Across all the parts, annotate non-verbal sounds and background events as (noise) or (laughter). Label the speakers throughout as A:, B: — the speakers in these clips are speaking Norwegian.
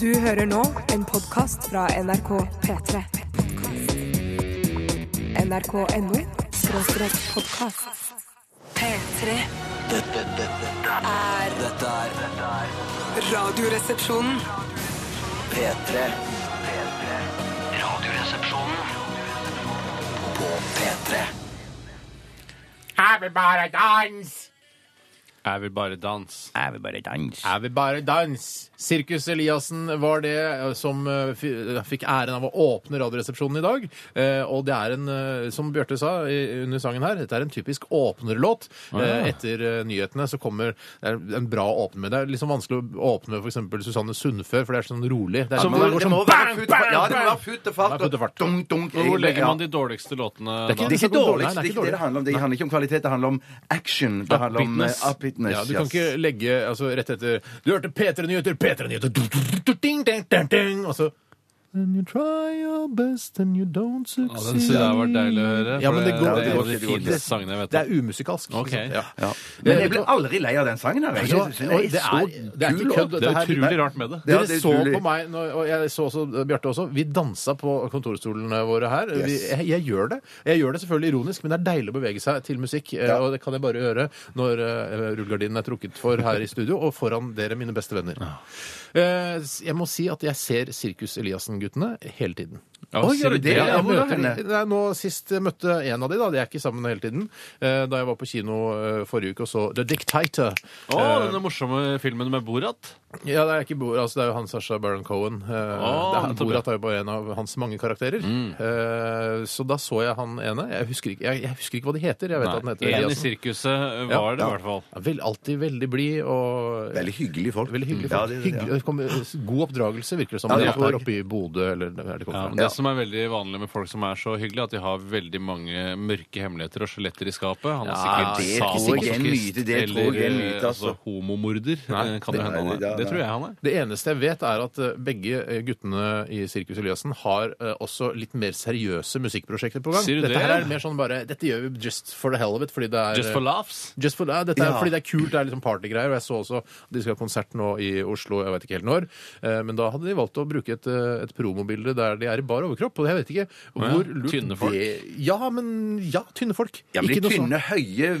A: Du hører nå en podkast fra NRK P3. NRK.no skråstrek podkast. P3
B: Dette, dette, dette,
A: er
B: dette er dette er
A: Radioresepsjonen.
B: P3. P3. Radioresepsjonen på P3.
C: Jeg vil bare danse!
D: Jeg vil bare danse.
E: Jeg vil bare danse.
C: Jeg vil bare danse! Sirkus Eliassen var det eh, som eh, fi- fikk æren av å åpne Radioresepsjonen i dag. Eh, Og det er en, eh, som Bjarte sa i- under sangen her, dette er en typisk åpnerlåt. Eh, Etter eh, nyhetene så kommer det er en bra åpner med. Det er liksom vanskelig å åpne med f.eks. Susanne Sundfør, for det er sånn rolig. Det, er,
D: Altså,
E: Som
C: det
E: hvor-
C: går
E: det
C: sånn
E: må være
C: bang,
E: fut-
C: bang,
E: ja, det må
C: bang.
E: være futt og fart.
C: Det er futt og fart.
E: Dunk, dunk.
D: Hvor legger
E: Ja.
D: man de dårligste låtene
C: Det
D: da?
C: er ikke-
E: Det er
C: Nei, nei, det er
E: ikke dårlig. Det er ikke det
C: dårlig.
E: det handler om. Det handler ikke om kvalitet, det handler om action. Det handler om
D: Upbeatness.
E: eh, upbeatness.
C: Ja, du kan
E: yes.
C: ikke legge altså, rett etter Du hørte P3 Nyheter, P3 Nyheter du- du- du- du- ding, ding, ding, ding, Og så And you try your best and you don't
D: Ja, den synes jeg var deilig å høre.
C: Ja, men det
D: for
C: går-
D: det, er en
E: det går
D: av de
E: ikke, det går ikke.
D: fineste sangene jeg vet.
C: Det er umusikalsk.
D: Ok.
C: liksom. Ja.
E: Ja. Men jeg ble aldri lei av den sangen. her. Jeg
C: Vet du hva?
E: synes den er
C: Det
E: så
C: er- det er ikke
E: kul,
C: kødd,
E: og-
C: dette
D: Det er
C: her.
D: utrolig rart med det.
E: Ja,
C: Dere
E: det er
C: så
E: utrolig.
C: på meg, når- og jeg så også eh, Bjarte også, vi dansa på kontorstolene våre her. Vi,
E: Yes.
C: jeg, jeg gjør det. Jeg gjør det selvfølgelig ironisk, men det er deilig å bevege seg til musikk. eh, Og det kan jeg bare gjøre når eh, rullegardinen er trukket for her i studio, og foran dere, mine beste venner. Eh, s- Jeg må si at jeg ser Sirkus Eliassen-guttene hele tiden.
D: Ja,
E: Oi,
D: sier
E: gjør
D: du
E: du det?
D: det?
E: Ja,
C: Jeg
E: hvor er
C: møter,
E: henne?
C: nei, nå Sist jeg møtte en av de, da. De er ikke sammen hele tiden. Eh, Da jeg var på kino eh, forrige uke og så The Dictator.
D: Å, denne morsomme filmen med Borat.
C: Ja, det er ikke Borat, altså det er jo han Sasha Baron Cohen.
D: Å,
C: Eh, det er han,
D: nettopp,
C: Borat er jo bare en av hans mange karakterer.
D: Mm.
C: Eh, så da så jeg han ene. Jeg husker ikke, jeg, jeg husker ikke hva de heter. Jeg vet at han
D: Nei,
C: heter
D: en i
C: Eliassen.
D: sirkuset
C: Ja,
D: var det i hvert fall.
C: Ja, vel, alltid veldig blid og
E: Veldig hyggelige folk.
C: Veldig hyggelig.
E: Ja,
C: folk.
E: det er det,
C: hyggelig. Det kommer, god oppdragelse, virker det som.
E: Ja,
C: De
E: det
C: er
E: er
C: oppe i Bodø, eller der
D: Ja,
C: de kommer
D: men
C: fra.
D: Det som er veldig vanlig med folk som er så hyggelige, at de har veldig mange mørke hemmeligheter og skjeletter i skapet. Han er
E: Ja,
D: sikkert
E: det tror jeg er en myte, det tror jeg er en myte,
D: eh, altså,
E: altså.
D: homomorder. eh, Kan det
E: det-
D: hende han er.
E: ja,
D: Det
E: nei.
D: tror jeg han er.
C: Det eneste jeg vet, er at eh, begge eh, guttene i Sirkus Eliassen har eh, også litt mer seriøse musikkprosjekter på gang.
D: Sier du
C: dette
D: det?
C: her er mer sånn bare Dette gjør vi just for the hell of it, fordi det er eh,
D: Just for laughs.
C: Just for, ja, dette er
E: Ja.
C: fordi det er kult, det er liksom partygreier. Og jeg så også at de skal ha konsert nå i Oslo, jeg vet ikke helt når. Eh, Men da hadde de valgt å bruke et, eh, et promobilde der de er i bar overkropp. Og jeg vet ikke hvor lurt
D: tynne folk.
C: det Ja, men ja, tynne folk.
E: Ja, men de
C: ikke noe sånn
E: tynne, høye,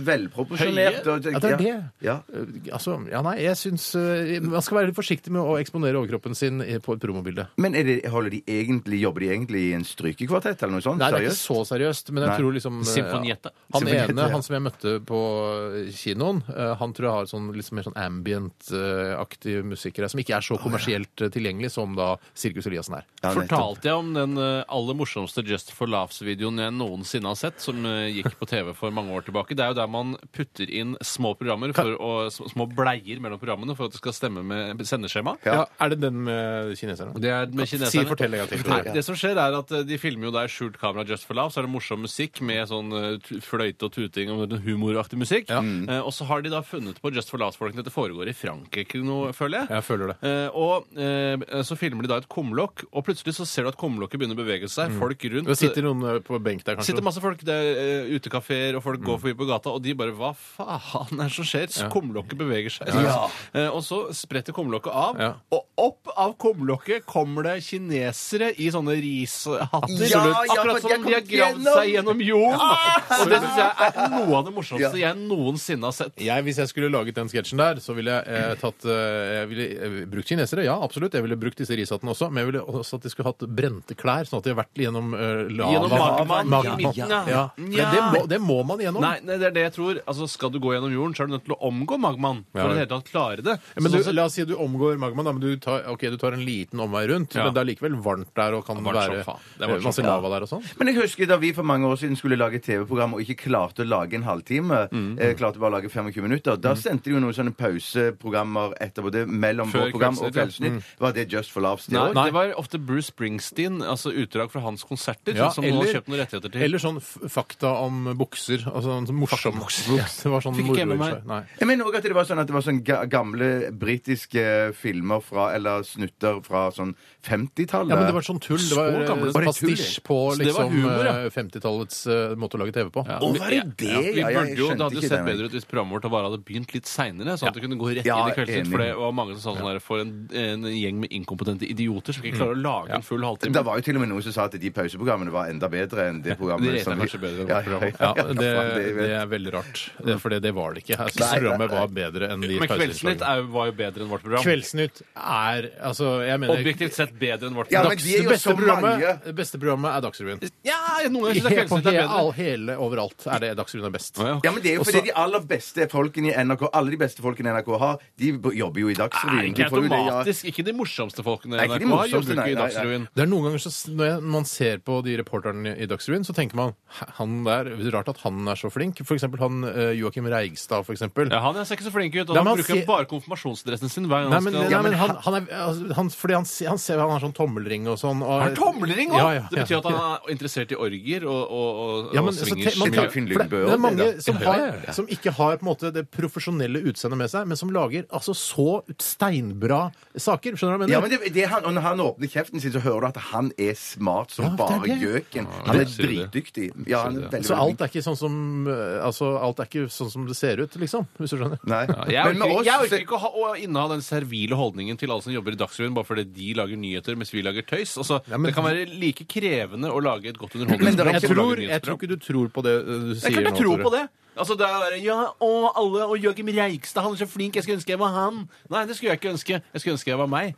D: Høye?
E: velproporsjonerte. og-
C: ja, det er det.
E: Ja.
C: Eh, Altså, ja, nei, jeg syns eh, Man skal være litt forsiktig med å eksponere overkroppen sin i- på et promobilde.
E: Men er det, holder de egentlig, jobber de egentlig i en strykekvartett eller noe sånt?
C: Nei, det er ikke
E: Seriøst?
C: så seriøst, men jeg
E: Nei.
C: tror liksom eh,
D: Symfonietta.
C: Han
E: Symfonietta,
C: ene,
E: ja.
C: han som jeg møtte på eh, kinoen, eh, han tror jeg har sånn litt mer sånn ambient-aktig musikere som ikke er så kommersielt eh, tilgjengelig som da Sirkus Eliassen er.
E: Ja, nettopp.
D: Fortalte jeg om den eh, aller morsomste Just for laughs-videoen jeg noensinne har sett, som eh, gikk på TV for mange år tilbake? Det er jo der man putter inn små programmer, for å, sm- små bleier mellom programmaet for at det skal stemme med sendeskjema.
C: Ja. Er det den med kineserne?
D: Det er med kineserne.
C: Si fortell en gang til.
D: Nei, det som skjer er at eh, De filmer jo der skjult kamera Just for Love, så er det morsom musikk med sånn eh, tu- fløyte og tuting og sånn humoraktig musikk.
C: Mm.
D: Eh, og så har de da funnet på Just for Love-folkene. Dette foregår i Frankrike nå, føler jeg.
C: Jeg føler det.
D: Eh, og eh, så filmer de da et kumlokk, og plutselig så ser du at kumlokket begynner å bevege seg.
C: Mm.
D: Folk rundt
C: Det sitter noen eh, på benk der, kanskje? Mm.
D: sitter masse folk det er uh, utekafeer, og folk går forbi på gata, og de bare Hva faen er det som skjer? Så Kumlokket beveger seg. Eh, og så spretter kumlokket av,
C: Ja.
D: og opp av kumlokket kommer det kinesere i sånne rishatter.
E: Ja, ja,
D: akkurat som
E: for de
D: om de
E: har
D: har
E: kommet
D: gravd
E: gjennom.
D: seg gjennom jorden.
C: Ah!
D: Og det syns jeg er noe av det morsomste
E: Ja.
D: jeg noensinne har sett.
C: Jeg, hvis jeg skulle laget den sketsjen der, så ville jeg eh, tatt eh, Jeg ville eh, brukt kinesere, ja, absolutt. Jeg ville brukt disse rishattene også, men jeg ville også at de skulle hatt brente klær, sånn at de har vært gjennom eh, lava.
D: Gjennom magmaen i
C: Magmaen.
D: midten, ja.
C: ja. Men
D: Ja.
C: det, må, det må man gjennom.
D: Nei, nei, det er det jeg tror. Altså, Skal du gå gjennom jorden, så er du nødt til å omgå magmaen. For å
C: Ja,
D: i
C: vel.
D: det hele tatt klare det.
C: Ja, Men du,
D: Sånn sett-
C: la oss si du omgår magmaen, da, men du tar, ok, du tar en liten omvei rundt.
D: Ja.
C: Men det er likevel varmt der, og kan
D: Varmt som
C: være
D: faen. Det er varmt som
C: masse
D: faen.
C: lava der og sånn.
E: Men jeg husker da vi for mange år siden skulle lage et TV-program og ikke klarte å lage en halvtime,
D: Mm.
E: eh, klarte bare å lage 25 minutter, da sendte de jo noen sånne pauseprogrammer etterpå det mellom
D: Før
E: vårt program og
D: Kveldsnytt, ja. Mm.
E: Kveldsnytt. Var det Just for laughs? det
D: Nei,
E: også?
D: det var ofte Bruce Springsteen altså, utdrag fra hans konserter sånn
C: Ja,
D: som hun har kjøpt noen rettigheter til.
C: eller sånn f- fakta om bukser. Altså en sånn morsom bukser. (laughs) Det var sånn
D: Fikk ikke med
C: moro i
D: meg.
C: seg. Nei.
E: Jeg mener også at det var sånn at det var sånn ga gamle britiske eh, filmer fra, eller snutter fra sånn 50-tallet.
C: Ja, men det var sånn tull. Det var,
D: Så gamle-
C: eh,
E: Var det tull,
C: pastisj på
D: Så det var
C: liksom,
D: humor, ja.
C: eh, 50-tallets eh, måte å lage TV på.
D: Ja,
E: Å,
D: men-
E: var det det?
D: Ja, vi
E: Ja, jeg
D: burde jo,
E: skjønte
D: det hadde
E: ikke
D: jo sett
E: det, men-
D: bedre ut hvis programmet vårt bare hadde begynt litt seinere. Sånn at det kunne gå rett
E: Ja,
D: inn i Kveldsnytt.
E: enig.
D: For det var mange som sa sånn der For en, en gjeng med inkompetente idioter som ikke klarer å lage en full halvtime.
E: Mm. Det var jo til og med noen som sa at de pauseprogrammene var enda bedre enn det programmet
D: De reta
E: som
D: kanskje bedre enn
E: ja,
D: vårt
E: ja,
D: program.
E: ja,
C: Ja,
E: ja,
C: det,
E: faen, det
C: det
E: vet jeg.
C: er veldig rart, Eh, for det, det var det ikke. Jeg synes
E: Nei,
C: programmet
E: nei, nei.
C: var bedre enn de
D: Men Kveldsnytt
C: pauseinnslagene.
D: er, jo- var jo bedre enn vårt program.
C: Kveldsnytt er altså, jeg mener,
D: Objektivt sett bedre enn vårt
E: Ja,
D: program.
E: men
C: Dags,
E: de er
C: det,
E: jo
C: beste
E: så mange.
C: programmet, det beste programmet er Dagsrevyen.
D: Ja, noen ganger syns
C: (laughs)
D: jeg
C: Helt på
D: Kveldsnytt er
C: hele,
D: bedre.
C: all- hele overalt er det Dagsrevyen er best.
D: Å, ja.
E: Ja, men det er jo fordi de aller beste folkene i NRK, alle de beste folkene i NRK har, de b- jobber jo i
D: Nei,
E: Dagsrevyen.
D: ikke
E: De får jo det, ja.
D: automatisk. Ikke de morsomste folkene i
E: Nei, ikke de
D: NRK har
E: morsomste,
D: jobbet ikke
E: nei,
D: i
E: nei, nei.
D: Dagsrevyen.
C: Det er noen ganger så, s- Når jeg- man ser på de reporterne i Dagsrevyen, så tenker man "Hæ, han der, rart at han er så flink. For eksempel han eh, Joakim Reigstad, for eksempel.
D: Ja, han ser ikke så flink ut. og
C: Nei, men
D: Han
C: han
D: bruker
C: ser-
D: bare konfirmasjonsdressen sin hver gang
C: Nei,
D: han
C: men,
D: skal
C: nei, men han, han er altså, han, Fordi han, ser- han ser han har sånn tommelring og sånn. Og,
D: Har han tommelring òg!
C: Ja, ja, ja.
D: Det betyr at han er interessert i orgier og, og, og,
C: ja, men,
D: og
C: så,
D: swingers.
C: te- man,
E: Skikkelig
C: tenker-
E: Finn
C: for det,
E: Lundbø
C: det
E: og
C: er
E: det
C: mange
E: der.
C: som,
D: Ja, ja,
C: har,
D: ja, ja.
C: som ikke har på en måte det profesjonelle utseendet med seg, men som lager altså så steinbra saker. Skjønner du hva jeg mener?
E: Ja, men det, det er han, og Når han åpner kjeften sin, så hører du at han er smart som
C: Ja, det er
E: bare
C: det.
E: gjøken. Han
D: det
E: er
D: sier det.
E: dritdyktig. Ja, han er veldig,
C: så alt
E: veldig-
C: er ikke sånn som eh, Altså, alt er ikke sånn som det ser ut, liksom. Hvis du skjønner.
E: Nei.
D: Jeg
E: Men med
D: orker,
E: oss
D: jeg orker ikke å, ha, å inneha den servile holdningen til alle som jobber i Dagsrevyen bare fordi de lager nyheter mens vi lager tøys. Altså,
C: men-
D: det kan være like krevende å lage et godt
E: Men det er
D: underholdningsprogram
C: Jeg
E: ikke-
D: som å lage
C: tror, jeg
D: nyhetsprogram.
C: tror ikke du tror på det eh, du
D: Det er
C: sier
D: klart
C: nå,
D: jeg tror
C: Tore.
D: på det. Altså, det er, ja, og alle, og Joakim Reigstad, han er så flink, jeg skulle ønske jeg var han. Nei, det skulle jeg ikke ønske. Jeg skulle ønske jeg var meg.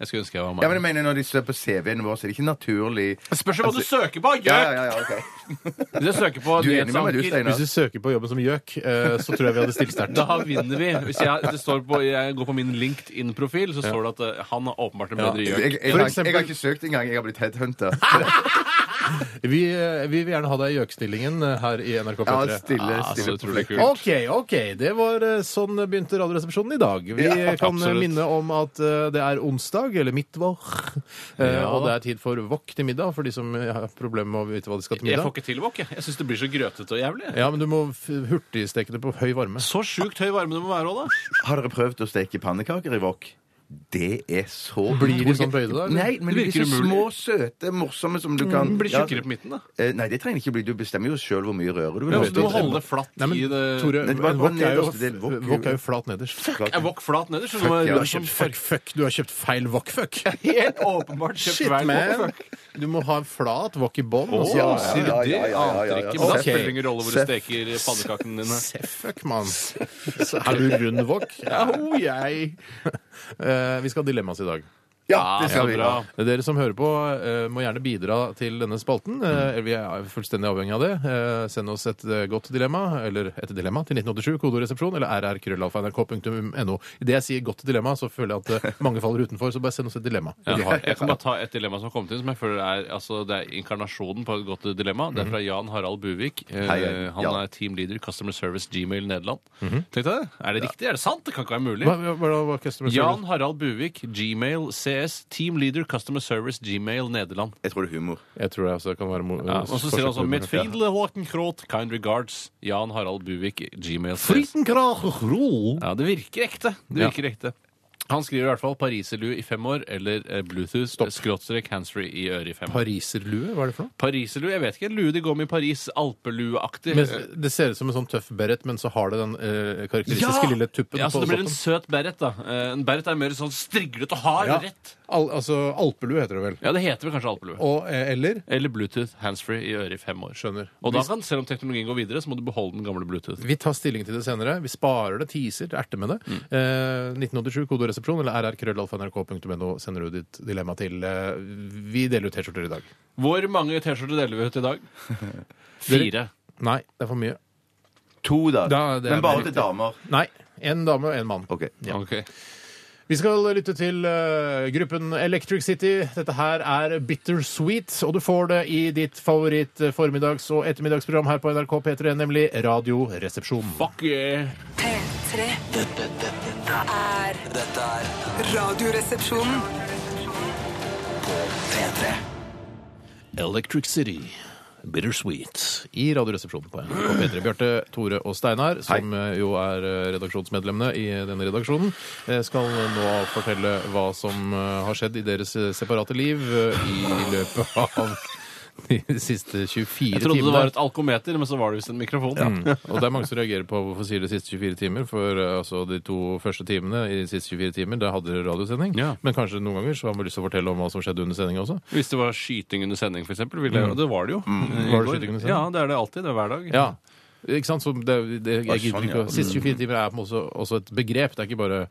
D: Jeg skulle ønske jeg var meg.
E: Ja, men jeg mener Når de ser på CV-en vår, så er det ikke naturlig
D: Spørs hva du søker på,
E: Ja,
D: gjøk!
E: ja, ja, ok.
D: Du søker på
E: Du er enig med meg, du,
D: nyhetsanker.
E: Steinar?
C: Hvis du søker på jobben som gjøk, eh, så tror jeg vi hadde stilt
D: (laughs)
C: sterkt.
D: Da vinner vi. Hvis jeg, det står på, jeg går på min LinkedIn-profil, så står det at eh, han er åpenbart en bedre
E: Jeg,
D: gjøk.
E: jeg, jeg,
C: For
E: har-
C: eksempel-
E: jeg har ikke søkt engang. Jeg har blitt
D: (laughs)
E: headhunter.
C: Vi, eh, vi vil gjerne ha deg i gjøkstillingen eh, her i NRK
E: Ja,
C: P3.
E: stille,
D: Ah, så
E: stille.
D: utrolig kult.
C: OK, ok. Det var eh, sånn begynte Radioresepsjonen i dag. Vi
E: Ja,
C: eh, kan
D: absolutt.
C: minne om at eh, det er onsdag, eller midtvår, (laughs) eh,
D: Ja.
C: og det er tid for wok til middag for de som eh, har problemer med å vite hva de skal til
D: Jeg får
C: middag.
D: ikke til wok. jeg. Jeg syns det blir så grøtete og jævlig.
C: Ja, men du må f- hurtigsteke det på høy varme.
D: Så sjukt høy varme det må være òg, da.
E: Har dere prøvd å steke pannekaker i wok? Det er så
C: Blir de sånn bøyde da, eller?
E: Nei, men de blir
D: Virker
E: så små, søte, morsomme som du kan
D: Mm, Blir
E: Ja.
D: tjukkere på midten, da.
E: Eh, Nei, det trenger ikke bli. Du bestemmer jo sjøl hvor mye røre du vil
D: Men
E: ha.
D: også, du må holde det flatt
C: Nei, men
D: i det
C: Tore,
E: Nei, det var-
C: en
E: det var
C: wok er jo,
E: nederst, det er wok,
C: wok er jo flat nederst.
D: Er wok flat nederst? så du
E: Fuck,
D: må-
C: Du
E: ja. det
C: har kjøpt fuck, fuck. Du har kjøpt feil wok, fuck.
D: (laughs) Helt åpenbart kjøpt
C: Shit,
D: hver
C: man.
D: wok.
C: Du må ha en flat wok i bånn.
D: Å,
C: altså.
E: ja, ja,
D: sier du
E: ja,
D: det?
E: ja, ja,
D: Aner
E: ja, ja.
D: ikke. Men da
C: Ok.
D: spiller det ingen rolle hvor du
E: Seff.
D: steker pannekakene dine.
C: Se, fuck, mann. Er du rund wok? Ja, ho, jeg. Eh, Vi skal ha dilemmas i dag.
E: Ja,
D: Ja,
E: det skal
D: så
E: vi.
D: bra.
C: Dere som hører på, eh, må gjerne bidra til denne spalten. Eh, Vi er fullstendig avhengig av det. Eh, Send oss et eh, godt dilemma, eller et dilemma, til 1987, kodoresepsjon, eller rrkrøllalfa.nrk.no. Idet jeg sier godt dilemma, så føler jeg at eh, mange faller utenfor, så bare send oss et dilemma.
D: Ja, jeg kan bare ta et dilemma som har kommet inn, som jeg føler er, altså, det er inkarnasjonen på et godt dilemma. Det er fra Jan Harald Buvik. Eh,
E: Mhm. Hei, Jan. Mhm.
D: han er team leader Customer Service Gmail Nederland. Tenkte jeg det? Er det riktig? Er det sant? Det kan ikke være mulig.
C: Hva, hva, hva, hva customer service?
D: Jan Harald Buvik, Gmail CS, Team Leader Customer Service Gmail Nederland.
E: Jeg tror det er humor.
C: Jeg tror det altså kan være mo-
D: Ja, og så sier han sånn Med et friendly håkenkrot, kind regards, Jan Harald Buvik, Gmail CS.
C: Fritenkrachro!
D: Ja, det virker ekte. Det virker ekte. Han skriver i hvert fall pariserlue i fem år eller eh, Bluetooth skråtstrek handsfree i øret i fem år.
C: Pariserlue, hva er det for noe?
D: Pariserlue? Jeg vet ikke. En lue de går med i Paris. Alpelueaktig. Eh,
C: Men det ser ut som en sånn tøff beret, men så har det den eh, karakteristiske lille tuppen
D: ja, så
C: på
D: det blir en
C: toppen.
D: søt beret, da. Eh, En beret er mer sånn striglete og hard.
C: Ja.
D: Rett.
C: Al altså alpelue heter det vel.
D: Ja, det heter vel kanskje alpelue.
C: Og, eh, eller
D: Eller Bluetooth handsfree i øret i fem år.
C: Skjønner.
D: Og da kan, selv om teknologien går videre, så må du beholde den gamle Bluetooth.
C: Vi tar stilling til det senere. Vi sparer det, teaser, erter med det.
D: Mm.
C: Eh, 1987, kodoresepsjon eller rrkrøllalfa.nrk.no sender du ditt dilemma til. Eh, vi deler ut T-skjorter i dag.
D: Hvor mange T-skjorter deler vi ut i dag? (laughs) Fire.
C: Nei, det er for mye.
E: To, da.
C: Da, det er
E: Men bare
C: veldig
E: til damer.
C: Nei. En dame og en mann.
E: OK.
C: Ja.
D: Ok.
C: Vi skal lytte til eh, gruppen Electric City. Dette her er Bittersweet, og du får det i ditt favoritt-formiddags- og ettermiddagsprogram her på NRK P3, nemlig Radioresepsjonen.
D: Fuck yeah!
A: P3
B: Dette, dette, dette,
A: er
B: dette er
A: Radioresepsjonen.
B: P3.
D: Electric City. Bittersweet.
C: i Radioresepsjonen på NRK P3. Bjarte, Tore og Steinar, som eh, jo er eh, redaksjonsmedlemmene i denne redaksjonen, eh, skal nå fortelle hva som eh, har skjedd i deres eh, separate liv eh, i løpet av de siste 24
D: Jeg trodde det
C: timene.
D: var et alkometer, men så var det visst en mikrofon.
C: Mm. Og det er mange som reagerer på hvorfor sier de siste 24 timer, for eh, altså de to første timene i de siste 24 timer, da hadde dere radiosending.
D: Ja.
C: Men kanskje noen ganger så har man lyst til å fortelle om hva som skjedde under sendinga også.
D: Hvis det var skyting under sending, f.eks. Og det var det jo. I
C: Var det
D: går.
C: skyting under sending?
D: Ja, det er det alltid. Det er hver dag.
C: Ja. Ikke sant? Så det, det,
E: Ah,
C: jeg gidder
E: sånn,
C: ikke
E: ja.
C: å Siste 24
D: Mm.
C: timer er på en måte også, også et begrep. Det er ikke bare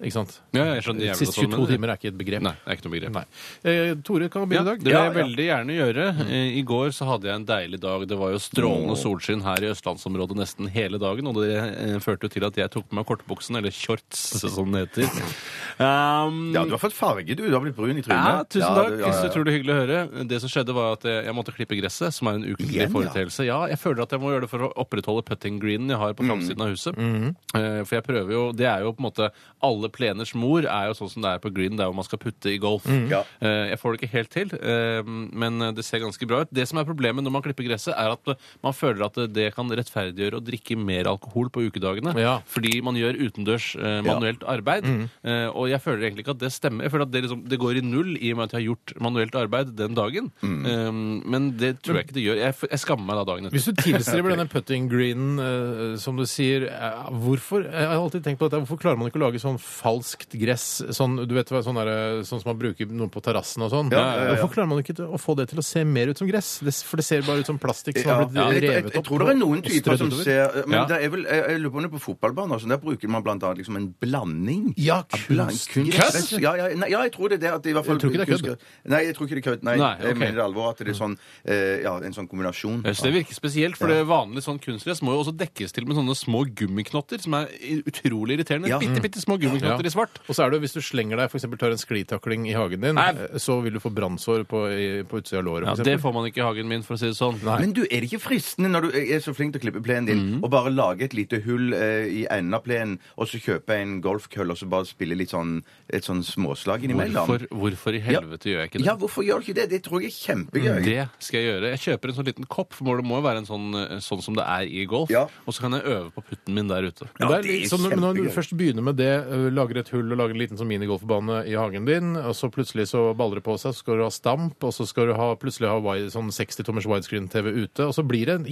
C: Ikke sant?
D: Ja, jeg skjønner jævlig
C: Siste
D: godt hva du
C: 22
D: mener.
C: timer er ikke et begrep.
D: Nei, det er ikke noe begrep.
C: Nei. Eh, Tore kan
D: Ja,
C: begynne
D: det
C: i
D: vil
C: dag.
D: jeg veldig gjerne gjøre. Eh, I går så hadde jeg en deilig dag. Det var jo strålende solskinn her i østlandsområdet nesten hele dagen, og det eh, førte jo til at jeg tok på meg kortbuksen, eller shorts, som det heter. Um,
E: Ja, du har fått farge, du. Du har blitt brun i trynet.
D: Ja, tusen
E: Ja,
D: takk.
E: du- ja, ja, ja.
D: Så utrolig hyggelig å høre. Det som skjedde, var at eh, jeg, jeg måtte klippe gresset, som er en ukentlig
E: Igjen, ja.
D: foreteelse. Ja, jeg føler at jeg må gjøre det for å opprettholde putting-greenen jeg har
E: Mm.
D: på framsiden av huset. Eh, For jeg prøver jo Det er jo på en måte Alle pleners mor er jo sånn som det er på green, det er hvor man skal putte i golf.
E: Ja.
D: Eh, Jeg får det ikke helt til, eh, men det ser ganske bra ut. Det som er problemet når man klipper gresset, er at man føler at det kan rettferdiggjøre å drikke mer alkohol på ukedagene.
C: Ja. Mm.
D: Fordi man gjør utendørs eh, manuelt arbeid. Eh, og jeg føler egentlig ikke at det stemmer. Jeg føler at det, liksom, det går i null i og med at jeg har gjort manuelt arbeid den dagen. Eh, men det tror jeg ikke det gjør. Jeg, f- jeg skammer meg da dagen etter.
C: Mm. Hvis du
E: (laughs)
C: tilstreber denne putting greenen, eh, som du sier eh, Hvorfor jeg har alltid tenkt på dette, hvorfor klarer man ikke å lage sånn falskt gress? Sånn, du vet, hva, sånn, der, eh, sånn som man bruker noe på terrassen og sånn.
E: Ja, ja, ja.
C: Hvorfor klarer man ikke til å få det til å se mer ut som gress? Det, for det ser bare ut som plastikk som
E: Ja,
C: har blitt
E: jeg, jeg,
C: revet
E: jeg
C: opp.
E: tror det er noen
C: og
E: typer
C: strødd
E: som
C: utover.
E: ser eh, Men
D: Ja.
E: det er vel, jeg, jeg lurer på om det er på fotballbaner. så Der bruker man blant annet liksom en blanding.
C: Ja,
E: av bland-
C: kunstgress.
E: kunstgress. Ja, ja, nei, ja, jeg tror det er det. At det i hvert fall,
C: Jeg tror ikke det er kødd.
E: kunstgress- Nei, jeg tror ikke det er kødd. Nei,
D: Nei, ok.
E: jeg mener det alvor. At det er sånn, eh, ja, en sånn kombinasjon.
D: Jeg synes det virker spesielt, for det vanlige sånn kunstgress må jo også dekkes til med sånne små gummiknotter, som er i- utrolig irriterende.
E: Ja.
D: Bitte, bitte små gummiknotter
C: Ja.
D: i svart.
C: Og så er det jo, hvis du slenger deg, for eksempel tar en sklitakling i hagen din,
D: Nei.
C: eh, så vil du få brannsår på, i- på utsida av låret,
D: Ja,
C: for
D: det
C: eksempel.
D: får man ikke i hagen min, for å si det sånn.
E: Men du, er det ikke fristende når du er så flink til å klippe plenen din,
C: Mhm.
E: å bare lage et lite hull eh, i enden av plenen, og så kjøpe en golfkølle og så bare spille litt sånn, et sånn småslag innimellom?
D: Hvorfor, hvorfor i helvete gjør jeg ikke det?
E: Ja, hvorfor gjør du ikke det? Det tror jeg er
C: Mm.
E: kjempegøy.
D: Det skal jeg gjøre. Jeg kjøper en sånn liten kopp, for det må jo være en sånn, sånn som det er i golf.
E: Ja.
D: Og så kan jeg øve på putten min der ute. liksom-
E: Ja,
C: det er,
E: det er
C: litt som når- når du
E: kjempegøy.
C: først begynner med det, ø, lager et hull og lager en liten sånn minigolfbane i hagen din, og så plutselig så baller det på seg, så skal du ha stamp, og så skal du ha, plutselig ha wide, sånn 60-tommers widescreen-TV ute, og så blir det en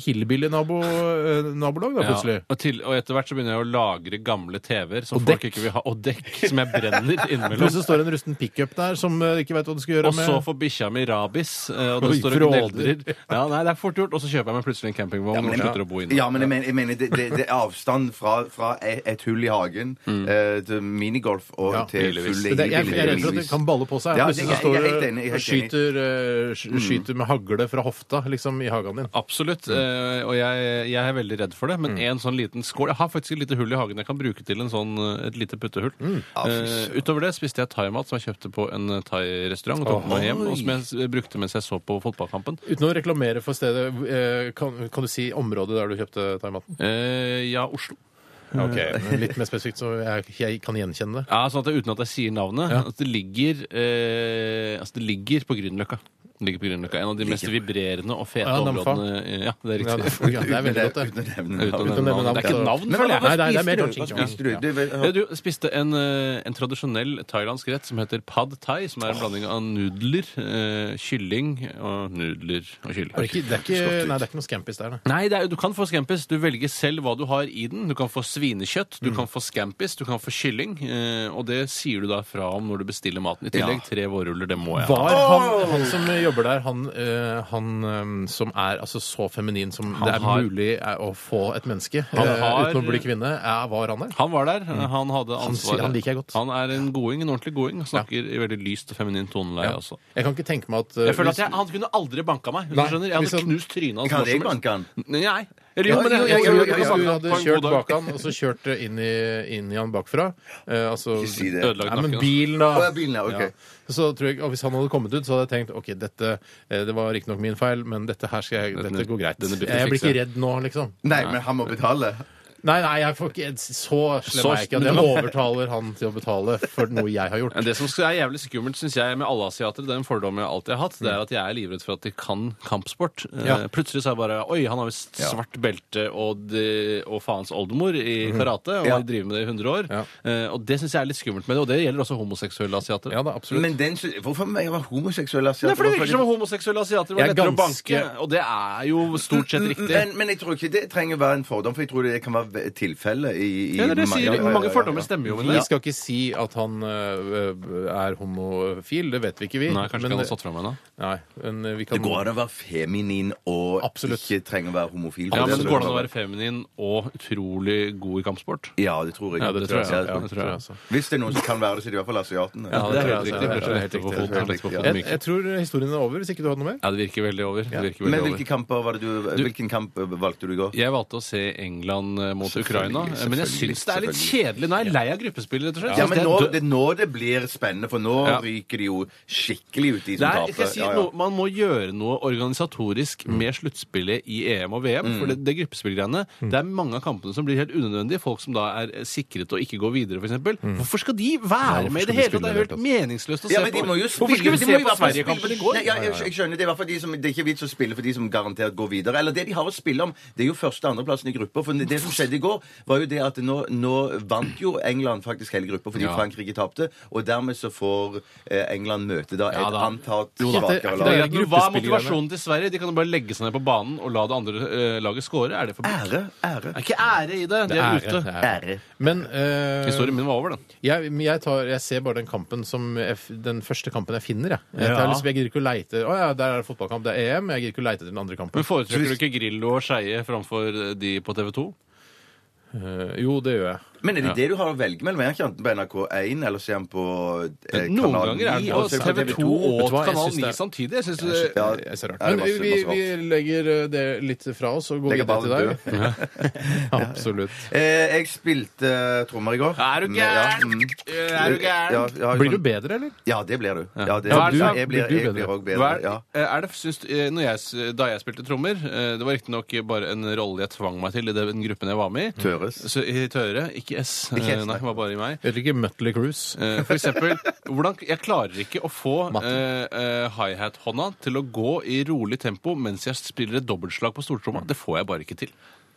C: hillbilly-nabolag da,
D: Ja,
C: plutselig.
D: og, til, og etter hvert så begynner jeg å lagre gamle TV-er som
C: Og
D: folk
C: dekk.
D: ikke vil ha, og dekk som jeg brenner innimellom.
C: Plutselig står det en rusten pickup der som ø, ikke veit hva du skal gjøre
D: Og så
C: med.
D: får bikkja mi rabies, eh, og
C: Oi,
D: det står og
C: fråder.
D: gneldrer. Ja, nei, det er fort gjort. Og så kjøper jeg meg plutselig en campingvogn og slutter å bo inne.
E: Ja, men jeg mener, jeg mener det, det, det er avstand fra, fra e- et hull i hagen
D: Mm.
E: eh, til minigolf og
C: Ja,
E: til
D: billigvis.
E: full
C: Men det, jeg, jeg er redd for at det kan balle på seg.
E: Ja,
C: Plutselig
E: jeg-
C: så står
E: jeg er helt
C: du
E: enig, Mm. jeg er
C: og
E: helt
C: skyter, ø, sky- skyter med hagle fra hofta liksom i hagen din.
D: Absolutt. eh, Og jeg, jeg er veldig redd for det. Men en sånn liten skål Jeg har faktisk et lite hull i hagen jeg kan bruke til en sånn, eh, et lite puttehull.
E: Ja,
D: Eh,
E: fy søren.
D: utover det spiste jeg thaimat som jeg kjøpte på en eh, thai-restaurant og tok med meg hjem, og som jeg s- brukte mens jeg så på fotballkampen.
C: Uten å reklamere for stedet, ø, kan, kan du si området der du kjøpte thaimaten?
D: Eh, ja, Oslo.
C: Ok,
D: Eh,
C: men Litt mer spesifikt, så jeg, jeg kan gjenkjenne det.
D: Ja, sånn at jeg, Uten at jeg sier navnet.
C: Ja.
D: Altså, det, ligger, eh, altså, det ligger på Grünerløkka. Det Ligger på Grünerløkka. En av de mest vibrerende og fete
C: Ja, Namfa.
D: områdene eh, Ja, det er
C: Ja, det,
D: riktig.
C: ja, det er veldig godt,
E: Uten
C: det.
E: å nevne
D: Uten å
E: navn.
D: nevne
C: nevne
D: navn. Det er ikke
C: navn,
D: navn,
E: Men hva-
D: føler jeg.
C: Nei,
E: hva
C: det er mer sånn
E: spiste du?
C: ching
E: Hva
C: chong.
E: spiste du? Du,
D: Ja, du spiste en, eh, en tradisjonell thailandsk rett som heter pad thai, som er en blanding av nudler, eh, kylling og nudler og
C: Er det,
D: kylling.
C: ikke, det, er ikke, nei, det er ikke noe scampis der, nei.
D: Nei, det er, jo- du kan få scampis. Du velger selv hva du har i den. Du kan få svinekjøtt,
C: Mm.
D: du kan få scampis, du kan få kylling. eh, Og det sier du da fra om når du bestiller maten. I tillegg tre vårruller, det må jeg ha.
C: Var han, han som jobber der, han, eh, han eh, som er altså, så feminin som det er
D: har-
C: mulig eh, å få et menneske
D: Han
C: eh,
D: har-
C: uten å bli kvinne, er, var han der?
D: Han var der. Han hadde
C: sier-
D: ansvaret.
C: han liker jeg godt.
D: Han er en goding, en ordentlig goding. og Snakker i veldig lyst og feminin toneleie også.
C: Jeg kan ikke tenke meg at eh,
D: altså. Jeg føler at
C: hvis-
D: jeg, Han kunne aldri banka meg. hvis
C: Nei, liksom-
D: du skjønner? Jeg
C: hvis
D: hadde
C: han-
D: knust trynet hans. når
E: Kan
D: som
E: jeg
D: helst.
E: banke han?
D: Nei.
E: Ja,
D: jo, men jeg,
E: jo,
D: jeg, tror
E: jo, jo,
D: du kan
E: jo,
D: banke
C: Hvis du
D: han på
C: hadde
D: en
C: kjørt
D: god dag.
C: bak han, og så kjørt eh, inn i, inn i han bakfra eh, altså,
E: Ikke si det.
D: Ødelagt
C: Nei, men
D: nakken.
C: bilen, da.
E: Å, ja, bilen, ja, ok.
C: Ja. Så tror jeg, og hvis han hadde kommet ut, så hadde jeg tenkt OK, dette eh, det var riktignok min feil, men dette her skal jeg,
D: Denne-
C: dette går greit.
D: denne blir
C: Jeg blir
D: fikset.
C: ikke redd nå, liksom.
E: Nei, men han må betale.
C: Nei, nei, jeg får ikke, så slem
D: Så
C: er jeg ikke at jeg overtaler han til å betale for noe
D: (laughs)
C: jeg har gjort.
D: Men Det som er jævlig skummelt, syns jeg, med alle asiatere, det er en fordom jeg alltid har hatt, det er at jeg er livredd for at de kan kampsport. Eh,
C: Ja.
D: Plutselig så er det bare Oi, han har visst
E: Ja.
D: svart belte og, de, og faens oldemor i karate, og
E: Ja.
D: har driver med det i 100 år.
C: Mhm. Ja.
D: Eh, Og det syns jeg er litt skummelt med det, og det gjelder også homoseksuelle asiater.
C: Ja da, absolutt.
E: Men den, sy- hvorfor jeg var homoseksuell? asiater?
D: Nei, for Det
E: Hvorfor
D: virker som om homoseksuelle asiater var
C: Jeg er
D: lettere å
C: ganske-
D: banke, og det er jo stort sett riktig.
E: Men, men jeg tror ikke det trenger å være en fordom, for jeg tror det kan være ve- tilfelle i, i
D: ja, det er det jeg sier.
E: ja, ja, ja,
D: Mange
E: ja,
D: fordommer
E: ja.
D: stemmer jo. Men
C: Vi skal ikke si at han øh, er homofil, det vet vi ikke vi.
D: Nei, kanskje
C: men,
D: ikke han
C: eh,
D: har satt fra meg ennå.
C: Nei, men vi
E: Det
C: kan...
E: går an å være feminin og
C: Absolutt.
E: ikke trenge å være homofil.
D: Ja, men Går det an å være feminin og utrolig god i kampsport?
E: Ja, det tror jeg.
D: Ja, det tror jeg.
E: Ja,
D: Ja, det tror jeg.
C: altså.
E: Hvis det er noen som kan være det, så er det i hvert fall asiatene.
D: Ja, det er helt
C: tror
D: riktig.
C: jeg altså.
D: Blir så
C: Det er
D: lett
C: helt
D: på
C: riktig.
D: foten,
E: Det er
D: lett på
E: helt riktig, ja.
D: foten,
C: Jeg,
D: myk.
C: jeg tror historien er over, hvis ikke du hadde noe mer.
D: Ja, det virker veldig over. Det virker
E: Men
D: veldig
E: hvilke
D: over.
E: kamper var det du, hvilken kamp valgte du i går?
D: Jeg valgte å se England eh, mot
E: Selvfølgelig,
D: Ukraina, eh, men jeg
E: selvfølgelig,
D: syns det er litt
E: selvfølgelig.
D: kjedelig. Nå er jeg lei av gruppespill, rett og slett.
E: Ja,
D: Synes
E: men
D: det er
E: nå
D: dø-
E: det, nå det blir spennende, for nå
D: Ja.
E: ryker de jo skikkelig ut, de som
D: Nei, jeg skal
E: taper.
D: si
E: Ja, ja.
D: noe, Man må gjøre noe organisatorisk med sluttspillet i EM og VM. For det, det gruppespillgreiene Det er mange av kampene som blir helt unødvendige. Folk som da er eh, sikret og ikke går videre, f.eks. eksempel Hvorfor skal de være
C: hvorfor
D: med i det
C: skal de
D: hele tatt? Det er jo helt
C: spille
D: meningsløst å
E: Ja,
D: se
E: men de
D: på.
E: må jo spille.
D: Hvorfor skulle vi
E: de må
D: se
E: jo
D: på
E: hvertfall
D: Sverige-kampen i
E: spille-
D: går?
E: Nei, ja, jeg, jeg skjønner, det er, i hvert fall de som, det er ikke vits å spille for de som garantert går videre. Eller det de har å spille om, det er jo første- og andreplassen i gruppa. For det som skjedde i går, var jo det at nå, nå vant jo England faktisk hele gruppa fordi
D: Ja.
E: Frankrike tapte. Og dermed så får eh, England møte da et
D: Ja, da.
E: antatt
C: Jo da.
E: svakere
C: Det er greit.
E: lag.
D: Men Hva er
C: gruppespillgreiene.
D: motivasjonen til Sverige? De kan jo bare legge seg ned på banen og la det andre eh, laget score. Er det forbudt?
E: Ære, ære,
D: Det er ikke ære i det. De
C: Det
D: er
C: er-
D: ute.
C: det er-
E: ære.
C: Men øh,
D: Historien min var over, den.
C: jeg, men jeg, tar, jeg ser bare den kampen som jeg, f- den første kampen jeg finner, jeg. Jeg,
D: Ja.
C: tar lyst- jeg gidder ikke å leite Å ja, der er det fotballkamp, det er EM. Jeg gidder ikke å leite etter den andre kampen.
D: Men Foretrekker du ikke Grillo og Skeie framfor de på TV 2?
C: Øh, jo, det gjør jeg.
E: Men er det det du har å velge mellom? Er han ikke enten på NRK1, eller ser han på eh,
D: Noen
E: Kanal
D: ganger er
E: 9,
D: det
E: og ser
D: på TV 2
C: Vet
D: og
C: du hva, jeg
D: Kanal
C: synes
D: 9
C: det er-
D: samtidig. Jeg synes det,
E: Ja,
C: Det er så rart.
E: er
C: Men
E: masse-
C: vi,
E: masse
C: vi legger øh, det litt fra oss og går
E: Legger
C: videre til
E: ballen
C: (laughs) deg. Absolutt.
E: Eh, jeg spilte eh, trommer i går.
D: Er du gæren?
E: Mm,
D: Er du gæren?
E: Ja, ja, sånn-
C: Blir du bedre, eller?
E: Ja, det blir du. Ja, det,
D: Ja, du-
E: jeg
C: blir
E: blir,
C: du
E: jeg
C: bedre?
E: blir også
D: Hva
E: bedre.
D: er,
E: Ja.
D: er det, syns, eh, når jeg, s- da jeg spilte trommer eh, Det var riktignok bare en rolle jeg tvang meg til i den gruppen jeg var med i.
E: Tøres.
D: Så, i Tøre. Ikke S.
E: Ikke S,
D: eh, Nei, det var bare i meg.
C: Jeg Vet ikke Mutley Cruise.
D: Eh, For eksempel, hvordan, jeg klarer ikke å få
C: Matte.
D: eh, eh, hi-hat-hånda til å gå i rolig tempo mens jeg spiller et dobbeltslag på stortromma. Det får jeg bare ikke til.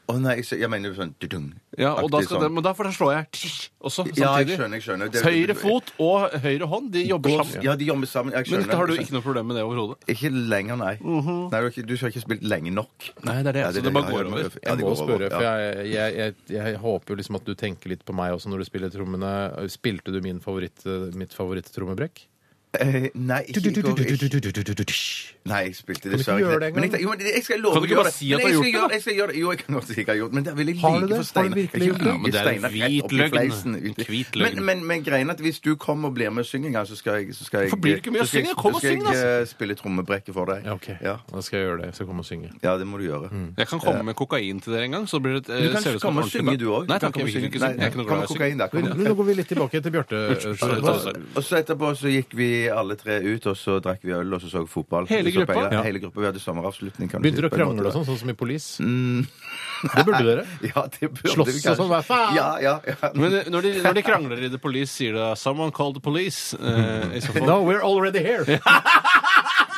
E: Å nei, så, jeg mener jo sånn dudung.
D: Ja, og da
E: Aktig
D: skal
E: sånn.
D: det, men da, for da slår jeg tish, også samtidig.
E: Ja, jeg skjønner, jeg skjønner. Det-
D: høyre fot og høyre hånd, de jobber sammen.
E: Ja, de jobber sammen. Jeg
D: Men
E: skjønner. Sånn-
D: dette har du ikke noe problem med det overhodet?
E: Ikke lenger, nei. nei du, har ikke, du har ikke spilt lenge nok.
D: Nei, det er det.
E: Ja,
D: Så Altså, det bare
E: ja,
D: går
E: ja,
D: over.
E: ja,
C: Jeg
E: det
C: må
E: går over,
C: spørre, for
E: ja.
C: jeg, jeg, jeg, jeg håper jo liksom at du tenker litt på meg også når du spiller trommene. Spilte du min favoritt, eh, mitt favoritttrommebrekk?
E: Eh, Nei, ikke i går. Ikke- Nei, jeg spilte det
C: Kan du ikke gjøre det engang?
E: Men jeg, jo, men jeg skal love
D: Kan du
E: å
D: ikke
E: gjøre
D: bare
E: det.
D: si at
E: Men
D: du har gjort det,
E: jeg skal gjøre Jeg skal gjøre det. Jo, jeg kan godt si at jeg har gjort det, men det er veldig
C: Har du det?
E: lite for
C: Har du
E: Steinar.
C: virkelig
E: Jeg
C: gjort det?
E: kan-
D: Ja, men det er en
E: Steinar rett
D: hvit
E: opp i
D: løgn.
E: fleisen.
D: En hvit løgn.
E: Men, men, men greien er at hvis du kommer og blir med og synger en gang, så skal jeg så skal jeg-
D: Hvorfor blir du ikke med og
E: så skal jeg-
D: synger? Kom og
E: så skal
D: syng,
E: jeg, eh, spille trommebrekket for deg.
C: Ja, ok.
E: Ja.
C: Da skal jeg gjøre det. Jeg skal komme og synge.
E: Ja, det må du gjøre.
D: Jeg kan komme med kokain til dere en gang. Så blir det, eh,
E: Du kan komme og synge, du òg.
D: Nei, takk, jeg vil ikke synge. Jeg er ikke noe glad i å synge.
C: Men nå går vi litt tilbake til Bjarte.
D: Sorry, sorry.
E: Og så etterpå så gikk vi alle tre ut, og så drakk vi øl, og så så vi fotball.
D: Hele
E: Vi så på
D: gruppa?
E: Eira-
C: Ja.
E: Hele gruppa, Vi hadde sommeravslutning. kan du si,
C: Begynte du å
E: på en måte.
C: krangle og sånn, sånn som i Police? Det burde dere.
E: (laughs) Ja, det burde vi
C: Slåss og
E: kanskje.
C: sånn, hva faen?
E: Ja, ja, ja.
D: Men eh, når de, når de krangler i The Police, sier de 'someone called the (laughs) police'. eh, i så fall.
C: No, we're already here!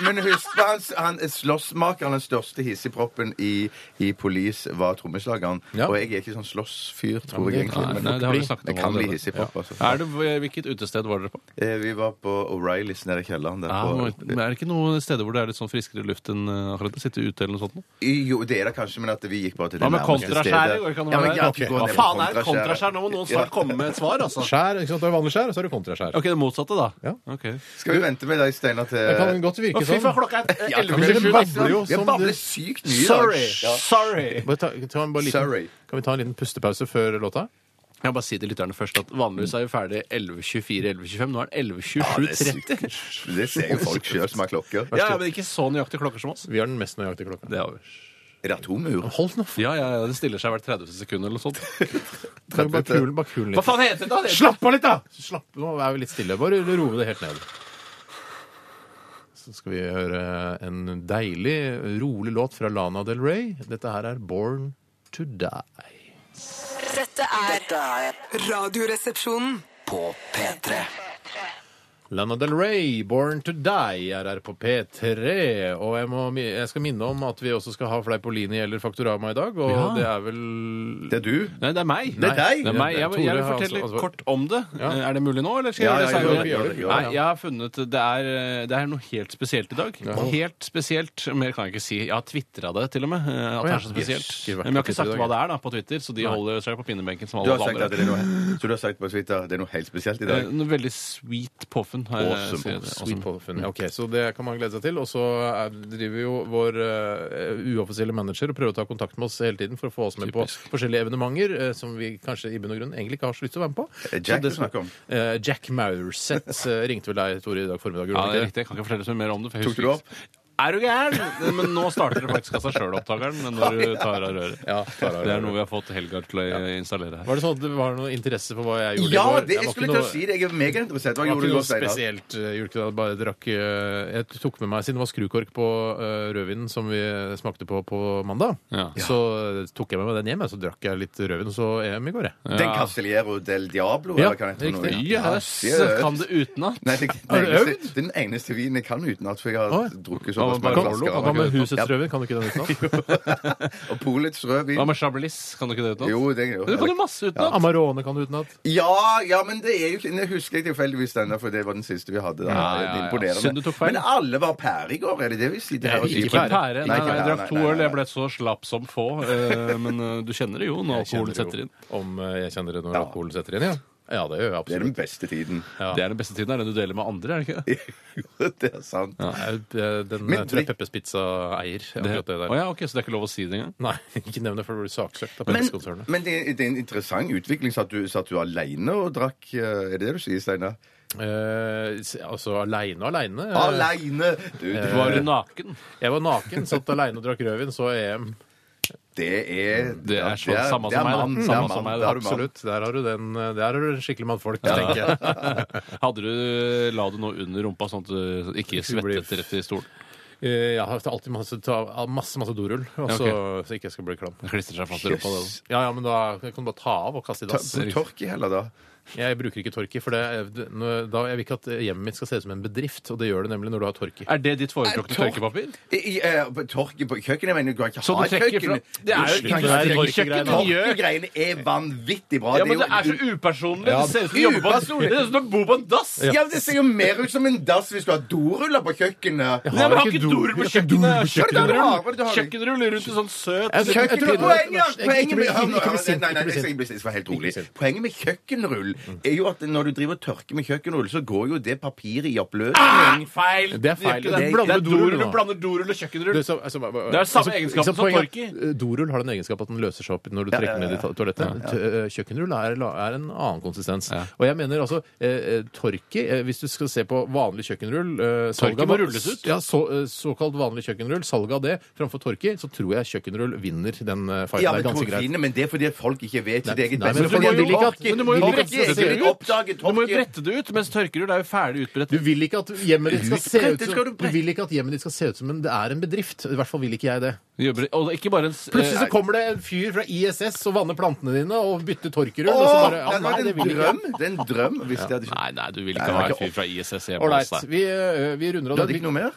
E: Men husk på hans, han er slåssmakeren, den største hissigproppen i, i Police, var trommeslageren.
C: Ja.
E: Og jeg er ikke sånn slåssfyr, tror
C: men
E: jeg
C: det-
E: egentlig.
D: Nei,
E: men-
D: nei, det har vi snakket om
E: Jeg kan bli
D: allerede.
E: hissigpropp, altså.
D: Er det, hvilket utested var dere på?
E: Eh, Vi var på O'Reillys nede i kjelleren. Der
D: Ja,
E: på,
D: men er det ikke noen steder hvor det er litt sånn friskere luft enn eh, akkurat å sitte ute? eller noe sånt? nå?
E: Jo, det er det kanskje, men at vi gikk bare til det
D: Hva med
E: nærmeste stedet.
D: kontraskjæret? Går det ikke an å
E: Ja, men
D: være-
E: ja, at vi
C: Ok.
E: går
D: Hva
E: ned på
D: faen er et
E: kontraskjæret?
D: kontraskjær? Nå må noen snart komme med et svar, altså.
C: Skjær. ikke sant? Du har vanlig skjær, og så har du kontraskjær.
D: Ok, det motsatte, da.
C: Ja.
D: Ok.
E: (laughs) Skal vi vente med deg, Steinar, til
C: Det kan godt
D: Å,
C: virke
D: fy
C: sånn.
D: faen, klokka er
E: Ja,
D: 11
E: men det
D: minutter sju, altså.
C: babler jo
E: Jeg
C: som
E: babler
C: det-
E: sykt mye i dag.
D: Sorry!
E: Ja.
D: Sorry!
C: Bare ta, ta en, bare
E: Sorry.
C: liten, kan vi ta en liten pustepause før låta?
D: Jeg vil bare si til lytterne først at vanligvis er vi ferdig 11.24-11.25. Nå er det 11.27.30.
E: Det ser jo folk sjøl som har
D: (laughs)
E: klokker.
D: Ja, ja, men ikke så nøyaktige klokker som oss.
C: Vi har den mest nøyaktige klokka.
D: Det har vi.
E: Er det atomur?
C: Hold nå,
D: Ja, ja, ja, det stiller seg hvert 30 sekund eller noe sånt.
C: faen! Bare kulen, bare kulen litt.
D: Hva faen heter det da? Det heter-
C: Slapp av litt, da! Slapp, Nå er vi litt stille. Bare roe det helt ned. Så skal vi høre en deilig, rolig låt fra Lana Del Rey. Dette her er 'Born to Die'.
F: Dette er
B: Dette er
F: Radioresepsjonen.
B: på P3.
C: Lana Del Rey, 'Born to Die', er her på P3. Og jeg, må, jeg skal minne om at vi også skal ha Fleipolini eller Faktorama i dag, og
D: Ja.
C: det er vel
E: Det er du.
D: Nei, det er meg.
E: Det
D: Nei,
E: er deg.
D: Det er meg. Jeg, jeg,
C: Tore
D: vil
C: har
D: fortelle
C: ansvar- ansvar.
D: kort om det.
C: Ja.
D: Er det mulig nå, eller skal
E: Ja,
D: jeg
E: ja,
D: gjøre
E: ja,
D: det
E: gjør det,
D: senere?
E: gjør det.
D: Nei, jeg har funnet det er, det er noe helt spesielt i dag. Helt spesielt. Mer kan jeg ikke si. Jeg har tvitra det, til og med. eh, At det er så
C: Jøss,
D: spesielt.
C: ikke vært
D: Men jeg har
C: på
D: ikke sagt
C: Twitter i
D: hva
C: dag.
D: det er da på Twitter, så de holder seg på pinnebenken som
E: Du
D: alle
E: har sagt
D: andre.
E: at det er noe, så du har sagt på Twitter det er noe helt spesielt i
D: Eh,
E: dag.
D: Noe veldig sweet poffen.
C: eh,
D: har jeg
E: Awesome.
D: skrevet.
C: Sweet Polyphony.
D: Mm.
C: Ja, Ok, Så det kan man glede seg til. Og så er- driver jo vår eh, uoffisielle manager og prøver å ta kontakt med oss hele tiden for å få oss med
D: Typisk.
C: på forskjellige evenementer eh, som vi kanskje i bunn og grunn egentlig ikke har så lyst til å være med på.
E: Eh,
C: Så
E: Jack
C: det-
E: du snakker om.
C: Eh, Jack Maurseth eh, ringte vel deg, Tore, i dag formiddag? gjorde
D: Ja,
C: han
D: det er
C: ikke det?
D: riktig. Jeg kan ikke fortelle så mye mer om det. for jeg
E: Tok
D: husker
E: du
D: ikke. Er du gæren? Men nå starter det faktisk av seg sjøl, opptakeren. Men når du tar av røret.
C: Ja, tar av
D: Det
C: røret.
D: er noe vi har fått Helgar til å eh, installere her.
C: Var det sånn at det var noe interesse for hva jeg gjorde
E: Ja,
C: i går?
E: det, jeg
C: var
E: skulle
C: ikke
E: til å
C: noe-
E: si det. Jeg er megainteressert.
C: Det
E: Hva
C: var
E: gjorde
C: ikke noe
E: du nå, Steinar?
C: spesielt. eh, gjorde ikke det. Jeg Bare drakk eh, Jeg tok med meg Siden det var skrukork på eh, rødvinen som vi smakte på på mandag,
D: Ja.
C: så eh, tok jeg med meg den hjem, og så drakk jeg litt rødvin, og så EM i går, jeg.
E: Den Castellero del Diablo?
C: Ja,
E: eller hva heter det nå?
C: riktig.
E: Ja,
D: Jøss!
E: seriøst.
D: Kan det utenat?
E: Nei, det, den
C: Har du
E: eneste,
C: øvd?
E: den eneste vinen jeg kan utenat, for jeg har
C: Oi.
E: drukket
D: Hva
E: såpass
D: med
E: mange
D: Barolo?
E: flasker.
C: Hva med Husets rødvin? Kan du ikke den utenat?
E: Og Polets rødvin.
D: Hva med Chablis? Kan du ikke det utenat?
E: Jo, det er jo
D: Du kan jo masse utenat!
C: Amarone kan du utenat.
E: Ja, ja, men det er jo ikke Nå husker jeg tilfeldigvis denne, for det var den siste vi hadde. Da.
D: Ja, ja, ja.
E: Imponerende.
D: Synd du tok feil.
E: Men alle var pære i går, er det det vi sier? Det
C: er ikke
E: høres ut
D: Ikke
C: pære.
E: som-
D: pære. Nei, nei,
E: Ikke
D: jeg
E: pære,
D: drakk
E: nei,
D: to
E: nei,
D: øl.
E: nei.
D: Jeg ble så slapp som få. eh, Men eh, du kjenner det jo når alkoholen setter inn.
C: Om eh, jeg kjenner det når alkoholen setter inn, ja. Ja, det gjør jeg
E: Det er den
C: absolutt.
E: beste tiden.
C: Ja.
D: Det er den beste tiden. Er den du deler med andre, er det ikke det?
E: (laughs) det er sant.
C: Jeg, eh, Den
E: Men
C: jeg tror jeg
E: drikk-
C: Peppers Pizza eier. Akkurat det
D: Å
C: der.
D: ja, ok, Så det er ikke lov å si det engang?
C: Nei, (laughs) ikke nevn det, for du blir saksøkt av
E: Men,
C: Pepsi-konsernet.
E: men det, det er en interessant utvikling. Satt du, satt du aleine og drakk eh, Er det det du sier, Steinar?
C: Eh, s- altså aleine og aleine.
E: Aleine! Du, du
D: Var du naken?
C: Jeg var naken, satt aleine og drakk rødvin, så E EM.
E: Det er
D: Det er sånn samme
E: det er
D: som meg, da.
E: mann, det er
D: Samme
E: mann,
D: som meg,
E: det er mann.
C: Absolutt. Der har du den eh, Der har du skikkelig mannfolk, tenker jeg.
D: Hadde du, La du noe under rumpa, sånn at du ikke svettet rett i stolen?
C: Eh, Jeg har alltid masse, ta, masse, masse dorull, og så, så ikke jeg skal bli klam.
D: Det klistrer seg fast i rumpa. det da.
C: Ja, ja, men da kan du bare ta av og kaste i
E: Ta,
C: dass.
E: Torki heller, da.
C: Jeg bruker ikke torki, for det, når- da, jeg vil ikke at eh, hjemmet mitt skal se ut som en bedrift, og det gjør det nemlig når du har torki.
D: Er det ditt foretrukne
E: Er tork-
D: tørkepapir?
E: I, i, eh, på torki på kjøkkenet, mener du? Du kan ikke
D: Så du
E: ha et
D: trekker fra
E: kjøkken.
D: Det er
E: Du
D: jo
E: kan
D: ikke
E: ikke ha et
C: Tork-
E: kjøkken.
D: torkegreiene.
C: Tork-
D: gjør.
E: Torkegreiene er vanvittig bra.
D: Ja, men
E: jo-
D: det er så upersonlig!
C: Ja,
D: Det ser ut som du jobber på en-
E: upersonlig.
D: Det ser ut som du bor på en dass!
E: Ja, men Det ser jo mer ut som en dass hvis du har doruller på kjøkkenet.
D: Nei, men har
C: ikke
D: ikke
C: do-
D: dorull på
C: jeg har ikke dorull på
D: kjøkkenet!
E: kjøkkenet. Hva er det du har?
D: Kjøkkenrull rundt i sånn søt
C: Jeg- jeg- jeg tror-
E: Kjøkkenrull Poenget
C: Ikke- ikke
E: poenget med
C: bli-
E: hør nå,
C: ikke bli
E: hør nå,
C: sint,
E: nei, nei,
C: ikke bli
E: jeg skal
C: sint.
E: ikke bli sint, vær helt rolig.
C: Ikke bli sint.
E: Poenget med kjøkkenrull er jo at når du driver og tørker med kjøkkenrull, så går jo det papiret i
C: Ah!
E: oppløsning.
D: Feil!
C: Det er feil.
D: Det er,
C: Du
D: ikke
C: blander
D: det. det er dorull,
C: dorull
D: du
C: nå.
D: blander dorull og kjøkkenrull.
C: Det er så- altså, hva- hva-
D: Det er samme
C: altså,
D: egenskapen
C: ikke sant,
D: som
C: poenget
D: torki.
C: er at, eh, Dorull har den egenskap at den løser seg opp når du trekker
E: ja,
C: ned i to- toalettet. T- eh, Kjøkkenrull er, la- er en annen konsistens. Og jeg mener altså eh, eh, torki eh, Hvis du skal se på vanlig kjøkkenrull eh, salg
D: Torki
C: av-
D: må rulles ut.
C: Ja, så, eh, Såkalt vanlig kjøkkenrull, salget av det framfor torki, så tror jeg kjøkkenrull vinner den eh, fighten.
E: Ja,
C: det
E: men,
C: er ganske greit.
E: torkine, men det er fordi folk ikke vet sitt
C: Nei,
E: eget
C: nei,
E: beste.
C: men du må jo ikke at-
E: Torki-
C: men du må jo
E: Torki-
C: brette det
E: ikke vil
C: ut.
E: oppdage
D: Du må jo
E: torki-
D: brette det ut, mens tørkerull er jo ferdig utbredt.
C: Du vil ikke at hjemmet ditt skal se ut
E: Utbrettet
C: som,
E: skal du
C: du
E: brette.
C: vil ikke at hjemmet ditt skal se ut som en, det er en bedrift. I hvert fall vil ikke jeg det.
D: Jobber- Og det er ikke bare en s-
C: Plutselig så
D: eh,
C: kommer det en fyr fra ISS og vanner plantene dine og bytter torkerull. og så
E: Åh,
C: bare, ja,
E: det
C: nei,
E: var
C: det
E: en
C: vil jeg ikke.
E: drøm! Det er en drøm hvis det hadde skjedd.
D: Nei, nei, du vil
E: Nei,
D: ikke ha
E: det
D: en
E: er
D: fyr fra ISS hjemme altså. hos
C: Ålreit.
D: deg.
C: Vi, eh, vi runder av.
E: Du hadde ikke noe mer?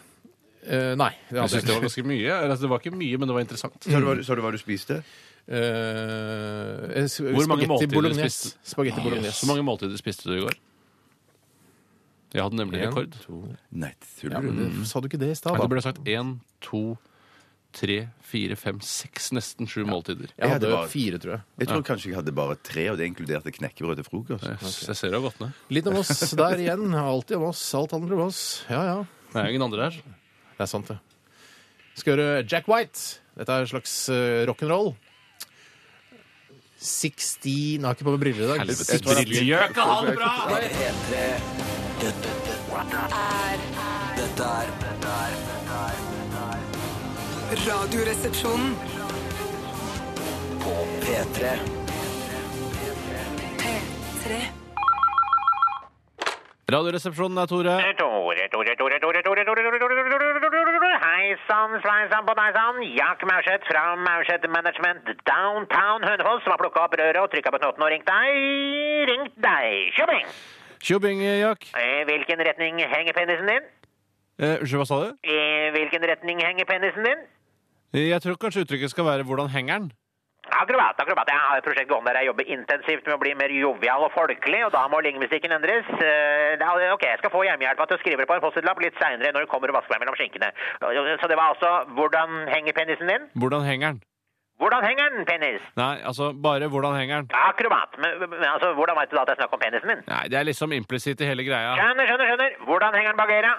C: Eh, nei.
D: Jeg
C: det hadde jeg
D: synes det
C: ikke.
D: var ganske mye. Altså, det var ikke mye, men det var interessant.
E: Sa du hva- Sa du hva du spiste?
C: Eh, s-
D: Hvor mange
C: spagetti
D: måltider
C: bolognese.
D: spiste-
C: Spagetti bolognese.
D: Så mange måltider spiste du i går? Jeg hadde nemlig
C: En,
D: rekord.
E: Nei,
C: Ja,
E: tuller du?
C: men, eh, Sa du ikke det i stad?
D: Nei,
C: da?
D: det ble sagt én, to, tre, fire, fem, seks, nesten sju måltider.
C: Jeg
E: Ja, det
C: hadde
E: var-
C: fire, tror jeg.
E: Jeg tror kanskje jeg hadde bare tre, og det inkluderte knekkebrød til frokost.
D: Jeg s- jeg ser det har gått ned.
C: Litt om oss der igjen. Alltid om oss. Alt handler om oss. Ja, ja.
D: Det er jo ingen andre her.
C: Det er sant, det. Skal høre Jack White. Dette er en slags eh, rock'n'roll. 16 Har ikke på meg briller i dag.
D: Helvete, Brillegjøka, ha det bra!
B: P3. Dette, dette,
F: Er
B: dette er dette er
F: Radioresepsjonen.
B: på P3.
F: P3.
D: Radioresepsjonen er Tore.
G: Tore, Tore, Tore, Tore, Tore, Tore, Tore, Tore, Tore, Tore, Tore, Tore, Hei Heisan, sveisan på deisan. Jack Maurseth fra Maurseth Management Downtown Hønefoss som har plukka opp røret og trykka på knotten og ringt deg. Ringt deg. Tjobbing!
D: Tjobbing, Jack.
G: I hvilken retning henger penisen din?
D: Eh, Unnskyld, hva sa du?
G: I hvilken retning henger penisen din?
D: Jeg tror kanskje uttrykket skal være 'hvordan henger den'?
G: Akrobat, akrobat. Jeg har et prosjekt gående der jeg jobber intensivt med å bli mer jovial og folkelig, og da må lingvistikken endres. Eh, da- ok, jeg skal få hjemmehjelpa til å skrive det på en post-it-lapp litt seinere når du kommer og vasker deg mellom skinkene. Så det var altså 'Hvordan henger penisen din'?
D: Hvordan henger den?
G: Hvordan henger den, penis?
D: Nei, altså bare 'hvordan henger den'?
G: Akrobat. Men, men altså, hvordan veit du da at det er snakk om penisen min?
D: Nei, det er liksom implisitt i hele greia.
G: Skjønner, skjønner, skjønner. Hvordan henger den bak øra?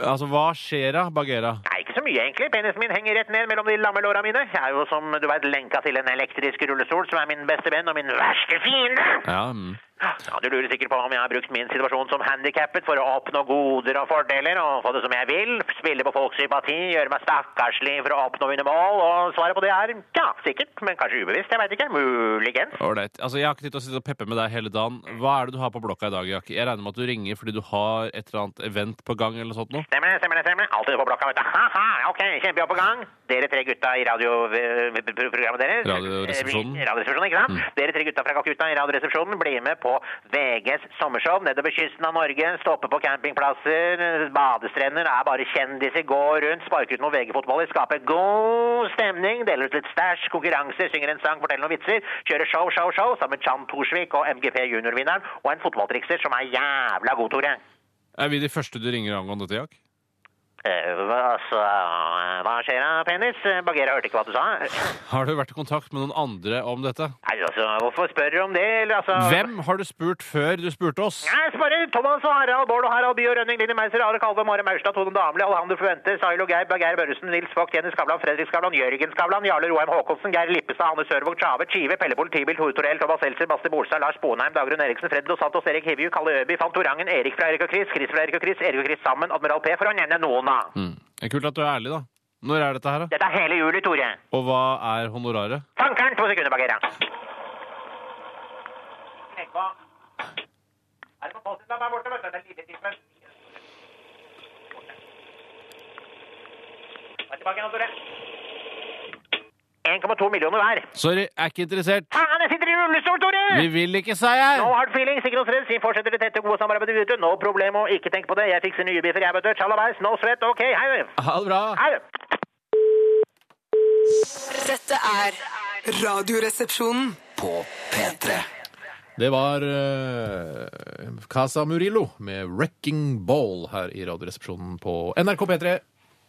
D: Altså, hva skjer da, Bagheera?
G: Nei, ikke så mye, egentlig. Penisen min henger rett ned mellom de lamme låra mine. Jeg er jo, som du veit, lenka til en elektrisk rullestol, som er min beste venn og min verste fiende.
D: Ja, mm.
G: Ja, du lurer sikkert på om jeg har brukt min situasjon som handikappet for å oppnå goder og fordeler og få det som jeg vil, spille på folks sympati, gjøre meg stakkarslig for å oppnå mine mål, og svaret på det er ja, sikkert, men kanskje ubevisst, jeg veit ikke, muligens.
D: Ålreit. Altså, jeg har ikke tid til å sitte og peppe med deg hele dagen. Hva er det du har på blokka i dag, Jack? Jeg regner med at du ringer fordi du har et eller annet event på gang eller noe sånt noe?
G: Stemmer det, stemmer det, stemmer det. Alltid på blokka, vet du. Ha-ha, ok, kjempejobb på gang. Dere tre gutta i eh, radioprogrammet deres.
D: Radioresepsjonen.
G: Eh, Radioresepsjonen, ikke sant? Dere tre gutta fra Kalkutta i Radioresepsjonen blir med på VGs sommershow nedover kysten av Norge. Stopper på campingplasser, eh, badestrender, er bare kjendiser, går rundt, sparker ut noen VG-fotballer, skaper god stemning, deler ut litt stæsj, konkurranser, synger en sang, forteller noen vitser, kjører show, show, show sammen med Chan Torsvik og MGP juniorvinneren og en fotballtrikser som er jævla god, Tore.
D: Er vi de første du ringer angående dette, Jack?
G: Eh, hva, altså, eh, hva skjer da, penis? Eh, Bagheera hørte ikke hva du sa. Nei,
D: Har du vært i kontakt med noen andre om dette?
G: altså, hvorfor spør du om det, eller altså...
D: Hvem har du spurt før du spurte oss?
G: Jeg spørrer Thomas og Harald, Bård og Harald By og Rønning, Lini Meiser, Are Kalve, Mare Maurstad, Tone Damli, Alejandro Fuente, Sailo Geir, Bergeir Børresen, Nils Vogt, Jenny Skavlan, Fredrik Skavlan, Jørgen Skavlan, Jarle Roheim Håkonsen, Geir Lippestad, Hanne Sørvåg, Tjave, Tjive, Pelle Politibil, Tore Torell, Thomas Seltzer, Basti Bolstad, Lars Bonheim, Dagrun Eriksen, Fred Dos Santos, Erik Hivju, Kalle Øby, Fantorangen, Erik fra Erik og Chris, Chris fra Erik og Chris, Erik og Chris sammen, Admiral P, for å nevne noen av.
D: Mm. Det er Kult at du er ærlig, da. Når er dette her, da?
G: Dette er hele juli, Tore.
D: Og hva er honoraret?
G: Tankeren, to sekunder, Bagheera. millioner hver.
D: Sorry, er ikke interessert.
G: Faen, jeg sitter i rullestol, Tore!
D: Vi vil ikke
G: No
D: seier!
G: hard feelings, ikke noe stress. Vi fortsetter det tette, gode samarbeidet videre. No problem, og ikke tenk på det. Jeg fikser nye biffer, jeg, vet du. Tjallabais, no sweat, ok. Hei,
D: Ha det bra!
G: hei.
F: Dette er Radioresepsjonen.
B: På P3.
C: Det var eh, Casa Murillo med 'Wrecking Ball' her i Radioresepsjonen på NRK P3.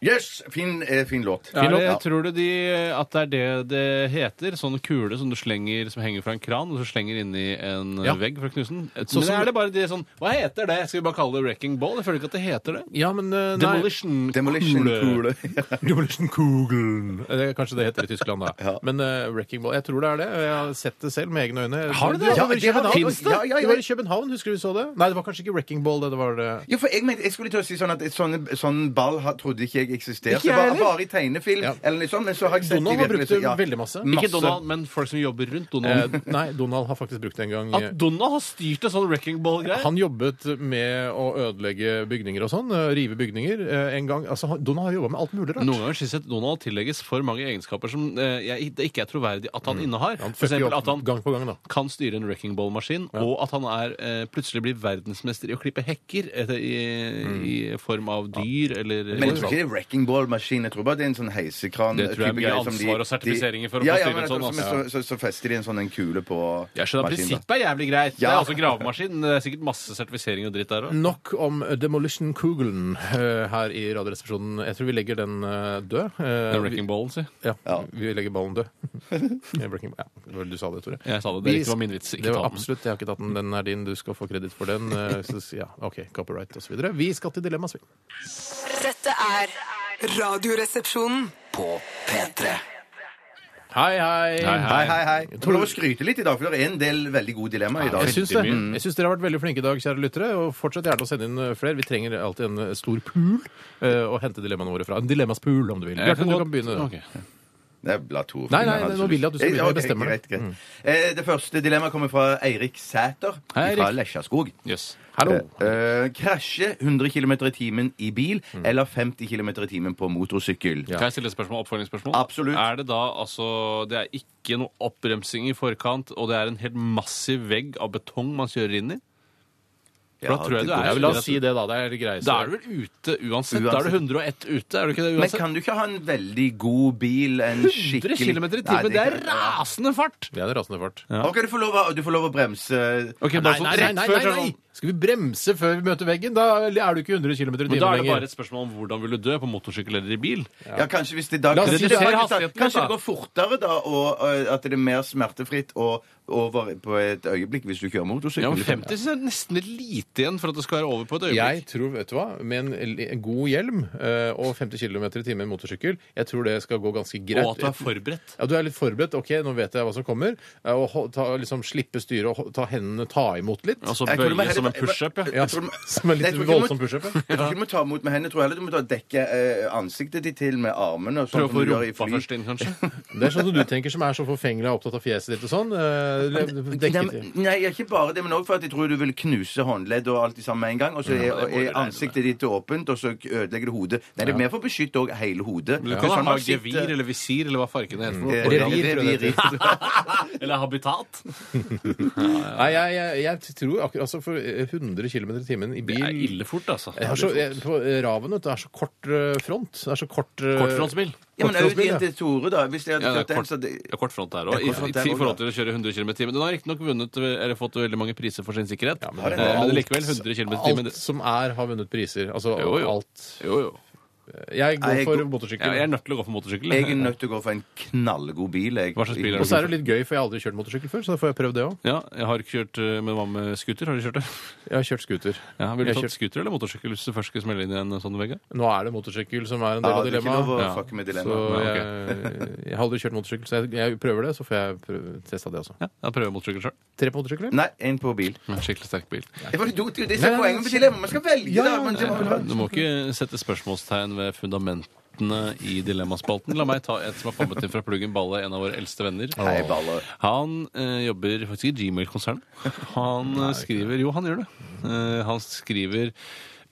E: Yes! Fin, eh, fin låt.
D: Er det,
E: Ja.
D: tror du de, at det er det det heter? Sånn kule som du slenger som henger fra en kran, og så slenger inni en eh,
C: Ja.
D: vegg for å knuse den?
C: sånn
D: Men
C: som-
D: er det bare de sånn Hva heter det? Skal vi bare kalle det wrecking ball? Jeg føler ikke at det heter det.
C: Ja, men eh, nei.
D: Demolition.
E: Demolition
D: Kule.
E: Kule.
C: (laughs) Demolition Kugel. Eh, Kanskje det heter i Tyskland, (laughs) da. Men eh, Wrecking Ball Jeg tror det er det. Jeg har sett det selv med egne øyne.
D: Har du det?
C: Ja,
E: Ja, det har-
C: Fins det?
E: Ja, ja, ja.
C: Det var i København, husker du vi så det? Nei, det var kanskje ikke Wrecking Ball. Det, det var eh, det.
E: Ja, for jeg, mente, jeg skulle til å si sånn at sånn, sånn ball har- trodde ikke jeg eksisterte.
C: Ikke jeg
E: bare,
C: heller.
E: bare i tegnefilm
C: Ja.
E: eller noe sånt. Men så har jeg sett
C: Donald
E: i
C: har brukt det
E: virkeligheten, ja.
C: veldig masse.
D: Ikke Donald, men folk som jobber rundt Donald.
C: Eh, (laughs) nei, Donald har faktisk brukt det en gang.
D: At Donald har styrt en sånn wrecking ball-greie?
C: Han jobbet med å ødelegge bygninger og sånn. eh, Rive bygninger. eh, En gang, altså, han- Donald har jobba med alt mulig rart.
D: Noen ganger syns jeg at Donald tillegges for mange egenskaper som eh, jeg, det ikke er troverdig at han innehar.
C: Mm. Han
D: For
C: fucker jo
D: eksempel
C: opp
D: at han
C: gang på gang, da.
D: kan styre en wrecking ball-maskin, og at han er, eh, plutselig blir verdensmester i å klippe hekker eh, i, i form av dyr eller
E: Mm. Men jeg tror ikke det er wrecking ball-maskin. Jeg tror bare det er en sånn heisekran.
D: Det tror jeg
E: type
D: vi har
E: greier som de-
D: ansvar og
E: de-
D: sertifiseringer for å
E: ja,
D: få
E: ja,
D: styre
E: men
D: en sånn,
E: så-
D: altså.
E: Så, så, så fester de en sånn en kule på
D: jeg skjønner at
E: maskinen. da.
D: Prinsippet er jævlig greit. Det
E: Ja. Mm.
D: er også gravemaskin. Det er sikkert masse sertifisering og dritt der òg.
C: Nok om Demolition Kugelen eh, her i Radioresepsjonen. Jeg tror vi legger den eh, død. Eh, vi,
D: Wrecking ballen, si.
C: ja, vi legger ballen
D: (laughs)
C: død. Ja, breaking- ja, det var- du sa det, Tore.
D: Jeg sa det. Det
C: Vi-
D: ikke var min vits. Ikke
C: det var
D: ta den.
C: absolutt, jeg har ikke tatt den. Den er din, du skal få kreditt for den. Eh, så, ja, ok, copyright og så videre. Vi skal til Dilemmas, vi.
F: Dette er Radioresepsjonen.
B: På P3.
C: Hei, hei!
D: Hei, hei.
E: Hei, hei, hei. Jeg får lov å skryte litt i dag, for det er en del veldig gode dilemmaer i dag.
C: Jeg syns, det. jeg syns dere har vært veldig flinke i dag, kjære lyttere. Og fortsett gjerne å sende inn eh, flere. Vi trenger alltid en eh, stor pool eh, å hente dilemmaene våre fra. En dilemmaspool, om du vil.
D: Jeg
C: Bjarte,
D: kan
C: du
D: godt-
C: kan begynne.
D: Ok.
E: Nei, la Tor
C: Nei, nei,
E: finne
C: nå
E: han som
C: vil jeg at du skal
E: lyst.
C: begynne å
E: Ok,
C: bestemme Mm. det.
E: Greit, greit. Eh, det første dilemmaet kommer fra Eirik Sæter
C: Hei, Eirik.
E: fra Lesjaskog.
D: Yes.
C: Hallo.
E: Eh, eh, krasje 100 km i timen i bil
D: Mm.
E: eller 50 km i timen på motorsykkel.
C: Ja.
D: Kan jeg stille et spørsmål? Oppfølgingsspørsmål?
E: Absolutt.
D: Er det da altså Det er ikke noe oppbremsing i forkant, og det er en helt massiv vegg av betong man kjører inn i? For da
E: Ja,
D: tror jeg
E: det
D: du
E: går
D: er
C: Ja, la oss si det, da. Det er det greieste.
D: Da er du vel ute uansett. Da er du 101 ute, er du ikke det
E: Men
D: uansett?
E: kan du ikke ha en veldig god bil? En
D: 100
E: skikkelig-
D: km i
E: Nei,
D: timen! Det er
E: kan-
D: rasende fart!
C: Det er en rasende fart.
E: Ok, du får, lov, å- du får lov å bremse.
D: Ok, bare
C: Nei,
D: sånn
C: nei, nei,
D: rett
C: nei,
D: før
C: nei, nei!
D: sånn-
C: Skal vi bremse før vi møter veggen? Da er du ikke 100 km i timen
D: Men da er det
C: lenger.
D: bare et spørsmål om hvordan vil du dø, på motorsykkel eller i bil?
E: Ja, kanskje hvis det da
C: La oss
E: kanskje,
C: si
E: det,
C: det er
E: kanskje,
D: hastigheten,
E: kanskje det
D: da.
E: går fortere, da, og ø, at det er mer smertefritt og over på et øyeblikk hvis du kjører motorsykkel.
D: Ja, men 50 synes jeg er nesten litt lite igjen for at det skal være over på et
C: Jeg
D: øyeblikk.
C: tror, vet du hva, med en, l- en god hjelm eh, og 50 km i timen motorsykkel, jeg tror det skal gå ganske greit.
D: Og at du er forberedt.
C: Ja, du er litt forberedt. Ok, nå vet jeg hva som kommer. Eh, Og ho- ta, liksom slippe styret og ho- ta hendene, ta imot litt.
D: Altså
E: Jeg tror det var
D: bøye som en
E: heller-
D: pushup, ja.
C: ja,
E: jeg tror du må-
C: som en
E: Nei, jeg
C: litt
E: tror ikke du må-
C: voldsom pushup. ja.
E: Jeg tror ikke du må ta imot med hendene. Jeg tror heller du må ta dekke ø, ansiktet ditt til med armene. og sånn
D: Prøv å
E: som
D: få
E: du gjør i
D: rumpa
E: fly.
D: først inn,
C: (laughs)
D: kanskje.
C: Det er sånn som du tenker, som er så forfengelig og opptatt av fjeset ditt og sånn. eh, le-
E: Nei,
C: dekket i.
E: men- nei, ikke bare det, men også for at jeg tror du vil knuse håndledd og alt i sammen med en gang. Og så er,
D: det må du
E: er
D: regne med.
E: ansiktet ditt åpent, og så ødelegger du hodet. Nei, det er mer for å beskytte også hele hodet.
D: Du
E: For
D: kan
E: sånn
D: ha
E: man sitter-
D: gevir eller visir eller hva farken heter. for noe.
E: Eh,
C: Revir,
E: revir,
D: Eller habitat.
C: Nei, jeg, jeg, jeg tror akkurat altså for eh, 100 km i timen i
D: Det
C: bil
D: er ille fort, altså.
C: Jeg har så, jeg, på eh, Raven, vet du, det er så kort eh, front. Det er så kort eh,
D: Kortfrontsbil.
E: Ja, men
C: Kortfrontsbil,
E: også inn til Tore, da. Hvis jeg
D: Ja, det
E: hadde kjørt
D: er
E: den,
D: kort,
E: så
D: det
E: det-
D: er kort front der òg.
E: Det
D: I,
E: er kort front der
D: i
E: også,
D: forhold til å kjøre 100 km i timen. Den har riktignok vunnet eller fått veldig mange priser for sin sikkerhet,
C: Ja,
D: men,
C: men det er
D: eh, men
C: alt-
D: likevel 100 km i timen.
C: Alt som er, har vunnet priser. Altså
D: Jo, jo.
C: alt.
D: Jo, jo.
C: Jeg går
E: Nei, jeg
C: for
E: går-
D: Ja,
C: motorsykkel.
D: jeg er nødt til å gå for motorsykkel.
E: Jeg er nødt til å gå for en knallgod bil. Jeg.
D: Hva slags bil er
C: og så er det litt gøy, for jeg har aldri kjørt motorsykkel før, så da får jeg prøvd det òg.
D: Ja, jeg har kjørt eh, med hva med scooter? Har du kjørt det?
C: Jeg har kjørt scooter.
D: Ja, Ville
C: Jeg
D: du
C: har
D: tatt scooter eller motorsykkel hvis du først skulle smelle inn i en sånn vegg?
C: Nå er det motorsykkel som er en
E: Ja,
C: del av
E: det er ikke lov å
C: dilemmaet.
E: fucke med
C: Så
E: dilemma.
D: Nei,
C: jeg, jeg har aldri kjørt motorsykkel, så jeg, jeg prøver det. Så får jeg prøve, testa det også.
D: Ja, jeg prøver motorsykkel sjøl.
C: Tre på motorsykkel?
E: Nei, en på bil.
D: Skikkelig sterk bil.
E: Det var litt dumt, jo. Det
C: Nei,
E: er
C: nei,
E: poenget med dilemma. Man skal velge,
C: Ja,
E: da.
C: ja,
E: Men det må vel være-
D: Du må ikke sette spørsmålstegn ved fundamentene i dilemmaspalten. La meg ta et som har kommet inn fra pluggen Balle, en av våre eldste venner.
E: Hei, baller.
D: Han eh, jobber faktisk i Gmail-konsernet. Han eh, skriver Jo, han gjør det. Eh, han skriver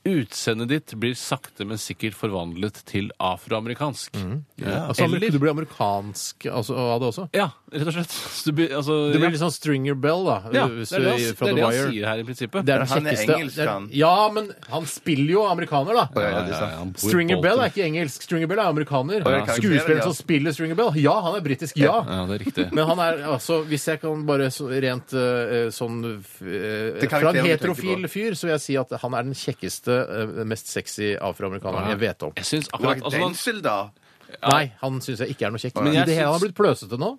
D: Utseendet ditt blir sakte, men sikkert forvandlet til afroamerikansk. Eh,
C: Altså,
D: eller-
C: Du blir amerikansk altså, av det også?
D: Ja, rett og slett. Så du blir, altså,
C: Du
D: ja.
C: blir litt sånn stringer bell, da.
D: ja,
C: hvis
D: det er det han,
C: du-
D: det
C: fra
D: er
C: The
D: det han
C: Wire.
D: sier her i prinsippet.
C: Det er den
E: Han er
C: kjekkeste.
E: engelsk,
C: det er-
E: han.
C: Ja, men han spiller jo amerikaner, da.
E: Ja, det er sant.
D: han bor i
C: Stringer Bell er
D: Bolton.
C: ikke engelsk. Stringer Bell er amerikaner.
E: jeg kan ikke se det,
C: Skuespilleren
E: ja.
C: som spiller Stringer Bell, ja, han er britisk, ja.
D: Ja, det er riktig.
C: Men han er altså Hvis jeg kan bare så, rent eh, sånn eh,
E: Til karakteren
C: Fra en
E: du tenker
C: heterofil
E: på.
C: fyr så vil jeg si at han er den kjekkeste, eh, mest sexy afroamerikaneren jeg vet om.
D: Jeg synes
E: Bak
D: akkurat altså, han,
E: Denzel, da.
C: Nei, han syns jeg ikke er noe kjekk. Men
D: jeg
C: det hele,
D: syns-
C: han er blitt pløsete nå.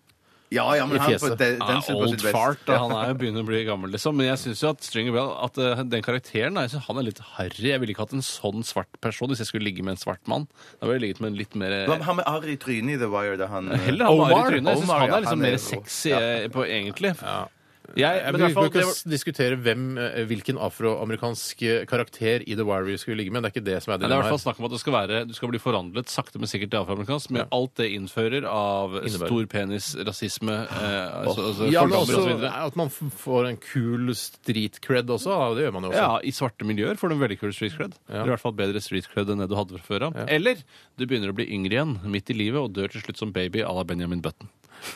E: Ja, ja, men
C: I
E: han på
C: fjeset.
D: Ja,
E: de- Denzel på
D: Ah, old
E: sitt best.
D: fart. Da. Han er jo begynner å bli gammel, liksom. Men jeg syns jo at Stringer Bell, at eh, den karakteren jeg synes han er litt harry. Jeg ville ikke hatt en sånn svart person hvis jeg skulle ligge med en svart mann. Da ville jeg ligget med en litt mer
E: Hva med Han med arr i trynet i The Wire, da han eh,
D: Heller ha bare
C: Omar?
D: i trynet. Jeg syns
E: Omar,
D: han
E: ja,
D: er liksom
E: han er-
D: mer sexy eh, på egentlig.
C: Jeg,
D: Jeg, men i
C: vi
D: hvert fall,
C: kan
D: det
C: ikke
D: var,
C: diskutere hvem, eh, hvilken afroamerikansk eh, karakter i The Wire vi skulle ligge med. Det er ikke det som er
D: Nei, det er i hvert
C: dilemmaet.
D: fall snakk om at det skal være, du skal bli forhandlet sakte, men sikkert til afroamerikansk, med alt det innfører av
C: Innebærer.
D: stor penis, rasisme eh, altså, altså,
C: Ja, men
D: fordommer og så
C: også
D: videre.
C: at man f- får en kul street cred også. da, Det gjør man jo også.
D: Ja, I svarte miljøer får du en veldig kul street cred. Eller I hvert fall bedre street cred enn det du hadde fra før av. Eller du begynner å bli yngre igjen, midt i livet, og dør til slutt som baby à la Benjamin Button.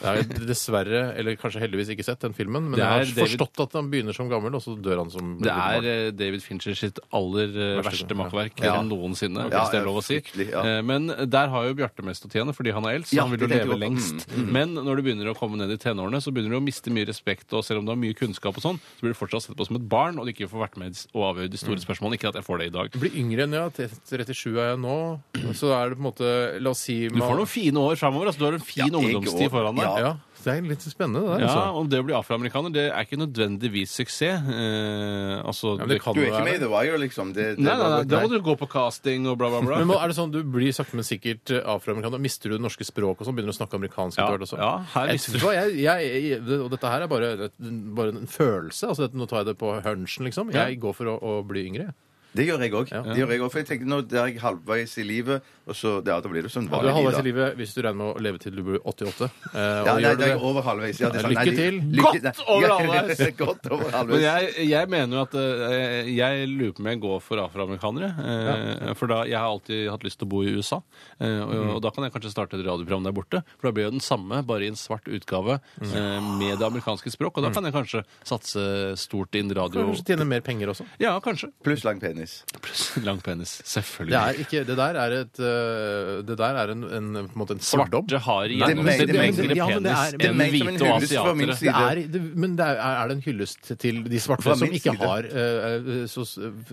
C: Jeg har dessverre, eller kanskje heldigvis ikke sett den filmen, men
D: Det
C: jeg har
D: er David-
C: forstått at han begynner som gammel, og så dør han som
D: Det er eh, David Fincher sitt aller eh, verste makkverk
E: Ja.
D: noensinne,
E: Ja,
D: hvis det er lov å si.
E: fryktelig, ja.
D: Eh, Men der har jo Bjarte mest å tjene, fordi han er eldst, så
E: Ja,
D: han vil jo
E: det tenkte
D: leve
E: jeg også. Mm,
D: lengst. Men når du begynner å komme ned i tenårene, så begynner du å miste mye respekt, og selv om du har mye kunnskap og sånn, så blir du fortsatt sett på som et barn, og du ikke får vært med og avgjøre de
E: Mm.
D: store spørsmålene. Ikke at jeg får det i dag.
C: Blir yngre enn jeg, er. 37 er jeg nå, så er det på en måte La oss si
D: Du får noen fine år framover. Altså, du har en fin
E: Ja, jeg
D: ungdomstid
E: går-
D: foran deg.
E: Ja.
C: Ja, det er litt spennende, det der.
D: Ja,
C: altså.
D: og det å bli afroamerikaner det er ikke nødvendigvis suksess. Eh, altså,
C: Ja, men det kan
E: Du er
C: jo
E: ikke
C: være
E: med i
C: det.
E: The Wire, liksom. Det, det
D: Nei, nei, nei,
E: var-
D: da må du gå på casting og bla, bla,
E: (laughs)
D: bla.
C: Men må, er det sånn du blir sakte, men sikkert eh, afroamerikaner? Mister du det norske språket og sånn? Begynner du å snakke amerikansk
D: Ja,
C: etter hvert også?
D: ja, her
C: jeg,
D: mister du-
C: vet hva, jeg, jeg, jeg, det- Og dette her er bare, det- bare en følelse. Altså, dette, nå tar jeg det på hunchen, liksom. Jeg går for å, å bli yngre. jeg.
E: Det gjør jeg òg. Det gjør jeg også, For jeg tenkte nå det er jeg halvveis i livet, og så ja, da blir det sånn
C: Du er
E: vanlig
C: halvveis i
E: liv, da.
C: livet hvis du regner med å leve til du blir 88. Eh, og
E: Ja, nei,
C: gjør du
E: det er
C: det,
E: over halvveis. Ja, det er sant.
C: Lykke
E: Nei, det-
C: til.
E: lykke-
D: Godt
E: nei.
D: over
E: Ja,
D: halvveis.
E: Godt over
D: Men
E: halvveis.
D: jeg, jeg mener jo at eh, jeg lurer på om jeg går for afroamerikanere. eh, For da, jeg har alltid hatt lyst til å bo i USA. eh, og,
C: Mm.
D: og da kan jeg kanskje starte et radioprogram der borte. For da blir det jo den samme, bare i en svart utgave
C: Mm.
D: eh, med det amerikanske språk. Og da kan jeg kanskje satse stort inn
C: Du
D: radio.
C: Mm. kanskje tjene mer penger også.
D: Ja, kanskje.
E: Pluss lang penis.
D: Lang penis.
C: Det,
D: Selvfølgelig.
C: er ikke, det der er, et, eh, det der er en, en, på en måte en fordom.
D: Svarte har
E: det mener- det
D: gjennomsnittlig
E: mener-
D: lengre
C: ja, men det er-
D: penis
C: det
D: enn
E: mener som en
D: hvite og
E: hyllest fra min
D: asiatere.
C: Det
E: side.
C: er, det, men det er, er det en hyllest til de svarte
E: Fra
C: som
E: min
C: ikke
E: side.
C: har eh, så,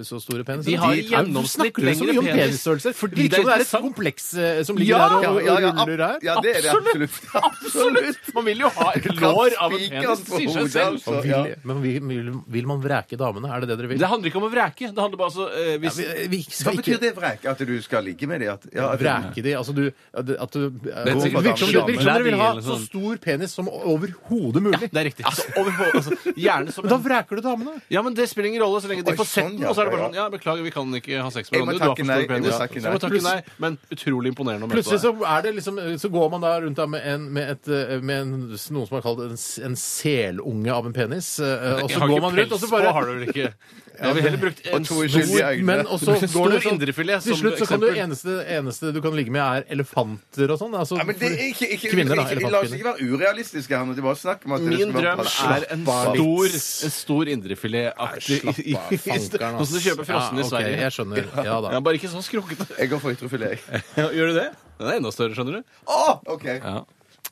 C: så store peniser?
D: De har
C: Er-
D: gjennomsnitt
C: snakker du så mye
D: lengre
C: om
D: penis?
C: penisstørrelser?
D: Fordi
C: Fordi det
D: det er
C: er et
D: interessant.
C: kompleks eh, som ligger der og, og
E: ab-
C: ruller her?
E: ja, det er det absolutt.
D: Absolutt! Man vil jo ha et lår av en penis. det Sier seg selv.
E: altså,
C: Og vil,
E: ja.
C: Men vil, vil, vil man vreke damene? Er det det dere vil?
D: Det handler ikke om å vreke. Det handler bare altså, eh, hvis,
C: vi, vi
E: Hva
C: skal
E: betyr
C: ikke
E: det vreke? At du skal ligge med det? At, ja, at-
C: vreke de. Altså du, at du- at du Det
D: sikkert
C: virker som du-
E: dame.
C: virker som dere vil ha
D: Eller
C: så
D: sånn.
C: stor penis som overhodet mulig.
D: Det er riktig. Altså, overhodet- altså, gjerne som
C: Men da
D: en
C: vreker du damene.
D: ja, men Det spiller ingen rolle så lenge de
E: Oi,
D: får sett
E: sånn,
D: den.
E: ja,
D: Og så er det bare
E: ja,
D: sånn Ja, beklager, vi kan ikke ha sex med
E: Jeg må
D: hverandre. Du har
E: takke
D: for stor
E: nei, jeg må
D: penis. Så
E: takke
D: må
E: nei.
D: takke nei, men utrolig imponerende å møte
C: Plutselig
D: deg.
C: så, er det liksom, så går man da rundt da med, en, med, et, eh, med en, noen som har kalt det en, s- en selunge av en penis. eh, Og
D: Jeg
C: så
D: har
C: går
D: ikke
C: man rundt, og
D: pels
C: så
D: på, har
C: bare
D: du vel ikke? Jeg ville heller brukt en
E: to i
D: stor-
E: skyldige øyne.
C: men og så
D: En
C: går det
D: stor
C: sånn-
D: indrefilet
C: Til
D: som
C: slutt så kan du
D: eksempel.
C: eneste, eneste du kan ligge med, er elefanter og sånn. Altså,
E: Ja, men det er ikke, ikke,
C: Kvinner, da,
E: ikke, La oss ikke være urealistiske her. nå, Det er liksom bare snakk om at det
D: Min
E: skal
D: drøm
E: være passe-
D: er en
E: Slapp av.
D: stor, en stor indrefiletaktig
C: Slapp
D: (laughs)
C: av, fankeren,
D: Sånn som du
C: ass.
D: kjøper frossen
C: Ja,
D: i
C: ok,
D: Sverige.
C: Jeg skjønner. Ja da.
D: Ja, bare ikke så skrukkete.
E: (laughs) Jeg går for ytrefilet, jeg.
D: Gjør du det? Den er enda større, skjønner du.
E: Å, OK.
D: Ja.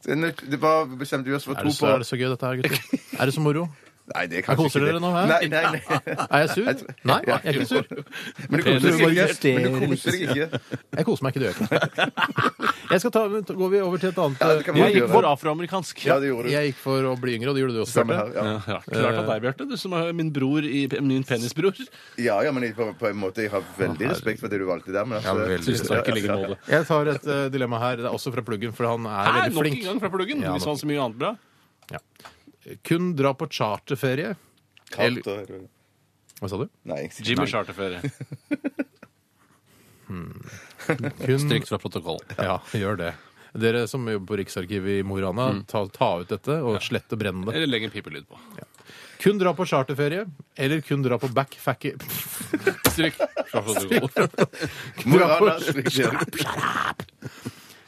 E: Det er nødt- Det var bestemte vi oss for
C: Er
E: to
C: det, så, er
E: på.
C: det så gøy, dette her, gutter? (laughs) Er det så moro?
E: Nei, det er kanskje
C: Koser
E: ikke
C: dere
E: det.
C: nå her?
E: Nei, nei,
C: (laughs)
E: nei.
C: Er jeg sur? Nei, jeg er ikke sur.
E: Men du
D: Penis
E: koser deg ikke.
C: justerer
E: Men du koser deg ikke.
C: Jeg koser meg ikke, det gjør jeg ikke. (laughs) Jeg skal ta, Går vi over til et annet
E: Ja, det kan vi
D: Jeg
E: godt
D: gikk
E: gjøre.
D: for afroamerikansk.
E: Ja, det gjorde du.
C: Jeg gikk for å bli yngre, og det gjorde du også.
E: Samme
C: Bjarte.
E: her. Ja.
D: Ja, klart av deg, Bjarte. Du som er min bror i min penisbror.
E: Ja, ja, men jeg- på, på en måte Jeg har veldig respekt for det du valgte der. Men altså,
D: Tusen takk i like måte.
C: Jeg tar et eh, dilemma her. Det er også fra pluggen, for han er
D: Her,
C: veldig
D: nok
C: flink.
D: en gang fra pluggen.
C: Ja,
D: Hvis
C: nok.
D: han så mye annet bra.
C: Kun dra på charterferie.
E: kaldt og-
C: Hva sa du?
E: Nei.
D: Jimmy charterferie.
C: Kun,
D: Trygt fra protokollen.
C: ja, gjør det. Dere som jobber på Riksarkivet i Mo i Rana, ta, ta ut dette og slett og brenne det.
D: Eller legg en pipelyd på.
C: Kun dra på charterferie, eller kun dra på backfacking
D: Stryk fra protokollen.
E: Mo i Rana, stryk.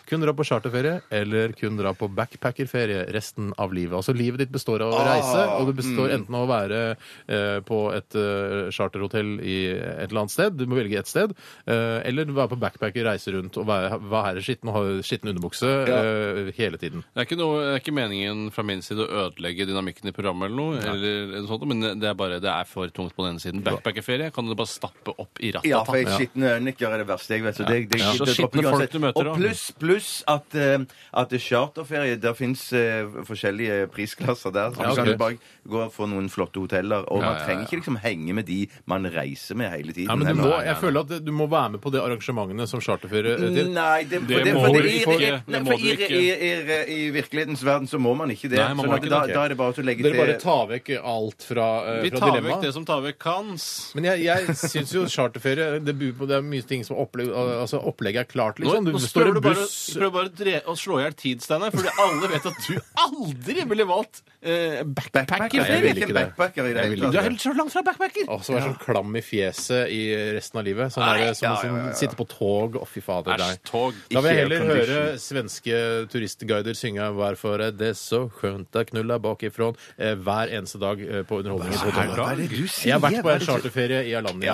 C: Kun dra på charterferie, eller kun dra på backpackerferie resten av livet. Altså Livet ditt består av å
D: Ah,
C: reise, og det består
D: mm.
C: enten av å være eh, på et eh, charterhotell i et eller annet sted, du må velge et sted, eh, eller være på backpacker, reise rundt og være, være skitten og ha skitten underbukse eh, hele tiden.
D: Det er, ikke noe, det er ikke meningen fra min side å ødelegge dynamikken i programmet, eller noe, eller noe sånt, men det er bare det er for tungt på den ene siden. Backpackerferie kan du bare stappe opp i rattet.
E: Ja, for jeg skitne øyennikker er det verste jeg vet. Så det, det,
D: Ja.
E: det-
D: Så
E: det-
D: skitne
E: uansett.
D: folk du møter, da.
E: Og pluss pluss at, eh, at det er charterferie Der fins forskjellige prisklasser der. Så
C: Ja,
E: du
C: ok.
E: kan jo bare gå for noen flotte hoteller. Og
D: Ja,
E: man
D: ja, ja.
E: trenger ikke liksom henge med de man reiser med hele tiden.
C: Ja, men du
E: heller.
C: må, jeg føler at du må være med på det arrangementene som charterferie eh, til.
E: Nei, det, for
D: Det
E: det,
D: må
E: for
D: du
E: det, i-
D: ikke.
E: i- nei,
D: Det må
E: for
D: du
E: i-
D: ikke.
E: i- i- I virkelighetens verden så må man ikke det.
D: Nei, man
E: Sånn
D: må
E: at
D: ikke
E: da,
D: det.
E: da er det bare til å legge
C: Dere bare
E: til
C: tar vekk alt fra, eh,
D: Vi
C: fra
D: tar
C: dilemmaet.
D: vekk det som tar vekk kans.
C: Men jeg, jeg syns jo charterferie det, byr på, det er mye ting som opplegg, altså opplegget er klart,
D: Nå,
C: liksom.
D: nå
C: Du står
D: prøver
C: i
D: du bare,
C: buss
D: prøver bare å, dre å slå i hjel tid, Steinar, fordi alle vet
C: (laughs)
D: at du aldri ville valgt eh,
E: Nei, jeg
D: backpackerferie.
E: vil ikke backpacker i det hele
D: Du
E: tatt.
D: er helt så langt fra backpacker.
C: Og så være sånn klam i fjeset i resten av livet. Sånn
D: Nei,
C: der, som
D: ja,
C: å sånn, sitte på tog. Å, fy fader.
D: Æsj,
C: nei.
D: tog.
C: Da vil jeg
E: Ikke
C: heller
E: aircondition.
C: høre svenske turistguider synge 'Hvorfor er det så skjønt å knulla bakifrån' eh, hver eneste dag eh, på underholdningen. på hotellet.
E: Hva er det du sier?
C: Jeg har vært på
E: Hva er
C: en
E: det du-
C: charterferie i Alanya.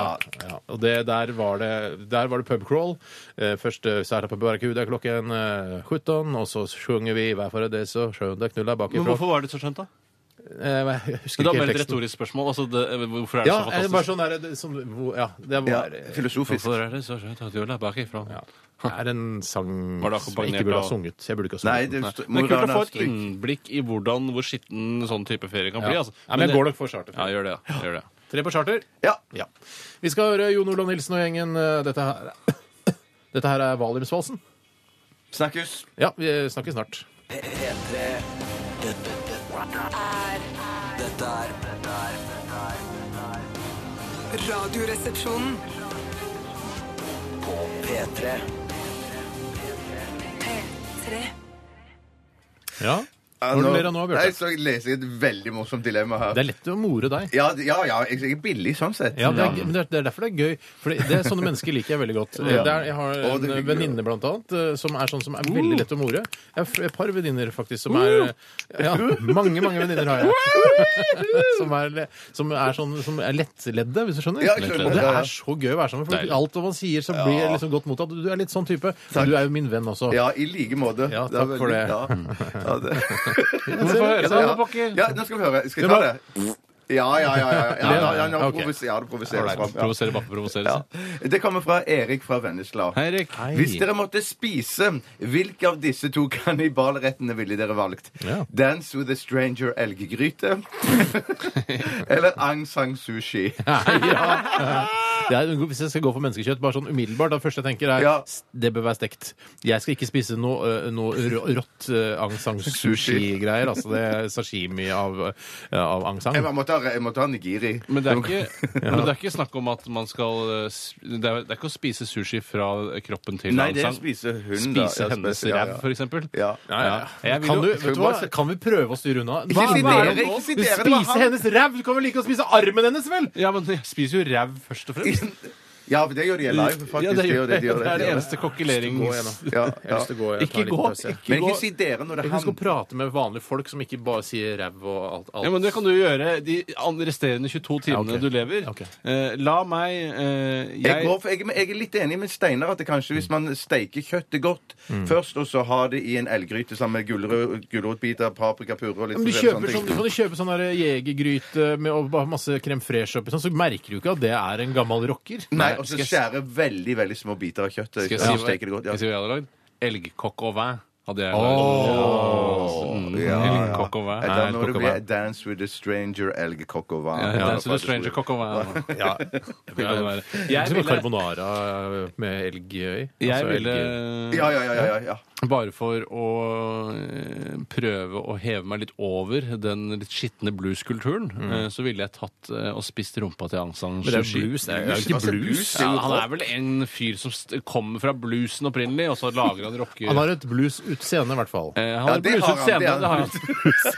C: Ja. og det, der var det, der var det pubcrawl. Eh, Først eh, så er det på Barracuda klokken eh, 17, og så sjunger vi 'Hvorfor er det så skjønt å knulla
D: Men
C: bakifra'.
D: hvorfor var det så skjønt, da?
C: Eh, Jeg husker
D: Da
C: ikke
D: ble det
C: helt
D: et
C: teksten.
D: retorisk spørsmål. Altså, det, hvorfor er det
C: Ja,
D: så
C: eh,
D: fantastisk?
C: bare sånn der, det, som, hvor- ja, det
E: Ja,
C: var
E: filosofisk.
D: Hvorfor er det så skjønt at du er bakifra?
C: Ja. Det er en sang
D: Var det
C: som jeg
D: akkompagnert
C: ikke burde ha
D: av-
C: sunget. Jeg burde ikke ha sunget
E: Nei,
C: den.
E: det,
D: Det er kult å få et
E: stryk.
D: innblikk i hvordan, hvor skitten sånn type ferie kan bli.
C: Ja.
D: Altså.
C: Nei, men jeg går nok for charter.
D: Ja, gjør det. da. Gjør det.
C: Tre på charter.
E: Ja.
C: Ja. Vi skal høre Jon Olav Nilsen og gjengen. eh, Dette her, (coughs) dette her er Valiumsvalsen.
E: Snakkes.
C: Ja, vi snakkes snart.
B: P3 Dette dette- dette er Dette er
F: Radioresepsjonen.
B: På P3
F: P3.
C: Ja.
E: Ja,
C: Hva
E: nå-
C: ler du nå,
E: Nei,
C: Bjarte?
E: så leser jeg et veldig morsomt dilemma her.
C: Det er lett å more deg.
E: Ja, ja, ja jeg jeg er billig sånn sett.
C: Ja, det er, men det er- det er derfor det er gøy. For det, det er Sånne mennesker liker jeg veldig
E: (laughs)
C: godt. Det er, jeg har
E: Å,
C: en
E: det er hyggelig. Uh.
C: venninne blant annet eh, som er sånn som er veldig lett å more. Jeg har f- et par venninner faktisk som er ja,
E: Uh.
C: Mange, mange venninner har jeg. (laughs) Som er, le- som er sånn som er lettledde, hvis du skjønner.
E: Ja, jeg skjønner.
C: Og det er så gøy å være sammen med
D: Deilig.
C: folk. Alt hva man sier, så blir det liksom godt mottatt. Du er litt sånn type.
E: Takk.
C: Men du er jo min venn også.
E: Ja, i like måte.
C: Ja,
E: Det er
C: takk for
E: veldig-
C: det. (laughs)
E: Ja, ja, det.
D: Vi får
E: (laughs)
C: sånn,
D: høre det,
E: Ja.
D: alle pokker.
E: ja, nå skal vi høre. Skal jeg ta det? Ja, ja, ja. ja, ja, ja, ja, nå
C: Ok.
E: provoser- ja det provoseres
D: Ålreit.
E: fram.
D: Provosere, bare provosere.
E: Ja. Ja. Det kommer fra Erik fra Vennesla.
D: Hei, Erik.
C: Hei.
E: Hvis dere måtte spise, hvilke av disse to kannibalrettene ville dere valgt?
C: Ja.
E: Dance with a stranger elggryte (laughs) eller Aung San Sushi?
C: ja. Det er, en god- hvis jeg skal gå for menneskekjøtt, bare sånn umiddelbart, det første jeg tenker er
E: Ja.
C: s- det bør være stekt. Jeg skal ikke spise noe, eh, noe rå- rått eh, aung san sushi-greier, altså det er sashimi av, eh, av aung san.
E: Jeg måtte ha, jeg måtte ha nigiri.
D: Men
C: (laughs)
D: det, er ikke, men det er ikke snakk om at man skal eh, s- Det er, det er ikke å spise sushi fra kroppen til
E: Nei, det er
D: Aung San.
E: spise hun, da.
D: Spise
E: Ja,
D: hennes
E: spise- ja,
D: ræv,
E: ja.
D: for eksempel.
E: Ja.
D: Ja. Jeg vil
C: Kan,
D: jo-
C: du, vet du hva? kan vi prøve å styre unna?
E: Ikke si
C: hva er
E: dere,
C: det nå?
E: ikke si
C: Du
E: dere, det var
C: spiser
E: han.
C: hennes ræv! Du kan vel like å spise armen hennes, vel?
D: Ja, men jeg spiser jo ræv først og
E: (laughs)
D: fremst.
E: Ja, for det gjør de live, faktisk.
D: Ja, det,
E: De gjør det, de
D: (laughs)
E: gjør
D: det er
E: de
D: det
E: gjør
D: eneste kokkelerings...
E: Ja, ja.
C: gå,
D: Ikke gå! Ikke
E: Men
D: gå.
E: ikke si dere når det
C: Jeg
E: er
C: kan skal
E: han.
C: prate med vanlige folk som ikke bare sier ræv og alt. alt.
D: Ja, men Det kan du gjøre de an- resterende 22 timene
C: Ja, ok.
D: du lever.
C: Ok.
D: Eh, la meg eh,
E: Jeg,
D: jeg,
E: går for, jeg, men jeg er litt enig med Steinar at det kanskje hvis man steiker kjøttet godt
D: Mm.
E: først, og så har det i en elggryte sammen med gulrø- gulrotbiter, paprika, purre og litt
C: Men du,
E: forskjellige
C: kjøper
E: sånne
C: sånn,
E: ting.
C: du kan jo kjøpe sånn der jegergryte med og bare masse crème fraîche oppi, sånn, så merker du ikke at det er en gammel rocker.
E: Nei, og så
D: skal jeg-
E: skjære veldig veldig små biter av kjøttet.
D: Skal jeg
E: Ja.
D: si,
E: Så
D: hva-
E: steker det godt,
D: skal
E: ja.
D: jeg si hva jeg hadde lagd? Elgkokk og vin hadde jeg lagd.
C: Åh.
D: Mm,
E: Ja, ja.
D: Elgkokk og vin.
E: Eh,
D: Nei,
E: Da må
D: elgkokk
E: det
D: og
E: bli
D: vin.
E: Dance with a stranger elgkokk
D: Ja,
E: og vann.
D: ja, så det er Stranger Cock og Wow.
C: (laughs) Ja.
D: Det kan det være.
C: Jeg
D: Jeg
C: ville,
D: ville,
C: carbonara med altså elg i.
E: altså,
D: jeg ville
E: Ja, ja, ja, ja, ja.
D: bare for å eh, prøve å heve meg litt over den litt skitne blueskulturen, eh, så ville jeg tatt eh, og spist rumpa til Aung San
C: Mm. Men det er
D: Suu Kyi.
C: blues, det er jo
E: Altså,
C: ikke blues.
E: blues er
D: Ja,
E: jo
D: han
E: topp.
D: er vel en fyr som st- kommer fra bluesen opprinnelig, og så lager han rocke...
C: Han har et blues-utseende, i hvert fall.
D: Eh, han
E: Ja,
D: har
E: det har
D: bluset
E: han, det
D: scene,
E: har
D: det har
E: han. (laughs)
D: han.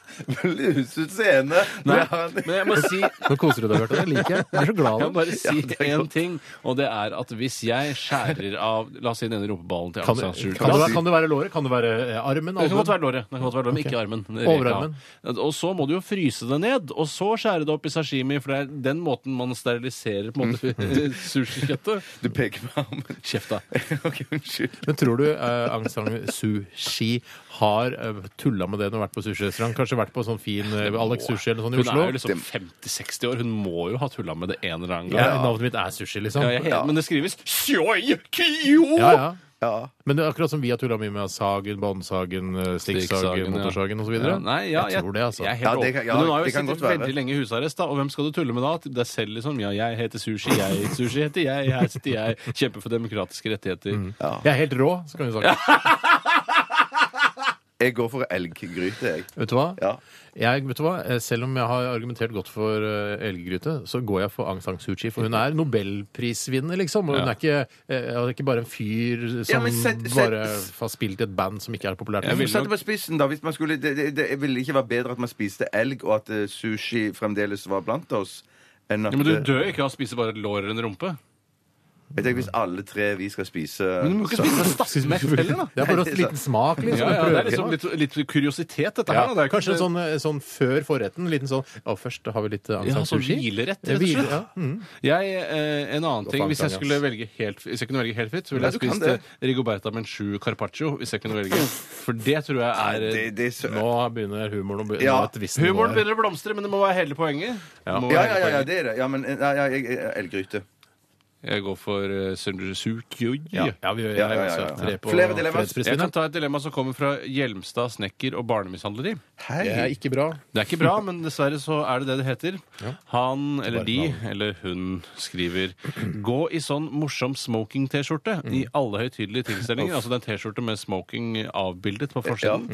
C: Seende.
E: Blusutseende.
D: Nei,
E: Det har han-
D: men (laughs) jeg må si
C: Nå koser du deg, Bjarte. Det liker jeg. Jeg er så glad
D: Jeg må
C: av
D: bare
C: det.
D: si én ting, og det er at hvis jeg skjærer av La oss si denne rumpeballen til
C: Kan,
D: Aung San Suu
C: det-
D: Kyi
C: kan, det være- kan det være låret? Kan det være eh, armen?
D: Sånn Det kan godt
C: albuen?
D: være låret, det kan godt være låret, men ikke armen. Det reker
C: Overarmen.
D: av. Og så må du jo fryse det ned, og så skjære det opp i sashimi, for det er den måten man steriliserer på en måte eh,
C: Mm.
D: sushikjøttet.
E: Du peker på armen.
D: Kjeft, da.
E: (laughs) Ok, Unnskyld.
C: Men tror du eh, Aung San Suu Kyi har uh, tulla med det når hun har vært på sushirestaurant? Kanskje vært på sånn fin eh, Alex Sushi eller noe sånt i
D: Hun
C: Oslo?
D: er jo liksom 50-60 år, hun må jo ha tulla med det en eller annen
C: Ja,
D: gang.
C: Navnet mitt er sushi, liksom.
D: Ja,
C: Ja,
D: jeg, he- Men det skrives Sjoi Kyo!
C: ja.
E: Ja.
C: Men det er akkurat som vi har tulla mye med sagen, båndsagen, eh, stikksagen,
D: Stikksagen, ja.
C: motorsagen osv.
D: Ja, nei, ja,
C: jeg tror det, altså.
D: Jeg er
E: Ja,
D: helt
E: det kan-
D: åpen.
E: ja,
D: Men hun har jo
E: det kan
D: sittet
E: godt være.
D: veldig lenge i husarrest, da, og hvem skal du tulle med da? Til deg selv, liksom. Ja, jeg heter sushi, jeg heter sushi, heter jeg, her sitter jeg, kjemper for demokratiske rettigheter.
C: Jeg er helt rå, så kan vi snakke.
E: Jeg går for elggryte, jeg.
C: Vet du hva?
E: Ja.
C: Jeg, vet du hva? Eh, Selv om jeg har argumentert godt for eh, elggryte, så går jeg for Aung San Suu Kyi. For hun er nobelprisvinner, liksom. Og hun
D: Ja.
C: er ikke, eh, ja, det er ikke bare en fyr som
E: Ja, men sett- sett-
C: bare har spilt i et band som ikke er populært.
D: Jeg
E: Men
D: ville
E: Satt
D: nok-
E: det på spissen, da. Hvis man skulle, det, det, det ville ikke vært bedre at man spiste elg, og at eh, sushi fremdeles var blant oss? Enn at,
D: Ja, men du
E: eh,
D: dør jo ikke av å spise bare et lår eller en rumpe.
E: Jeg tenker Hvis alle tre vi skal spise
D: Men du må ikke
E: (laughs) så-
D: spise stappmett heller, da.
C: Det er bare en liten smak, liksom.
D: Ja, ja, det er liksom
C: Prøve.
D: litt, litt kuriositet, dette
C: Ja,
D: her. da. Det er
C: kanskje en sånn, eh, sånn før forretten. en Liten sånn ja, Først har vi litt eh, Aung
D: ja,
C: San
D: sånn
C: Suu Kyi.
D: hvilerett,
C: Eh,
D: rett og
C: hvile,
D: slett.
C: ja. Mm.
D: Jeg, eh, en annen ting,
C: faen,
D: hvis jeg
C: Tanja.
D: skulle velge helt, hvis jeg kunne velge helt fritt, så ville
E: Ja,
D: jeg
E: du kan
D: spist
E: det.
D: eh, rigoberta menchu carpaccio, hvis jeg kunne velge. For det tror jeg er eh,
E: det, det, er sø-
C: Nå begynner humoren å bli
E: Ja,
C: nå er et visst nivå
D: Humoren
C: her.
D: begynner å blomstre, men det må være hele poenget. Det må
E: ja,
D: være hele
E: ja, ja, ja,
D: poenget.
E: det er det. Ja, men ja, ja, jeg- jeg- elggryte.
D: Jeg går for uh, Sundersukyoy.
C: Ja, ja, vi, jeg,
E: Ja, ja, ja,
C: også
E: ja, ja.
C: tre på
E: Flere dilemmas.
D: Jeg
C: fredsprisen.
D: kan ta et dilemma som kommer fra Hjelmstad snekker og barnemishandleri.
E: Hei.
C: Det er ikke bra.
D: Det er ikke bra, men dessverre så er det det det heter. Han eller de, eller hun, skriver Gå i sånn morsom smoking-T-skjorte i alle høytidelige tilstelninger. Altså det er en T-skjorte med smoking avbildet på forsiden.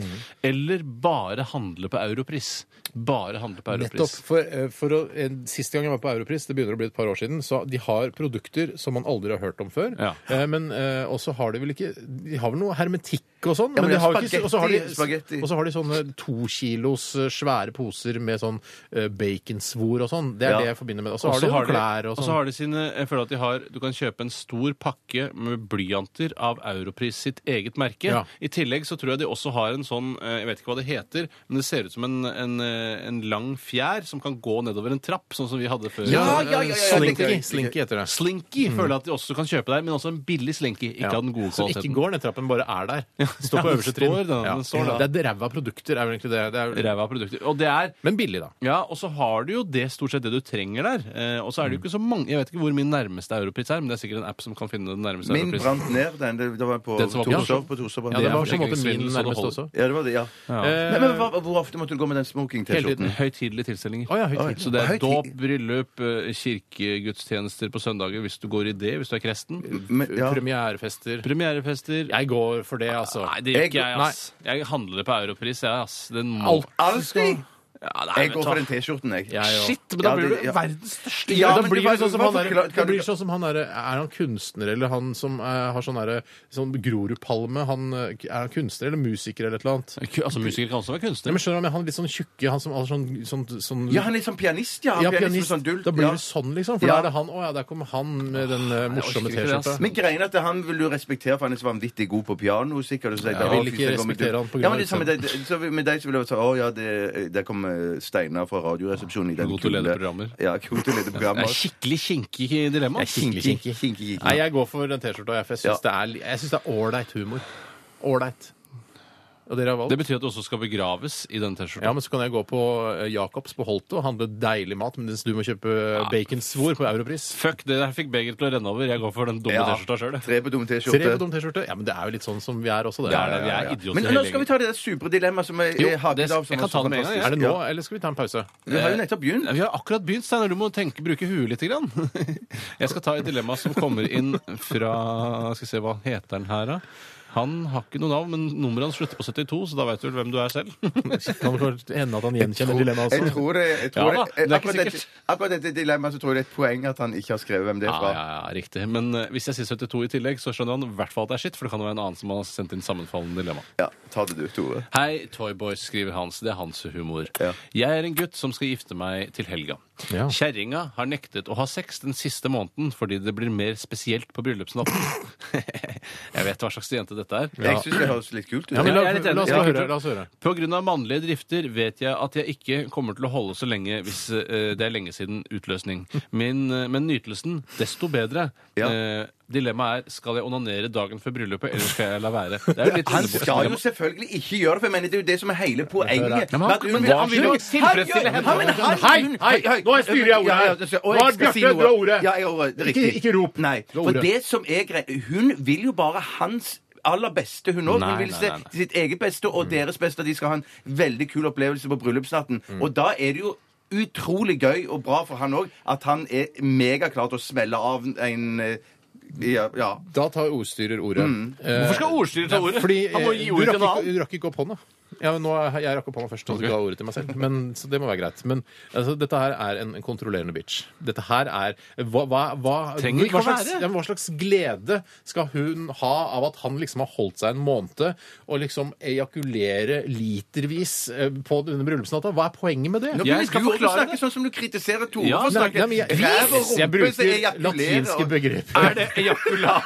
D: Eller bare handle på Europris. Bare handle på
C: Nettopp.
D: Europris.
C: For, eh, for å, en, siste gang jeg var på Europris, det begynner å bli et par år siden, så de har produkter som man aldri har hørt om før.
D: Ja.
C: Eh, men eh, også har de vel ikke De har vel noe hermetikk og sånn?
E: Ja, men
C: men de
E: det er
C: har jo ikke, og så har de,
E: spagetti, spagetti.
C: og så har de sånne to kilos eh, svære poser med sånn eh, baconsvor og sånn. Det er
E: Ja.
C: det jeg forbinder med det. Og så har de jo klær
D: og
C: og
D: så
C: sånn.
D: har de sine Jeg føler at de har Du kan kjøpe en stor pakke med blyanter av Europris sitt eget merke.
C: Ja.
D: I tillegg så tror jeg de også har en sånn eh, Jeg vet ikke hva det heter, men det ser ut som en, en, eh, en lang fjær som kan gå nedover en trapp, sånn som vi hadde før.
E: Ja, ja, ja, ja, ja,
C: Eh, Slinky,
E: riktig.
C: slinky heter det.
D: Slinky
C: Mm.
D: føler jeg at de også kan kjøpe der, men også en billig slinky. Ikke av den gode
C: Som ikke
D: kvaliteten.
C: går ned trappen, bare er der.
D: Ja,
C: Står på
D: den
C: øverste
D: står
C: trinn.
D: da, den står da.
C: Det er ræva produkter, er vel egentlig det. det er,
D: Ræva produkter. Og det er
C: men billig, da.
D: ja, og så har du jo det stort sett det du trenger der. Eh, og så
C: Mm.
D: er det jo ikke så mange Jeg vet ikke hvor min nærmeste Europris er, men det er sikkert en app som kan finne den nærmeste
E: Min
D: Europris.
E: brant ned, den. Det, det var på
D: Den som var på Torshov?
E: Torshov. På Torshov brant
C: Ja, det
E: ned.
D: er
C: var på en måte
D: forsikringssvindel,
C: min
D: så det
C: nærmeste
D: holder.
C: også.
E: ja, det var det, ja.
C: Eh,
E: Nei, men hva, hvor ofte måtte du gå med den
C: Hele
E: smoking-T-skjorten?
C: tiden.
D: Høytidelige tilstelninger.
C: Å ja, høytidelig.
D: Så det er
E: Høytid-
D: dåp, bryllup, eh, kirkegudstjenester på søndager hvis du går i det, hvis du er kresten.
E: Men- Ja.
C: Premierefester.
D: Premierefester.
C: Jeg går for det, altså.
D: Nei, det gjør
E: Jeg-
D: ikke jeg, ass. Jeg handler det på europris, jeg, ass. Den må
C: Alt.
E: Alltid!
D: ja, nei,
E: Jeg
D: vet
E: går
D: du hva.
E: for den T-skjorten, jeg.
C: Jeg òg.
D: Shit, men da
E: Ja,
D: blir
E: det-
D: du
E: ja.
D: verdens største
E: Ja,
C: det
E: men
C: blir
E: du-
C: jo sånn som han
E: hva
C: der,
E: forklar-
C: det
E: kan du-
C: blir sånn som han der, Er han kunstner, eller han som eh, har sånn derre sånn Grorudpalme? Han, eh, Er han kunstner eller musiker eller et eller annet?
D: Altså, Musikere kan også være
C: Nei,
D: kunstnere.
C: men skjønner du, hva jeg mener? han er litt sånn tjukke, han som har sånn, sånn, sånn
E: Ja, han er liksom pianist, ja. Han
C: Ja,
E: er pianist med
C: pianist.
E: sånn dult,
C: da blir
E: ja.
C: det sånn, liksom. For
E: Ja.
C: da er det han Å ja, der kommer han med den eh, morsomme
D: orker ikke det, ass.
C: T-skjorta.
E: Men greien er at han vil du respektere, for han er så vanvittig god på piano. sikkert. og Så,
C: jeg vil ikke respektere han på grunn
E: ja,
C: av
E: men det, samme,
D: liksom
E: det, det- så Med deg så vil jeg si å ja, det, der kom eh, Steinar fra Radioresepsjonen i den
D: God til å lede programmer.
E: Ja, god til å
D: (laughs)
E: lede
D: Det
E: programmer.
D: er skikkelig kinkig dilemma.
C: Det er skikkelig kinkig.
E: Kinky, kinky.
C: Nei, jeg går for den T-skjorta, jeg, for jeg syns det er li- jeg syns det er ålreit humor. Ålreit. Og dere har valgt?
D: Det betyr at du også skal begraves i den T-skjorta.
C: Ja, men så kan jeg gå på eh, Jacobs på Holte og handle deilig mat, mens du må kjøpe eh, baconsvor på Europris.
D: Fuck, det der fikk begeret til å renne over. Jeg går for den dumme
E: Ja.
D: T-skjorta sjøl.
E: Tre på dumme
C: Tre på
E: T-skjorte.
C: dum T-skjorte? Ja, men det er jo litt sånn som vi er også, det.
D: Det er det. Vi er
E: Men
D: idioter
E: nå
D: hele
E: skal vi
D: gjengen.
E: ta det der supre dilemmaet som jeg, jeg hatet
D: det-
E: av. Som
D: jeg kan
E: var så
D: ta det med en gang, jeg.
E: fantastisk.
C: Er det nå,
E: Ja.
C: eller skal vi ta en
D: (laughs)
C: pause?
E: Vi har jo nettopp begynt.
D: Ja, Vi har akkurat begynt, Steinar. Du må tenke, bruke huet litt. Grann. (laughs) Jeg skal ta et dilemma som kommer inn fra Skal vi se, hva heter han her, da? Han har ikke noe navn, men nummeret hans slutter på 72, så da veit du vel hvem du er selv. (laughs)
C: Kan det hende at han gjenkjenner dilemmaet
E: Jeg
C: også?
E: tror det, jeg
D: Ja
E: tror
D: da, det er
E: det,
D: ikke
E: akkurat, dette,
D: sikkert.
E: akkurat dette dilemmaet så tror jeg det er et poeng at han ikke har skrevet hvem det er
D: Ja,
E: fra.
D: ja, ja, riktig. Men eh, hvis jeg sier 72 i tillegg, så skjønner han i hvert fall at det er skitt, for det kan jo være en annen som har sendt inn sammenfallende dilemma.
E: Ja, ta det du, Tore.
D: Hei, Toyboys, skriver Hans. Det er hans humor.
E: Ja.
D: Jeg er en gutt som skal gifte meg til helga.
C: Ja.
D: Kjerringa har nektet å ha sex den siste måneden fordi det blir mer spesielt på bryllupsnatten. jeg vet hva slags jente dette er.
E: Jeg syns det høres litt kult ut.
C: Ja, men
D: Ja,
C: la,
D: jeg er litt enig.
C: la, oss
D: Ja.
C: høre, la oss høre.
D: På grunn av mannlige drifter vet jeg at jeg ikke kommer til å holde så lenge hvis eh, det er lenge siden utløsning. Min, eh, men nytelsen, desto bedre.
E: Ja.
D: Eh, dilemmaet er skal jeg onanere dagen før bryllupet, eller skal jeg la være? Det er jo litt
E: Han skal jo selvfølgelig ikke gjøre det, for jeg mener, det er jo det som er hele poenget.
C: Ja,
D: men han-
E: At hun
D: men
E: vil-
D: han vil jo
E: Herregud,
D: tilfredsstille
E: herregud,
D: henne.
E: men han-
C: Hei,
E: hun-
C: hei, nå styrer jeg ordet
E: Ja, ja,
C: her.
E: det skal- og
C: Nå er
E: jeg skal si
C: Bjarte,
E: noe.
C: du har ordet.
E: Ja, jeg har ordet. Det er
C: Ikke-
E: riktig.
C: ikke rop.
E: Nei.
C: Du har
E: For
C: ordet.
E: det som er greit Hun vil jo bare hans aller beste, hun òg. Hun
D: Nei,
E: vil
D: nei,
E: se
D: nei, nei.
E: sitt eget beste
C: Mm.
E: og deres beste. og De skal ha en veldig kul opplevelse på bryllupsnatten.
C: Mm.
E: Og da er det jo utrolig gøy og bra for han òg at han er megaklar til å smelle av en eh, Ja. ja.
C: Da tar ordstyrer ordet.
D: Mm.
C: Eh,
D: Hvorfor skal ordstyrer ta ordet?
C: Fordi
D: Han må
C: eh,
D: gi
C: du
D: ordet
C: rakk,
D: til en
C: ikke,
D: annen.
C: du rakk ikke opp hånda. Ja, men nå, er- jeg rakk opp hånda først, og så ga jeg ordet til meg selv. Men, så det må være greit. Men altså, dette her er en, en kontrollerende bitch. Dette her er Hva, hva, hva,
D: Trenger ikke
C: hva,
D: å
C: slags,
D: være.
C: ja, men hva slags glede skal hun ha av at han liksom har holdt seg en måned og liksom ejakulere litervis eh, på denne bryllupsnatta? Hva er poenget med det?
E: Nå
D: Jeg
E: begynner
D: skal
E: du å
D: forklare
E: snakke
D: det.
E: sånn som du kritiserer Tore
D: Ja,
E: for å
C: Nei,
E: snakke
C: nei, men jeg,
E: ræv og
C: jeg
E: rumpe, så
C: bruker
E: ejakulerer.
C: latinske begreper.
D: Er det ejakula?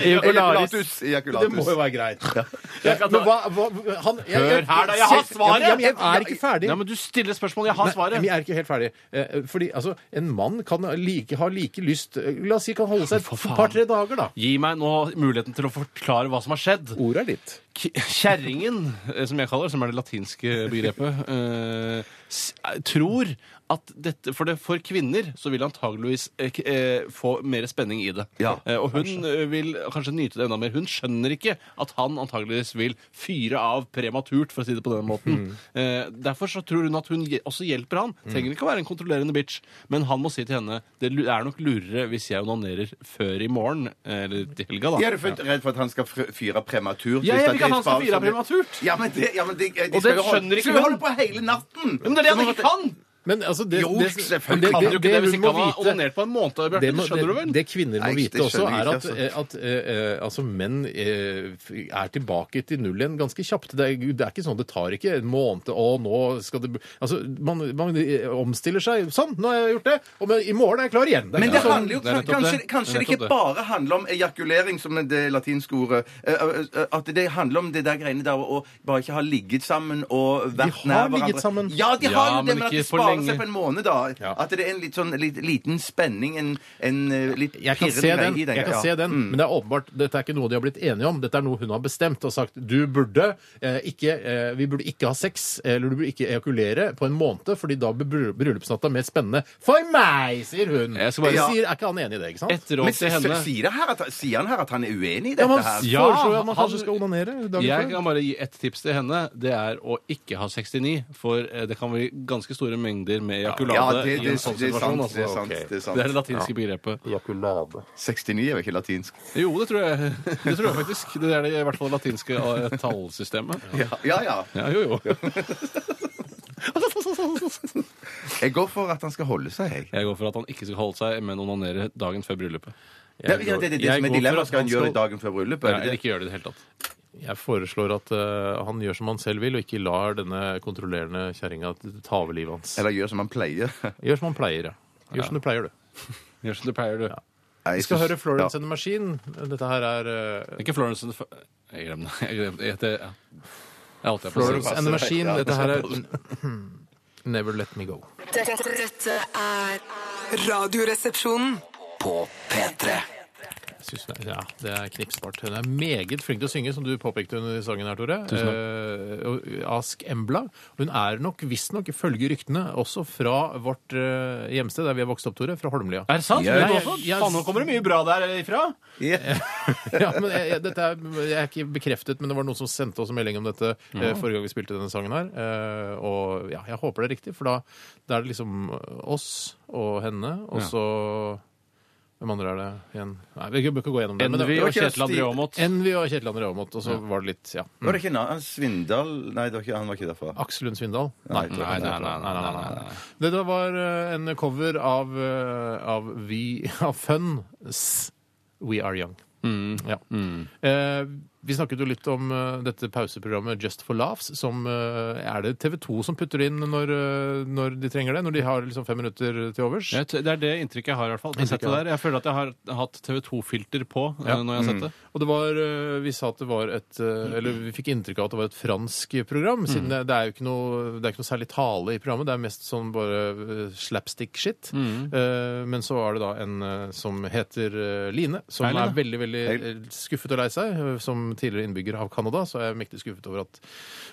C: Ejakularis.
E: Ejakulatus, ejakulatus.
C: Det må jo være greit.
D: (laughs)
C: Ja, men hva, hva, han, jeg,
D: Hør her, da. Jeg har svaret!
C: Ja, men jeg er ikke ferdig.
D: Nei, men du stiller spørsmål. Jeg har
C: Nei,
D: svaret.
C: men jeg er ikke helt ferdig. Eh, Fordi altså, en mann kan like, ha like lyst eh, La oss si kan holde seg
D: for
C: et
D: faen.
C: par-tre dager, da.
D: Gi meg nå muligheten til å forklare hva som har skjedd.
C: Ordet er ditt.
D: K- Kjerringen, eh, som jeg kaller det, som er det latinske begrepet, eh, s- tror at dette, for, det, for kvinner så vil antageligvis eh, k- eh, få mer spenning i det.
E: Ja,
D: Eh, og hun eh, vil kanskje nyte det enda mer. Hun skjønner ikke at han antageligvis vil fyre av prematurt, for å si det på den måten.
E: Hmm.
D: Eh, derfor så tror hun at hun hje- også hjelper han. Trenger ikke å være en kontrollerende bitch, men han må si til henne det lu- er nok lurere hvis jeg onanerer før i morgen, eh, eller til helga, da.
E: Jeg er du fullt redd for at han skal fr- fyre
D: Ja,
E: prematurt. hvis
D: jeg
E: at
D: vil ikke at
E: det
D: han skal
E: sparer
D: fyre
E: seg litt.
D: prematurt.
E: Ja, men det, ja, men de, de
D: det
E: skal jo holde-
D: skjønner ikke
E: Skal vi holde
D: hun.
E: på hele natten?
D: Men det er det han ikke kan!
C: Men altså, det,
E: Jo,
C: det,
E: selvfølgelig
C: det,
E: kan
C: det,
D: du ikke
C: det,
D: det hvis
C: hun
D: ikke
C: må
D: han har
C: vite
D: onanert på en måned. Bjarte,
C: det, må,
D: det skjønner du vel?
C: det, det kvinner må
E: Nei, det
C: vite også,
E: skjønner jeg
C: er at,
E: ikke,
C: at eh, eh, altså, menn eh, f- er tilbake til null igjen ganske kjapt. Det er, det er ikke sånn det tar ikke en måned Å, nå skal det bli- altså, man, man eh, omstiller seg. Sånn, nå har jeg gjort det! Og men, i morgen er jeg klar igjen. Det er
E: Men
C: ikke
E: det
C: sånn-
E: handler jo,
D: Altså, det er nettopp
E: kanskje,
D: det.
E: kanskje
D: Det er
E: det ikke
D: nettopp
E: bare handler om ejakulering, som det latinske ordet. eh, eh, At det handler om det der greiene der å bare ikke ha ligget sammen og vært
C: har
E: nær hverandre.
C: ligget sammen.
E: Ja, de
D: Ja,
E: har jo
D: men
E: det, men at
D: ikke
E: det
D: for
E: sparer
D: lenge.
E: seg på en måned, da.
C: Ja.
E: At det er en litt sånn litt, liten spenning, en, en eh, litt
C: jeg kan
E: pirrende
C: se
E: greie
C: den,
E: i den.
C: jeg kan
E: ja.
C: se den Mm. men det er åpenbart dette er ikke noe de har blitt enige om. Dette er noe hun har bestemt og sagt du burde eh, ikke eh, vi burde ikke ha sex eller du burde ikke ejakulere på en måned, fordi da blir bryll- bryllupsnatta mer spennende for meg, sier hun.
D: Jeg skal bare-
C: Det
E: Ja.
C: sier, er ikke han enig i det, ikke sant?
D: Et råd
E: Men
D: til henne
E: s- sier, det her at, sier han her at han er uenig
C: ja,
E: i dette
C: man
E: her?
D: Ja,
C: foreslår jo at man
D: han-
C: kanskje skal onanere
D: Jeg
C: dagen før.
D: kan bare gi ett tips til henne. Det er å ikke ha 69. For eh, det kan bli ganske store mengder med
E: Ja,
D: ejakulade
E: det, det,
D: i
E: det,
D: en sånn
E: er
D: situasjon.
E: sant.
D: altså.
E: Det er sant. Det er
D: Det er
E: sant.
D: det latinske begrepet.
E: 69 er jo ikke latinsk.
D: Jo, det tror jeg (laughs) Det tror jeg faktisk. Det er det, i hvert fall det latinske eh, tallsystemet.
E: Ja, ja.
D: Ja, jo,
E: (laughs)
D: jo.
E: Jeg går for at han skal holde seg, jeg.
D: Jeg går for at han ikke skal holde seg, men onanere dagen før bryllupet.
E: Ja, det, det, det, det
D: jeg går
E: som er
D: for
E: dilemmaet.
D: at
E: Skal
D: han
E: han gjøre det
D: skal-
E: dagen før bryllupet? er det
D: Eller
E: det?
D: ikke gjøre det i det hele tatt.
C: Jeg foreslår at eh, han gjør som han selv vil, og ikke lar denne kontrollerende kjerringa ta over livet hans.
E: Eller gjør som han pleier. (laughs)
C: Gjør som han pleier, ja. Gjør som du pleier, du.
D: Gjør som du pleier, du.
C: Vi skal høre Florence and the Machine. Dette her er eh,
D: Ikke Florence and the F- Jeg glemte (laughs) jeg glemte- jeg heter- ja. Jeg holdt jeg på å si.
C: Florence and the Machine. Dette her er Hmm. Never Let Me Go.
F: Dette, dette er Radioresepsjonen.
B: På P3.
C: Jeg synes det, ja, det er knipsbart. Hun er meget flink til å synge, som du påpekte under sangen her, Tore. Eh, og Ask Embla. Hun er nok, visstnok, ifølge ryktene, også fra vårt eh, hjemsted der vi er vokst opp, Tore. Fra Holmlia.
D: Er det sant?
E: Ja,
D: Vet du
C: jeg-
D: også?
C: jeg-
D: Faen, nå kommer det mye bra der ifra.
C: (laughs) ja, men jeg, jeg, dette er, jeg er ikke bekreftet, men det var noen som sendte oss en melding om dette eh, forrige gang vi spilte denne sangen her. Eh, og ja, jeg håper det er riktig, for da, da er det liksom oss og henne, og
D: Ja.
C: så Hvem andre er det igjen? Nei, Vi bør ikke gå gjennom det. men det-
D: Envy
C: det var
D: og
C: ikke-
D: Kjetil André Aamodt.
C: Envy og Kjetil André Aamodt, og så var det litt ja.
E: Var det ikke na- Svindal Nei, det var ikke, han var ikke derfra.
C: Aksel Lund Svindal? tror
E: Nei,
C: jeg
D: nei,
C: ikke.
D: nei, nei, nei, nei, nei,
C: Det da var eh, en cover av, eh, av, vi, av Fun's We Are Young. Ja. Eh, vi snakket jo litt om eh, dette pauseprogrammet Just for laughs, som eh, er det TV 2 som putter inn når, eh, når de trenger det? Når de har liksom fem minutter til overs?
D: Jeg, t- det er det inntrykket jeg har. i hvert fall Jeg, har sett det der. jeg føler at jeg har hatt TV2-filter på
C: Ja.
D: eh, når jeg har sett det.
C: Og det var, eh, vi sa at det var et eh, Eller vi fikk inntrykk av at det var et fransk program,
D: Mm.
C: siden det, det er jo ikke noe, det er ikke noe særlig tale i programmet. Det er mest sånn bare eh, slapstick-shit.
D: Mm.
C: Eh, Men så var det da en eh, som heter eh, Line, som
D: Hei, Line.
C: er veldig, veldig eh, skuffet og lei seg. Eh, Som tidligere innbygger av Canada så er jeg mektig skuffet over at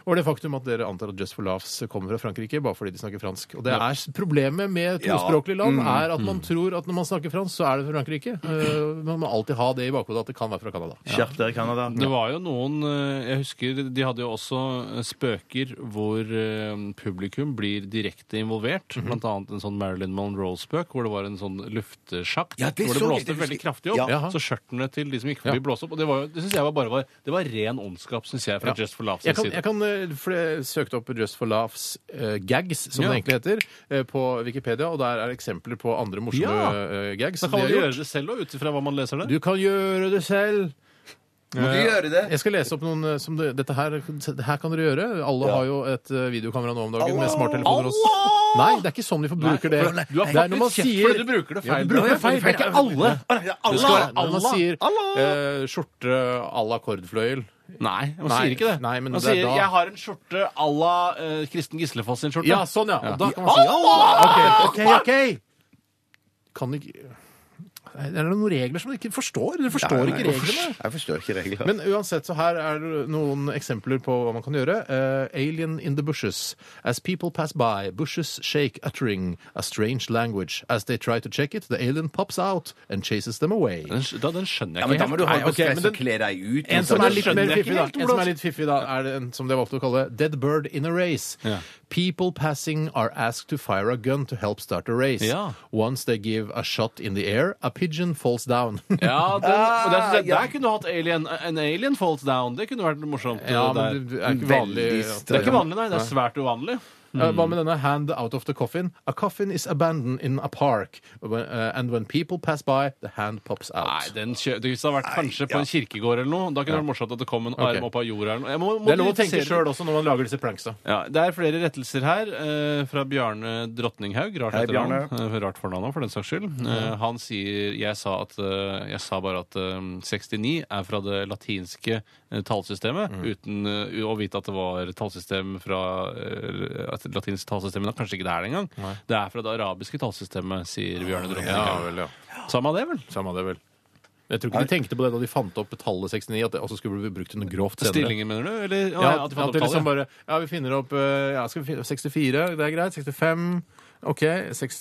C: over det faktum at dere antar at Just for Laughs kommer fra Frankrike bare fordi de snakker fransk. Og det er s- problemet med tospråklige
D: Mm.
C: land er at man tror at når man snakker fransk, så er det fra Frankrike. Eh, Man må alltid ha det i bakhodet at det kan være fra Canada.
E: Skjerp dere, Canada.
D: Det var jo noen eh, Jeg husker de hadde jo også eh, spøker hvor eh, publikum blir direkte involvert.
C: Mhm.
D: Blant annet en sånn Marilyn Monroe-spøk hvor det var en sånn luftesjakt
E: Ja, det
D: hvor det
E: så jeg,
D: blåste
E: det husker
D: veldig
E: jeg.
D: kraftig opp.
C: Ja.
D: Så skjørtene til de som gikk forbi,
C: Ja.
D: blåste opp. Og det, var, jo- det synes jeg var bare var, det var ren ondskap, syns jeg, fra
C: Ja.
D: Just for Laughs
C: Jeg kan,
D: side.
C: jeg kan, eh, for jeg søkte opp Just for laughs eh, gags, som
D: Ja.
C: det egentlig heter, eh, på Wikipedia, og der er eksempler på andre morsomme
D: Ja.
C: eh, gags.
D: Så
C: som
D: kan
C: de
D: man
C: har
D: gjøre
C: gjort.
D: det selv òg, ut ifra hva man leser der.
C: Du kan gjøre det selv.
E: Må du gjøre det?
C: Jeg skal lese opp noen eh, som det, dette her, det her kan dere gjøre. Alle har jo et eh, videokamera nå om dagen med smarttelefoner. Også. Nei, det er ikke sånn vi får bruker det.
D: for- du har
C: Det er når
D: faktisk
C: man
D: kjeft
C: sier-
D: fordi du bruker det
C: Ja,
D: feil.
C: du bruker det feil. Det er ikke alle. Det skal være når man
D: Allah.
C: sier
D: Allah.
C: eh, skjorte à la kordfløyel.
D: Nei, man
C: Nei,
D: sier ikke det.
C: nei, men
D: man
C: det er
D: sier
C: da-
D: 'jeg har en skjorte à la eh, Kristen Gislefoss sin skjorte'.
C: Ja, Ah! sånn, ja. Og da kan man si Allah! OK, OK. ok. Kan ikke Er det noen regler som du ikke forstår? Du forstår
E: Nei, nei,
C: ikke
E: jeg forstår-
C: reglene.
E: Jeg forstår ikke reglene.
C: Men uansett, så her er det noen eksempler på hva man kan gjøre. Eh, alien in the bushes. As people pass by, bushes shake, uttering a strange language. As they try to check it, the alien pops out and chases them away.
D: Den, skj- da, den skjønner
E: ja,
D: jeg ikke
E: men da må du
D: helt.
C: Nei,
E: holde på
C: ok,
E: stress
C: men
E: og
C: den-
E: kle deg ut. liksom.
C: En som er litt mer
D: skjønner jeg
C: fiffig, da,
D: ikke helt
C: en som
D: hvordan-
C: er litt fiffig da, er det en som det var ofte å kalle dead bird in a race.
D: Ja.
C: People passing are asked to fire a gun to help start a race.
D: Ja.
C: Once they give a shot in the air, a pigeon falls down. (laughs)
D: Ja, den, og der, synes
C: Ah,
D: jeg,
E: ja.
D: der kunne du hatt alien, en alien falls down. Det kunne vært morsomt.
C: Ja,
D: det der.
C: men det er ikke vanlig.
E: Veldig
C: at-
D: det er ikke vanlig, nei. Det er svært uvanlig.
C: Uh,
D: Mm.
C: Hva med denne hand out of the coffin? A coffin is abandoned in a park, uh, and when people pass by, the hand pops out.
D: Nei, den kjø det hvis det hadde vært kanskje på en kirkegård eller noe. Da kunne det vært morsomt at det kom en
C: Ok.
D: arm opp av jorda eller noe. Jeg må, må
C: det er lov å tenke
D: modifisere det.
C: sjøl også når man lager disse pranksa.
D: Ja, det er flere rettelser her eh, fra Bjarne Drottninghaug. Rart
E: Hei,
D: etternavn.
E: Bjarne.
D: Eh, Rart fornavn òg, for den saks skyld.
C: Mm.
D: Eh, han sier Jeg sa, at, eh, jeg sa bare at eh, 69 er fra det latinske eh, tallsystemet,
C: Mm.
D: uten eh, u- å vite at det var tallsystem fra eh, at det latinske tallsystemet. Da, kanskje ikke det er det engang. Det er fra det arabiske tallsystemet, sier Bjarne Drottninghaug.
C: vel, ja.
D: Samme det, vel?
C: Samme det, vel. Jeg tror ikke de tenkte på det da de fant opp tallet 69, at det også skulle bli brukt til noe grovt senere.
D: Stillingen, mener du? Eller,
C: Ja,
D: at de fant
C: at
D: opp
C: det liksom
D: tallet?
C: bare Ja, vi finner opp eh, ja, skal vi finne, 64, det er greit. 65. OK.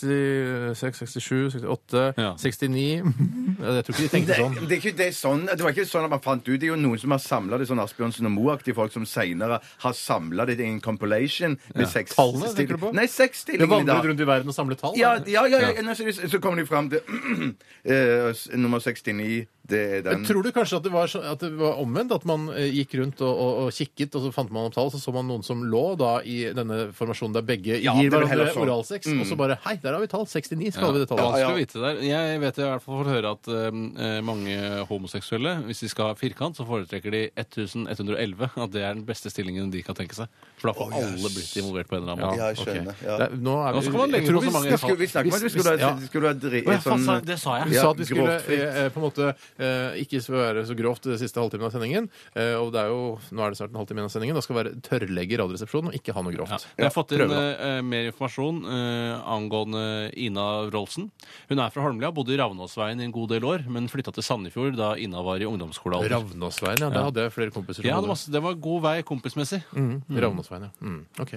C: 66, 67, 68,
D: Ja.
C: 69 (laughs) Ja, Jeg tror ikke de
E: Det,
C: tenkte sånn.
E: det, er ikke, det, er sånn, det var ikke sånn at man fant ut. Det er jo noen som har samla det, sånn Asbjørnsen og Moe-aktige folk som seinere har samla det i en compilation med seks
C: Tallene, tenker du på?
E: Nei, seks
C: Det
E: stillinger i dag.
C: vandret rundt i verden og samlet tall.
E: Ja,
C: da.
E: ja, ja, ja. Nå ser de- Så kommer de fram til (clears throat) eh, s- nummer 69. Det er den.
C: Men tror du kanskje at det var, så, at det var omvendt? At man eh, gikk rundt og, og, og kikket, og så fant man opp tall, så så man noen som lå da i denne formasjonen der begge
E: Ja,
C: gir
E: det vil
C: hverandre
E: heller sånn.
C: oralsex, og så bare Hei, der har vi tall! 69 skal vi det
D: Mm. Ja,
C: tallet.
D: vanskelig å vite det der. Jeg vet i hvert fall får høre at eh, mange homoseksuelle, hvis de skal ha firkant, så foretrekker de 1111. At det er den beste stillingen de kan tenke seg. For da får alle blitt involvert på en eller annen måte.
E: Ja, jeg skjønner.
C: ok.
E: Ja.
C: Det, er- nå er
D: Nå
C: vi,
D: skal man legge
C: jeg tror
D: på så
C: vi
D: mange
C: skal-
D: tall.
E: Skulle vi snakke om at vi skulle
C: Hvis-
E: ha,
C: ja.
E: skulle ha dri,
D: Å, ja, faen,
E: sånn
D: sa- det sa
C: Du
D: jeg.
E: Ja,
C: sa at vi skulle
E: grovt fritt.
C: eh, eh, på en måte eh, ikke være så grovt det siste halvtimen av sendingen. eh, og det er jo, nå er det snart en halvtime igjen av sendingen. Da skal vi være tørrlegge Radioresepsjonen og ikke ha noe
D: Ja.
C: grovt.
D: Jeg har fått inn
C: Prøve, da.
D: eh, mer informasjon eh, angående Ina Rolsen. Hun er fra Holmlia, bodde i Ravnåsveien i en god del år, men flytta til Sandefjord da Ina var i ungdomsskolealder.
C: Ravnåsveien, ja. Der hadde jeg flere kompiser. som
D: eh, Ja, det
C: bodde.
D: var, det var god vei kompismessig.
C: Mm. Ravnåsveien, ja. Mm. Ok.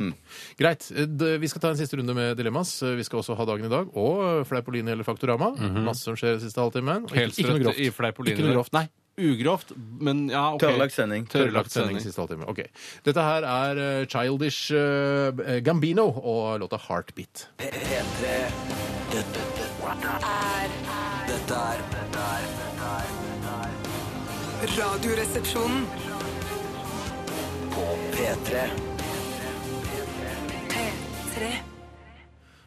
C: Greit. Eh, d- Vi skal ta en siste runde med dilemmas. Eh, Vi skal også ha dagen i dag og eh, Fleipolini eller Faktorama. Masse som skjer den siste halvtimen. Og
D: Mhm. Helt
C: Ikke, ikke noe
D: strøtt
C: grovt.
D: i Fleipolini.
C: Ikke noe grovt.
D: Nei, ugrovt, men ja, OK.
E: Tørrlagt sending.
C: Tørrlagt sending siste halvtime. Ok. Dette her er eh, Childish eh, Gambino og låta 'Heartbeat'.
B: P- P3 Dette, dette, dette er Dette er
F: Radioresepsjonen.
B: På P3
F: P3.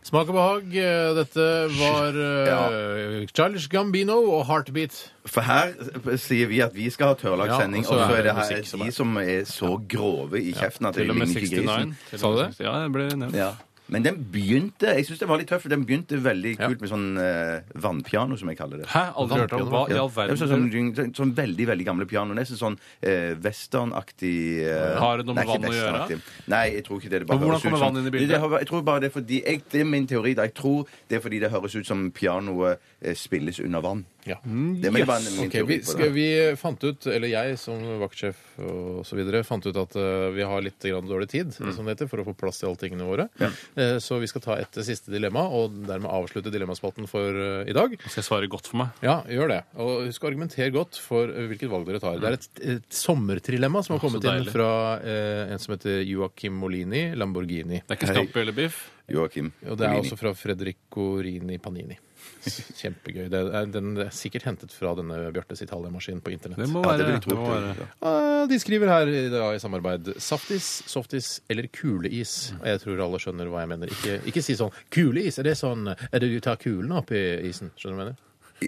C: Smak og behag. eh, Dette var eh, Childish Gambino og 'Heartbeat'.
E: For her eh, sier vi at vi skal ha tørrlagt
C: Ja,
E: sending,
C: og så
E: og
C: er
E: så er det
C: det
E: her
C: musikk som er-
E: de som er så grove i kjeften at de
D: Til og med
E: ligner ikke
D: 69.
E: grisen.
C: Sa du det?
D: Ja, det ble nevnt.
E: Ja. Men den begynte jeg synes det var litt tøff, for den begynte veldig kult med sånn eh, vannpiano, som jeg kaller det.
D: Hæ? Aldri hørt om hva i
E: Ja.
D: all verden?
E: Det var Sånn, sånn, sånn, sånn veldig veldig gamle piano. Nesten sånn eh, westernaktig eh,
D: Har det noe med
E: nei, ikke
D: vann å gjøre?
E: westernaktig. Nei, jeg tror ikke det.
D: Men
E: det bare
D: hvordan
E: høres ut
D: kommer
E: som-
D: vann inn i bildet?
E: Det, det, har- jeg tror bare det er fordi, jeg, det er min teori. da. Jeg tror det er fordi det høres ut som pianoet eh, spilles under vann.
C: Ja.
E: Det er bare min
C: Ok,
E: teori
C: vi,
E: på
C: skal,
E: det.
C: vi fant ut, eller jeg som vaktsjef og så videre, fant ut at eh, vi har litt grann dårlig tid
E: Mm.
C: som det heter, for å få plass til alle tingene våre. Eh, så vi skal ta et siste dilemma, og dermed avslutte dilemmaspalten for eh, i dag.
D: Skal jeg svare godt for meg?
C: Ja, gjør det. Og husk å argumentere godt for eh, hvilket valg dere tar. Det
E: Mm.
C: er et, et sommertrilemma
D: Åh, så
C: som har kommet inn
D: deilig.
C: fra eh, en som heter Joakim Molini Lamborghini.
D: Det er ikke
E: Hei.
D: scampi eller biff?
E: Joakim.
C: Og det er
E: Molini.
C: også fra Fredrico Rini
E: (laughs)
C: Panini. Kjempegøy. Det er, den er sikkert hentet fra denne Bjartes Italia-maskinen på internett.
D: Det må
E: Ja,
D: være,
E: det vil jeg
D: det
E: tro.
D: må være.
C: Eh, De skriver her i- da, i samarbeid saftis, softis eller kuleis. Og jeg tror alle skjønner hva jeg mener. Ikke, ikke si sånn kuleis. Er det sånn Er det du tar kulen opp i isen? Skjønner du hva jeg mener?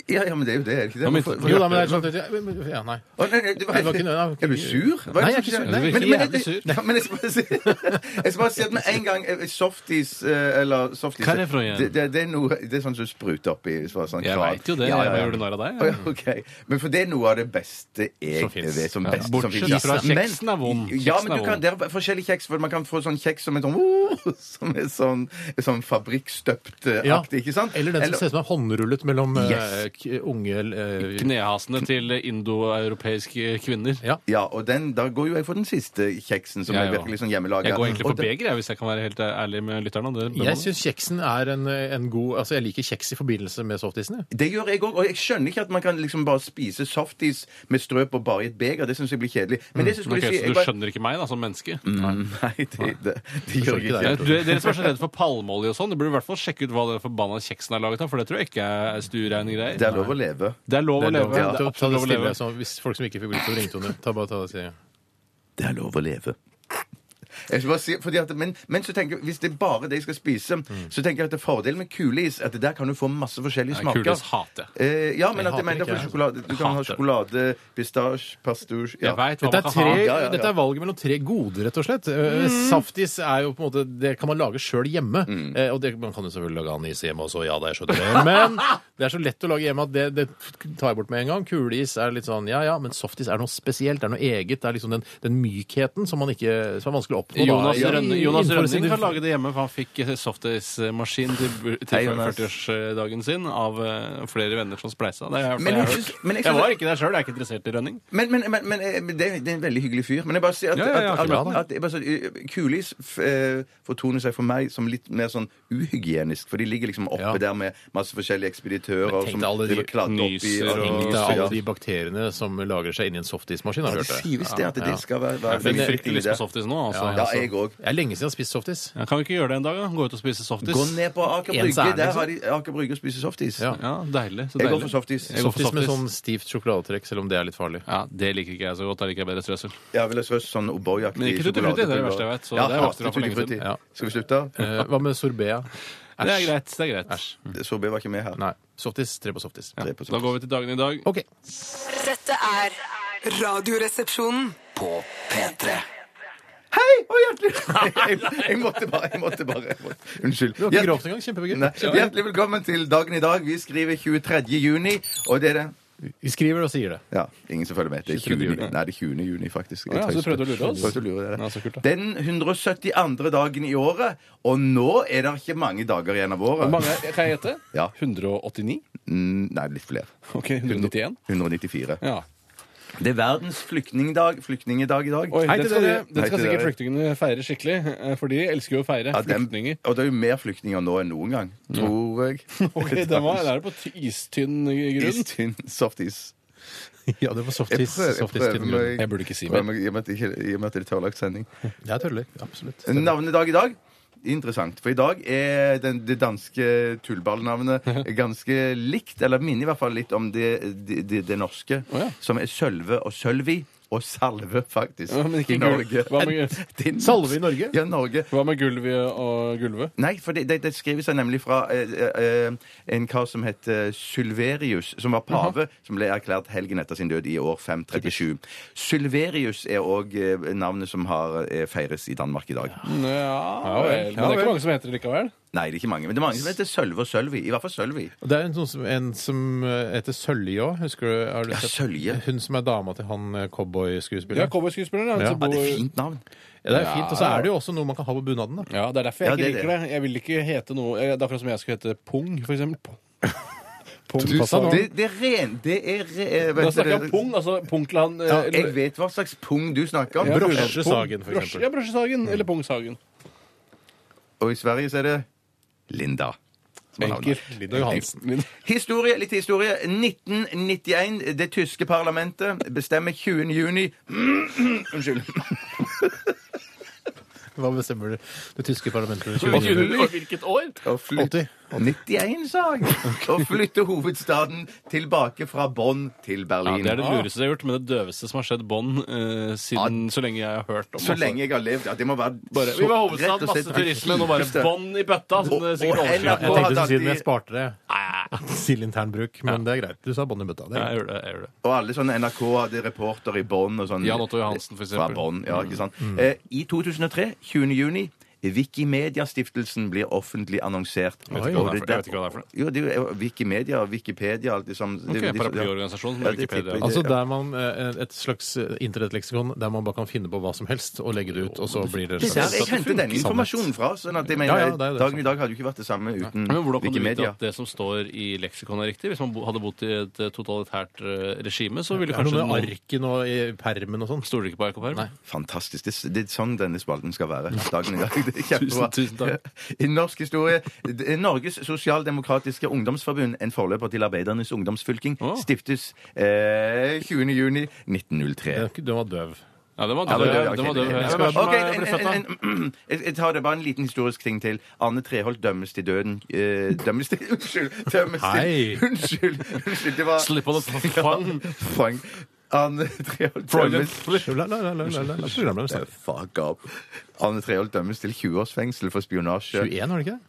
E: Ja, ja, men det er jo det, er det ikke det?
D: Ja, men-
E: Hvorfor-
C: Jo da, men det er sånn at- ja, men- Ja, nei.
E: Å, nei, nei, det var,
C: Nei, det var ikke noe- nei,
E: er du sur?
C: Nei, jeg er
E: Hva det
C: ikke sur.
E: som
C: Nei,
E: skjer?
D: du virker
E: Men- men-
D: jævlig sur.
E: Ja, men jeg skal bare si, jeg skal bare si at med en gang eh, softis eh, eller softis
D: Hva er det for noe igjen?
E: Det, det, det er noe Det er sånn som spruter oppi så, sånn
D: Jeg
E: krav.
D: veit jo det.
E: Ja, ja,
D: Jeg
E: ja.
D: gjorde narr av
E: Å,
D: deg.
E: ja, ok. Men for det er noe av det beste jeg
C: Som finnes.
E: vet. Som
D: Ja,
E: beste, som
D: bortsett
E: finnes.
D: fra
E: Men-
D: kjeksen er vond.
E: Ja,
D: Kjeksen
E: men
D: er
E: du
D: vond.
E: kan, det er forskjellige kjeks. For man kan få sånn kjeks som er sånn, oh, (laughs) som er sånn, sånn fabrikkstøpt-aktig,
C: Ja.
E: ikke sant?
C: Eller den som ser ut som er håndrullet mellom eh,
E: Yes,
C: eh, k- unge eh,
D: Knehasene til indoeuropeiske kvinner.
C: Ja.
E: Ja, og den, da går jo jeg for den siste kjeksen, som
D: Jeg
E: er
D: òg.
E: virkelig sånn hjemmelaga.
D: Jeg går egentlig
E: Og
D: for
E: da-
D: beger, jeg, hvis jeg kan være helt ærlig med lytterne. Det bør man.
C: Jeg syns kjeksen er en, en god Altså, jeg liker kjeks i forbindelse med softisen. jeg.
E: Det gjør jeg òg, og jeg skjønner ikke at man kan liksom bare spise softis med strø på bare i et beger. Det syns jeg blir kjedelig. Men det som
D: Mm. Ok,
E: skulle si
D: så
E: jeg
D: du
E: var-
D: skjønner ikke meg da, som menneske?
E: Nei, det, det, det
C: skjønner ikke det.
E: gjør Mm, jeg ikke.
D: Jeg tror- Dere som er så redde for palmeolje og sånn, dere burde i hvert fall sjekke ut hva den forbanna kjeksen er laget av, for det tror jeg ikke er stuereine greier.
E: Det er lov å leve.
D: Det er lov å
C: Det
D: leve.
C: er lov,
D: Det er
C: ta, ta
D: absolutt
C: det
D: lov å
C: stille,
D: leve.
C: så hvis folk som ikke fikk brukt ringtoner. Ta bare ta det stille.
E: Det er lov å leve. Jeg skal bare si, fordi at, men, men så tenker jeg, hvis det er bare det jeg skal spise,
D: Mm.
E: så tenker jeg at det er fordelen med kuleis at der kan du få masse
D: Nei,
E: forskjellige smaker.
D: Kuleis hater jeg.
E: Eh, ja, men
C: Jeg
E: at jeg
C: hater
E: mener
C: ikke,
E: for
C: jeg.
E: sjokolade. Du kan
D: Hater.
E: ha sjokolade, pistasje, pastur
D: Jeg
E: ja.
D: vet hva man
C: Dette er,
D: kan
C: tre,
D: ha. Mm.
E: ja, ja.
C: dette er valget mellom tre goder, rett og slett. Eh, Saftis er jo på en måte Det kan man lage sjøl hjemme. Eh, Og det, man kan jo selvfølgelig lage anis hjemme også, ja da, jeg skjønner det. Men det er så lett å lage hjemme at det, det tar jeg bort med en gang. Kuleis er litt sånn ja ja, men softis er noe spesielt, det er noe eget. Det er liksom den, den mykheten som man ikke Som er vanskelig å oppnå. da,
D: Jonas,
C: i-
D: Rønning, Jonas
C: innenfor
D: Rønning
C: sin-
D: kan lage det hjemme, for han fikk eh, softismaskin til, bu-
E: Hei,
D: til
E: Jonas.
D: 40-årsdagen sin av eh, flere venner som spleisa. Det er i hvert fall
E: Men
D: jeg
E: jeg
D: har
E: synes-
D: hørt.
E: men jeg
D: Jeg
E: synes-
D: var ikke der sjøl, jeg er ikke interessert i Rønning.
E: Men, men, men, men eh, det, det er en veldig hyggelig fyr. Men jeg bare sier at,
D: Ja, ja, ja,
E: at,
D: akkurat,
E: at,
D: da.
E: at jeg bare sier, eh, Kulis f- eh, fortoner seg for meg som litt mer sånn uhygienisk. For de ligger liksom oppe
C: Ja.
E: der med masse forskjellige ekspeditører
C: tenk
E: som
C: deg alle de
E: driver og kladder opp i
D: nyser og-
E: og-
C: Tenk deg
E: ja.
C: alle de bakteriene som lagrer seg inni en softismaskin. Har
E: Ja,
C: du
E: Det
C: hørt det?
E: sies det at det skal være, være
D: Jeg fikk
E: veldig
D: fryktelig lyst
E: i
D: på softis nå. Altså.
E: Ja, jeg òg.
C: Det er lenge siden jeg har spist softis.
D: Ja, Kan vi ikke gjøre det en dag? da? Gå ut og spise softis?
E: Gå ned på Aker
C: Ens
E: Brygge.
C: ærlig,
E: Der
C: liksom.
E: har de Aker Brygge og spiser softis.
C: Ja.
D: Ja, deilig. Så
E: Jeg går
D: deilig.
E: for softis.
D: Jeg går for
C: Softis med
D: softis.
C: sånn stivt sjokoladetrekk, selv om det er litt farlig.
D: Ja, Det liker ikke jeg så godt. Da liker jeg bedre strøssel.
E: Ja, vel, så sånn O'boy-aktig
D: Men ikke tutti frutti, det er det verste jeg vet, så det er jo oppdratt for lenge siden.
C: Ja.
E: Skal vi slutte?
C: Eh, hva med sorbea?
D: Det er greit. det er greit.
E: Sorbet var ikke med her.
C: Nei. Softis, tre på softis.
E: Tre på
D: Da
E: softis.
D: går vi til dagen i dag.
C: OK.
F: Dette er Radioresepsjonen.
B: På P3.
E: Hei, og
D: (laughs)
E: hjertelig jeg, jeg måtte bare, jeg måtte bare jeg måtte. Unnskyld.
C: Du har ikke grått engang. Kjempegøy.
E: Nei, hjertelig velkommen til dagen i dag. Vi skriver 23. juni, og det er det
C: Vi skriver det og sier det.
E: Ja, ingen som følger med. Det er 20. juni. Nei, det er 20. juni, faktisk. Jeg
D: ja, så du
E: tøyser.
D: prøvde å lure oss?
E: Prøvde å lure dere.
D: Ja, så kult, da.
E: Den 172. dagen i året, og nå er det ikke mange dager igjen av året.
D: Mange, kan jeg gjette?
E: Ja.
D: 189?
E: Mm, Nei, litt flere.
D: Ok, 191?
E: 194.
D: Ja.
E: Det er verdens flyktningdag, flyktningedag i dag.
D: Oi,
C: Hei
D: det
C: til
D: skal,
C: dere.
D: dere- det
E: Hei
D: skal
E: til
D: sikkert
E: dere.
D: flyktningene feire skikkelig, eh, for de elsker jo å feire
E: Ja, dem-
D: flyktninger.
E: og det er jo mer flyktninger nå enn noen gang, tror jeg.
D: (laughs) (laughs) Ok, den var, det er på ty- istynn grunn. (laughs)
E: Istynn, softis.
C: Ja, det var
E: Jeg
C: softis.
E: prøver, jeg
C: softis til
E: prøver
C: den grunnen.
E: meg
D: Jeg burde ikke si mer.
E: prøver meg, I og med at det ikke- i og med at det er tørrlagt sending.
C: Jeg tuller. Absolutt.
E: Navnedag i dag. Interessant. For i dag er den, det danske tullballnavnet (laughs) ganske likt, eller minner i hvert fall litt om det, det, det, det norske,
D: Å ja.
E: som er Sølve og Sølvi. Og Salve, faktisk.
D: Ja, men ikke
E: I
D: gul-
E: Norge.
D: Hva
E: (laughs)
D: med-
E: Din-
C: Salve i Norge?
E: Ja, Norge.
D: Hva med gulvet og gulvet?
E: Nei, for det, det, det skriver seg nemlig fra eh, eh, en kar som het eh, Sylverius, som var pave, som ble erklært helgen etter sin død i år 537. Sylverius er òg eh, navnet som har, eh, feires i Danmark i dag.
D: Mm, Ja vel. Men det er ikke mange som heter det likevel.
E: Nei, det er ikke mange, men det er mange som heter Sølve og Sølvi. I hvert fall Sølvi.
C: Og Det er en, sånn som, en som eh, heter Sølje òg. Husker du? Har du
E: Ja,
C: sett-
E: Sølje.
C: Hun som er dama til han eh,
D: Ja,
C: cowboyskuespilleren.
D: Cowboyskuespilleren.
C: Ja.
D: Ja.
E: Ja, det er
D: Ja,
E: fint navn.
C: Ja, det er fint. Og så er det jo også noe man kan ha på bunaden. da.
D: ja, det er derfor jeg
E: Ja,
D: ikke
E: det er
D: liker det. Jeg vil ikke hete noe eh, Det er akkurat som jeg skulle hete Pung, for eksempel. Pung. Pung.
C: Du sa
E: Det, det er ren... Det er re, eh,
D: Da
E: vent,
D: snakker jeg om
E: det-
D: pung, altså pung til han eh,
E: Jeg vet hva slags pung du snakker om.
D: Ja,
E: Brosje.
D: bunad.
C: Brosjesagen, for
D: Brosje-
C: eksempel.
D: Ja, brosjesagen eller pungsagen.
E: Og i Sverige så er det Linda. som er navnet.
D: Enkelt.
C: Linda Johansen.
E: Historie, litt historie. 1991, det tyske parlamentet bestemmer 20. juni (clears throat) Unnskyld.
C: Hva bestemmer du? Det tyske parlamentet?
D: Hvilket år?
E: Å flytte
C: 80.
E: 91, sa jeg. Å flytte hovedstaden tilbake fra Bonn til
D: Ja,
E: Berlin.
D: det er det lureste jeg har gjort, men det døveste som har skjedd Bånd eh, siden så lenge jeg har hørt om
E: Ah. Så
D: altså.
E: lenge jeg har levd. Ja, det må være
D: Bare,
E: så-
D: vi var
E: rett
D: hovedstad,
E: og
D: masse
E: slett-
D: turisme, nå bare
E: Just det.
D: bånd i bøtta. Som det sikkert
E: Og- og
D: overskriver.
E: NRK
C: Jeg tenkte
E: hadde
C: å si det, men jeg
E: alltid-
C: sparte det. Til intern bruk, men det er greit. Du sa bånd i bøtta. Det
D: Ja,
C: er greit.
D: jeg gjør det. Jeg gjør det.
E: Og alle sånne NRK hadde reporter i Bonn og sånn.
D: Jan Otto Johansen, for Mm.
E: Fra
C: Mm.
D: eksempel.
E: Bonn, ja, ikke sant. Eh, I 2003, 20. juni, Wikimedia-stiftelsen blir offentlig annonsert.
D: Jeg vet ikke hva det er for- jeg vet ikke hva det er for noe.
E: Jo, det er jo Wikimedia, Wikipedia, alt det sånn.
D: Ok,
E: det- det-
D: paraplyorganisasjon med
E: Ja, det
D: Wikipedia.
E: tipper jeg.
C: Altså der man, eh, Et slags eh, internettleksikon der man bare kan finne på hva som helst og legge det ut, og så blir det en
E: Ja, jeg henter denne
C: sannhet.
E: informasjonen fra. sånn at jeg
C: Ja,
E: mener,
C: ja, det er det.
E: Dagen i dag hadde jo ikke vært det samme uten
D: Men Hvordan kan du vite
E: Mm. Wikimedia.
D: at det som står i leksikon er riktig? Hvis man bo- hadde bodd i et eh, totalitært eh, regime, så ville
C: Det er
D: kanskje
C: noe med
D: noen
C: arken og i permen og sånn.
D: Stoler ikke på ark og perm?
C: Nei.
E: Fantastisk. Det, det er sånn denne spalten skal være. Dagen i dag. Det er kjempebra.
D: (laughs) Tusen- tusen takk.
E: (laughs) I norsk historie det er Norges sosialdemokratiske ungdomsforbund, en forløper til Arbeidernes ungdomsfylking,
D: Å.
E: stiftes eh, 20. juni 1903.
C: Den den var døv.
D: Ja, det var
E: Ja,
D: død.
E: det var død,
D: det
E: ok,
D: var død.
E: det-
D: Hvem
E: det-
D: er det som
E: Ok,
D: er-
E: en-
D: ble født da?
E: en- en- Jeg jeg tar det bare en liten historisk ting til. Arne Treholt dømmes til døden eh, Dømmes til (laughs) Unnskyld! Dømmes
C: Hei.
E: til Unnskyld! unnskyld det var
D: Slipp on the
E: (laughs)
D: fang.
E: Fang. Arne Treholt
D: Freudian
E: dømmes
D: slip.
C: La, la, la, la, la, la, programlederen snakker.
E: Eh, Fuck up. Arne Treholt dømmes til 20 års fengsel for spionasje.
C: 21, var det ikke det?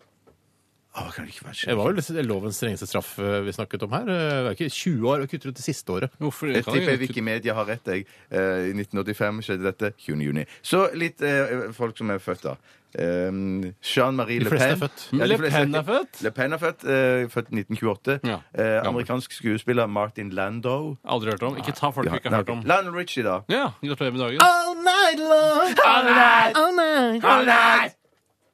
E: Å, kan det ikke være
C: Det
E: skjønt?
C: var vel lovens strengeste straff eh, vi snakket om her. Eh, Det er ikke 20 år, vi kutter ut det siste året.
D: Hvorfor
E: Jeg
D: kan vi
E: tipper
D: ikke-
E: Wikimedia har rett. jeg. Eh, I 1985 skjedde dette. 20. juni. Så litt eh, folk som er født, da. Um, Jean-Marie
C: De
E: Le
C: fleste
E: Pen.
C: er født.
E: Ja, de
D: Le
E: fleste-
D: Pen er født?
E: Le Pen er født. eh, født 1928.
D: Ja.
E: Eh, amerikansk skuespiller Martin Landau.
D: Aldri hørt om. Ikke ta folk vi ikke har hørt om.
E: Lionel Richie, da.
D: Ja, gratulerer med dagen.
C: All night long! All night! All night!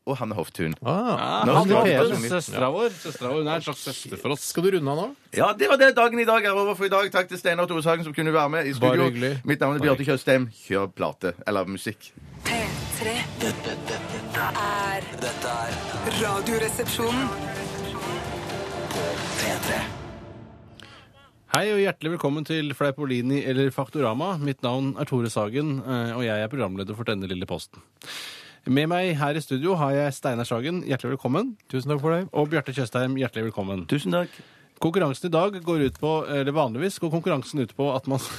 E: Og Hanne Hoftun.
C: Ah,
E: Nå
C: han
E: skal
C: var
E: vi-
C: pen.
D: Søstera vår. Søstera vår. Hun er en slags søster for oss.
C: Skal du runde av nå?
E: Ja, det var det. Dagen i dag er over for i dag. Takk til Steinar Tore Sagen som kunne være med
C: Bare
E: i studio.
C: hyggelig.
E: Mitt navn er Bjarte Tjøstheim. Kjør plate. Eller musikk.
F: P3
B: Dette, dette,
F: er
B: dette er
F: Radioresepsjonen.
B: P3.
D: Hei og hjertelig velkommen til Fleipolini eller Faktorama. Mitt navn er Tore Sagen, eh, og jeg er programleder for denne lille posten. Med meg her i studio har jeg Steinar Sagen, hjertelig velkommen.
C: Tusen takk for det.
D: Og Bjarte Tjøstheim, hjertelig velkommen.
E: Tusen takk.
D: Konkurransen i dag går ut på, eller vanligvis går konkurransen ut på at man (laughs)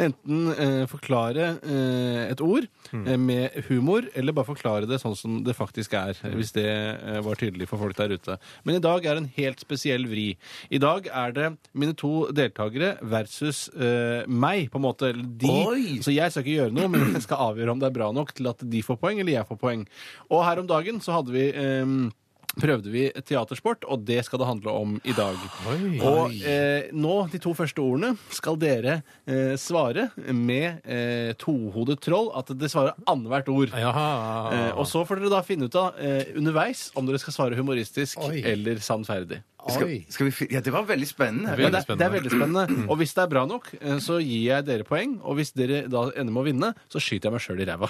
D: enten eh, forklarer eh, et ord eh, med humor, eller bare forklarer det sånn som det faktisk er, hvis det eh, var tydelig for folk der ute. Men i dag er en helt spesiell vri. I dag er det mine to deltakere versus eh, meg, på en måte. Eller de.
E: Oi!
D: Så jeg skal ikke gjøre noe, men jeg skal avgjøre om det er bra nok til at de får poeng, eller jeg får poeng. Og her om dagen så hadde vi eh, prøvde vi teatersport, og det skal det handle om i dag. Og eh, nå, de to første ordene, skal dere eh, svare med eh, tohodet troll at det svarer annethvert ord. Eh, og så får dere da finne ut av eh, underveis om dere skal svare humoristisk
C: Oi.
D: eller sannferdig.
E: Skal, skal vi fi ja, det var veldig spennende.
D: Ja, det, er- det er veldig spennende. Og hvis det er bra nok, eh, så gir jeg dere poeng. Og hvis dere da ender med å vinne, så skyter jeg meg sjøl i ræva.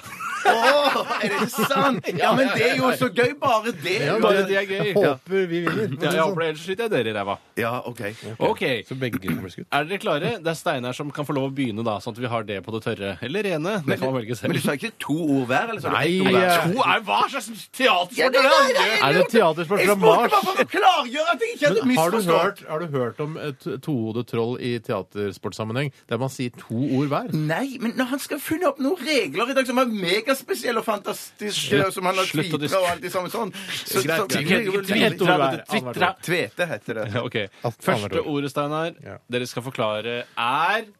E: Åh, er det sant? Ja, men det er jo så gøy, bare det.
C: Ja,
D: Bare det er gøy.
C: Jeg håper vi vinner.
D: Ja, jeg håper det, ellers skyter jeg dere i ræva.
E: Ja, OK.
D: Ok.
C: Så begge blir skutt.
D: Er dere klare? Det er Steinar som kan få lov å begynne, da, sånn at vi har det på det tørre. Eller rene. Det kan man velge
E: Men eh, du
D: selv.
E: sa ikke to ord hver? Eller så er det
C: Nei,
E: ett ord hver?
C: jeg-
D: To er hva slags teatersport
E: Ja,
D: er
E: nei,
D: det?
E: nei,
C: Er det teatersport
E: Jeg
C: fra
E: spurte
C: Mars?
E: bare for å klargjøre at jeg ikke hadde
C: Men har, du
E: misforstått.
C: hørt, har du hørt om et tohodet troll i teatersportsammenheng, der man sier to ord hver?
E: Nei, men når han skal finne opp noen regler i dag som er megaspesielle og fantastiske, og som han har
D: slutt å
E: tvitra og alt det samme sånn så, så,
D: Greit,
E: blir
D: greit.
E: det jo
D: Ikke
E: veldig-
C: Ett ord hver.
D: Twittra.
E: Tvete heter det.
D: OK.
C: Alt annet
D: Første
C: ord.
D: ordet, Steinar,
C: Ja.
D: dere skal forklare, er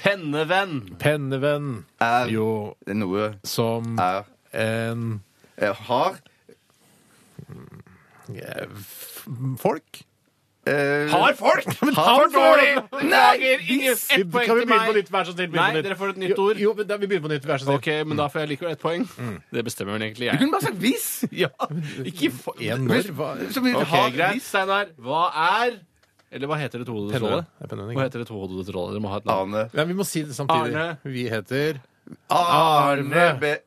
D: pennevenn.
C: Pennevenn.
E: Er-
C: Jo,
E: Det er Noe
C: som
E: er
C: en
E: er har
C: eh, f- folk.
E: eh,
D: Har folk! Men
E: Har
D: har
E: folk!
D: dårlig!
E: Nei,
D: Beklager, ingen
C: Vi-
D: ett poeng
C: kan vi
D: til
C: begynne på
D: meg.
C: nytt, vær så snill? begynne
D: Nei,
C: på nytt.
D: dere får et nytt ord.
C: Jo, jo, men da, vi begynner på nytt, vær så snill. Mm.
D: OK, men da får jeg likevel ett poeng. Det bestemmer vel egentlig
E: Du
D: jeg. (laughs)
E: kunne bare sagt 'hvis'.
D: Ja, ikke for...
C: En når? Hva?
E: Så blir det
D: OK,
E: har,
D: greit,
E: hvis.
D: Steinar. Hva er Eller hva heter det tohodede trollet?
C: Pennevenn. Det er pennevenn, ikke?
D: Hva heter det tohodede trollet? Dere må ha et navn.
E: Arne.
C: Nei, vi må si det samtidig.
D: Arne.
C: Vi heter
E: Ah, Arne
C: Arne.
E: Be...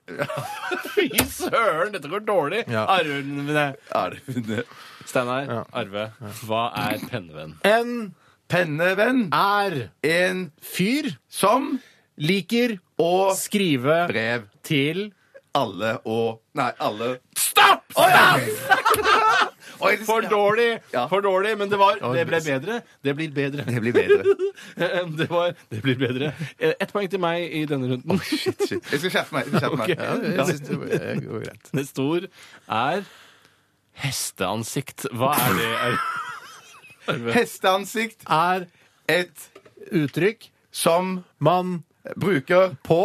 D: Fy søren, dette går dårlig!
C: Ja.
D: Arvene.
E: Arne.
D: Steinar, Arve, hva er pennevenn?
C: En
E: Pennevenn.
C: er
E: En
C: fyr
E: som
C: liker å
E: og
C: skrive
E: brev.
C: til
E: Alle og Nei, alle.
D: Stopp!
E: (laughs) Oi, det-
D: For dårlig!
E: Ja.
D: For dårlig, men det, var, det ble bedre. Det blir bedre.
E: Det blir bedre.
D: (laughs) Det, var, det blir bedre. Eh, Ett poeng til meg i denne runden.
E: Shit, shit. Jeg skal skjerpe meg. Jeg skal skjerpe
D: Ok.
E: meg. Ja,
C: Jeg synes det går greit.
D: (laughs) Neste ord er hesteansikt. Hva er det? Arve?
E: Hesteansikt.
C: Er
E: Et
C: uttrykk
E: som
C: man
E: bruker
C: på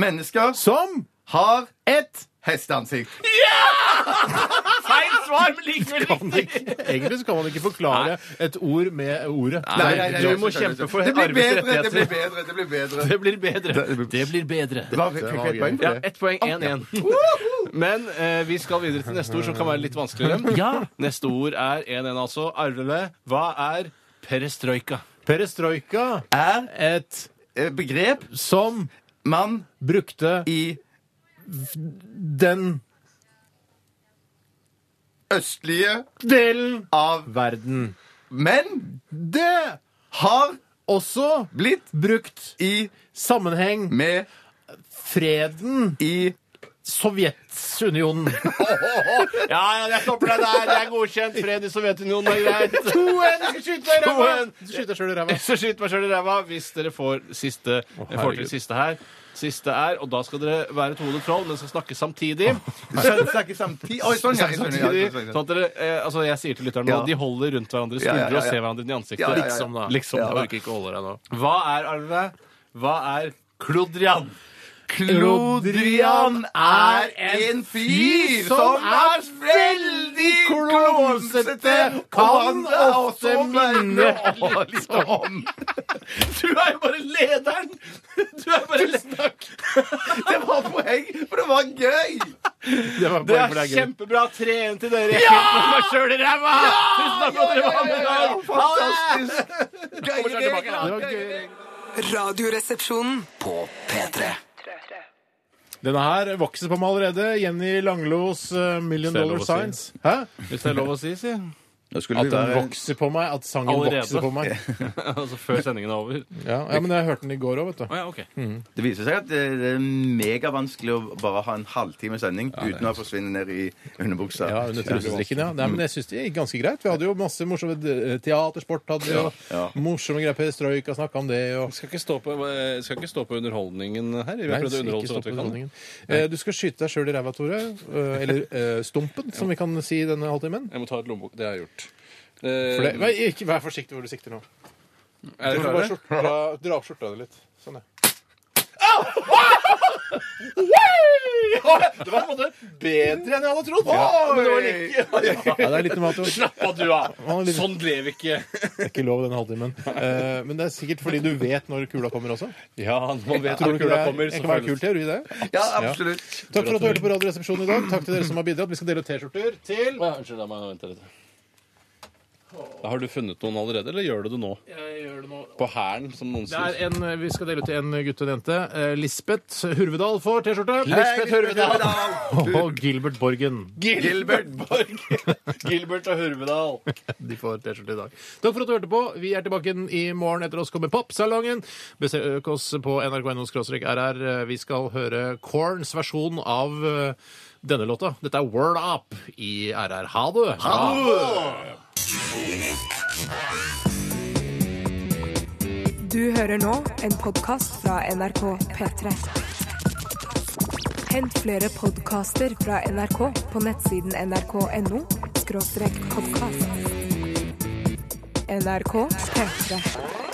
E: mennesker
C: som
E: har
C: et
E: Hesteansikt.
H: Feil svar, men likevel
C: Kan ikke- Egentlig så kan man ikke forklare et ord med ordet.
E: Nei, nei, nei,
D: Du
E: jeg
D: må
E: skjønner
D: kjempe for
E: det blir
D: arbeidets
E: bedre, det blir
D: rettigheter.
E: bedre, det blir bedre.
D: Det blir bedre.
E: Det blir-
D: Det blir bedre.
E: Hva, fikk jeg et poeng
D: Ja,
E: for det?
D: ett poeng. 1-1. Men eh, vi skal videre til neste ord, som kan være litt (laughs) vanskeligere. Neste ord er 1-1, altså. Arvele, hva er perestrojka?
C: Perestrojka
E: Er
C: et
E: eh, begrep
C: som
E: man
C: brukte
E: i
C: den
E: østlige
C: delen
E: av
C: verden.
E: menn
C: Det
E: har
C: også
E: blitt
C: brukt
E: i
C: sammenheng
E: med
C: freden
E: i
C: (laughs) Sovjetunionen.
D: Ja, ja, jeg stopper deg der. Det er godkjent. Fred i Sovjetunionen (laughs) er greit.
C: Toen! Du skyter selv i ræva.
D: (laughs) Så skyt meg sjøl i ræva hvis dere får, siste, får til siste her. Siste er, og da skal dere være et hodet troll, men skal snakke samtidig.
E: Snakke samtidig Oi, sånn, ja. sånn, ja,
D: samtidig
E: sånn, ja.
D: sånn at dere, eh, altså Jeg sier til lytteren nå
E: Ja.
D: de holder rundt hverandres
E: Ja,
D: skuldre
E: ja,
D: og
E: ja, ja.
D: ser hverandre inn i ansiktet.
E: Ja, ja, ja.
D: Liksom, da.
C: Liksom,
D: Jeg orker ikke å holde deg nå. Hva er Arve? Hva er klodrian?
E: Klodrian er en fyr som er veldig klonsete, kan det også minne om litt
D: (laughs)
E: om.
D: Sånn. Du er jo bare lederen! (laughs) Du er bare lederen.
E: Det var poeng, for det var gøy.
C: Det
D: Det
C: var poeng for
D: er
C: deg, Geir.
D: kjempebra. 3-1 til dere. Jeg kjemper meg selv i ræva! Tusen takk for at dere var med i dag.
E: Fantastisk. Gøy
C: Det
E: regler.
C: var gøy.
F: Radioresepsjonen.
B: På P3
C: Denne her vokser på meg allerede. Jenny Langlos eh, 'Million
D: Hvis det er lov
C: Dollar
D: å si.
C: Signs'. Hæ?
D: Hvis det er lov å si,
E: (laughs)
D: si.
C: At den vokser på meg. At sangen
D: Allerede.
C: vokser på meg.
D: Altså før sendingen er over.
C: Ja, ja, men jeg hørte den i går òg, vet du.
D: Å ja, ok.
E: Det viser seg at det det er megavanskelig å bare ha en halvtime sending uten å forsvinne ned i underbuksa.
C: Ja,
E: (laughs)
C: under trusestrikken, ja. Nei, men jeg syns det gikk ganske greit. Vi hadde jo masse morsomme eh, teatersport, hadde vi jo
E: ja.
C: morsomme greier. Per Strøyka snakka om det, og
D: Skal ikke, stå på, eh, skal ikke stå på underholdningen her. Vi har prøvd
C: Nei,
D: å
C: ikke
D: underholde så
C: stopp
D: godt vi kan.
C: underholdningen. Eh, Du skal skyte deg sjøl i ræva, Tore. Eh, Eller eh, stumpen, som vi kan si i denne halvtimen.
D: Jeg må ta ut lommebok. Det har jeg gjort. Eh,
C: For det, Nei, ikke, vær forsiktig hvor du sikter nå.
D: Er dere
C: Du får
D: klare?
C: bare skjorta, dra opp skjorta di litt. Sånn, ja.
D: Det var på en måte bedre enn jeg hadde trodd.
E: men det var
C: Ja, det er litt normalt. jo.
D: Slapp av, du av!
C: Han er litt-
D: Sånn lever ikke.
C: Det er ikke lov denne halvtimen. Eh, Men det er sikkert fordi du vet når kula kommer også.
D: Ja, man vet
C: Tror
D: hvor
C: du ikke det
D: kula
C: er-
D: kommer.
C: det
D: Så
C: kan være kul
D: føles.
C: teori, det?
E: Ja, absolutt.
C: Takk for at du hørte på Radioresepsjonen i dag. Takk til dere som har bidratt. Vi skal dele ut T-skjorter til
D: Å ja, Unnskyld, la meg vente litt. Har du funnet noen allerede, eller gjør du det nå? På hæren, som noen
C: Det
D: sier.
C: er en, vi skal dele ut til en gutt og en jente. Eh, Lisbeth Hurvedal får T-skjorte.
D: Lisbeth Hurvedal.
C: (laughs) Og Gilbert Borgen.
D: Gilbert Borg. (laughs) Gilbert og Hurvedal.
C: De får T-skjorte i dag. Takk for at du hørte på. Vi er tilbake igjen i morgen. Etter oss kommer Pappsalongen. Besøk oss på nrk.no-rr. Vi skal høre Korns versjon av eh, denne låta. Dette er Word Up i RR. Ha det!
A: Du hører nå en podkast fra NRK P3. Hent flere podkaster fra NRK på nettsiden nrk.no podkast. NRK P3.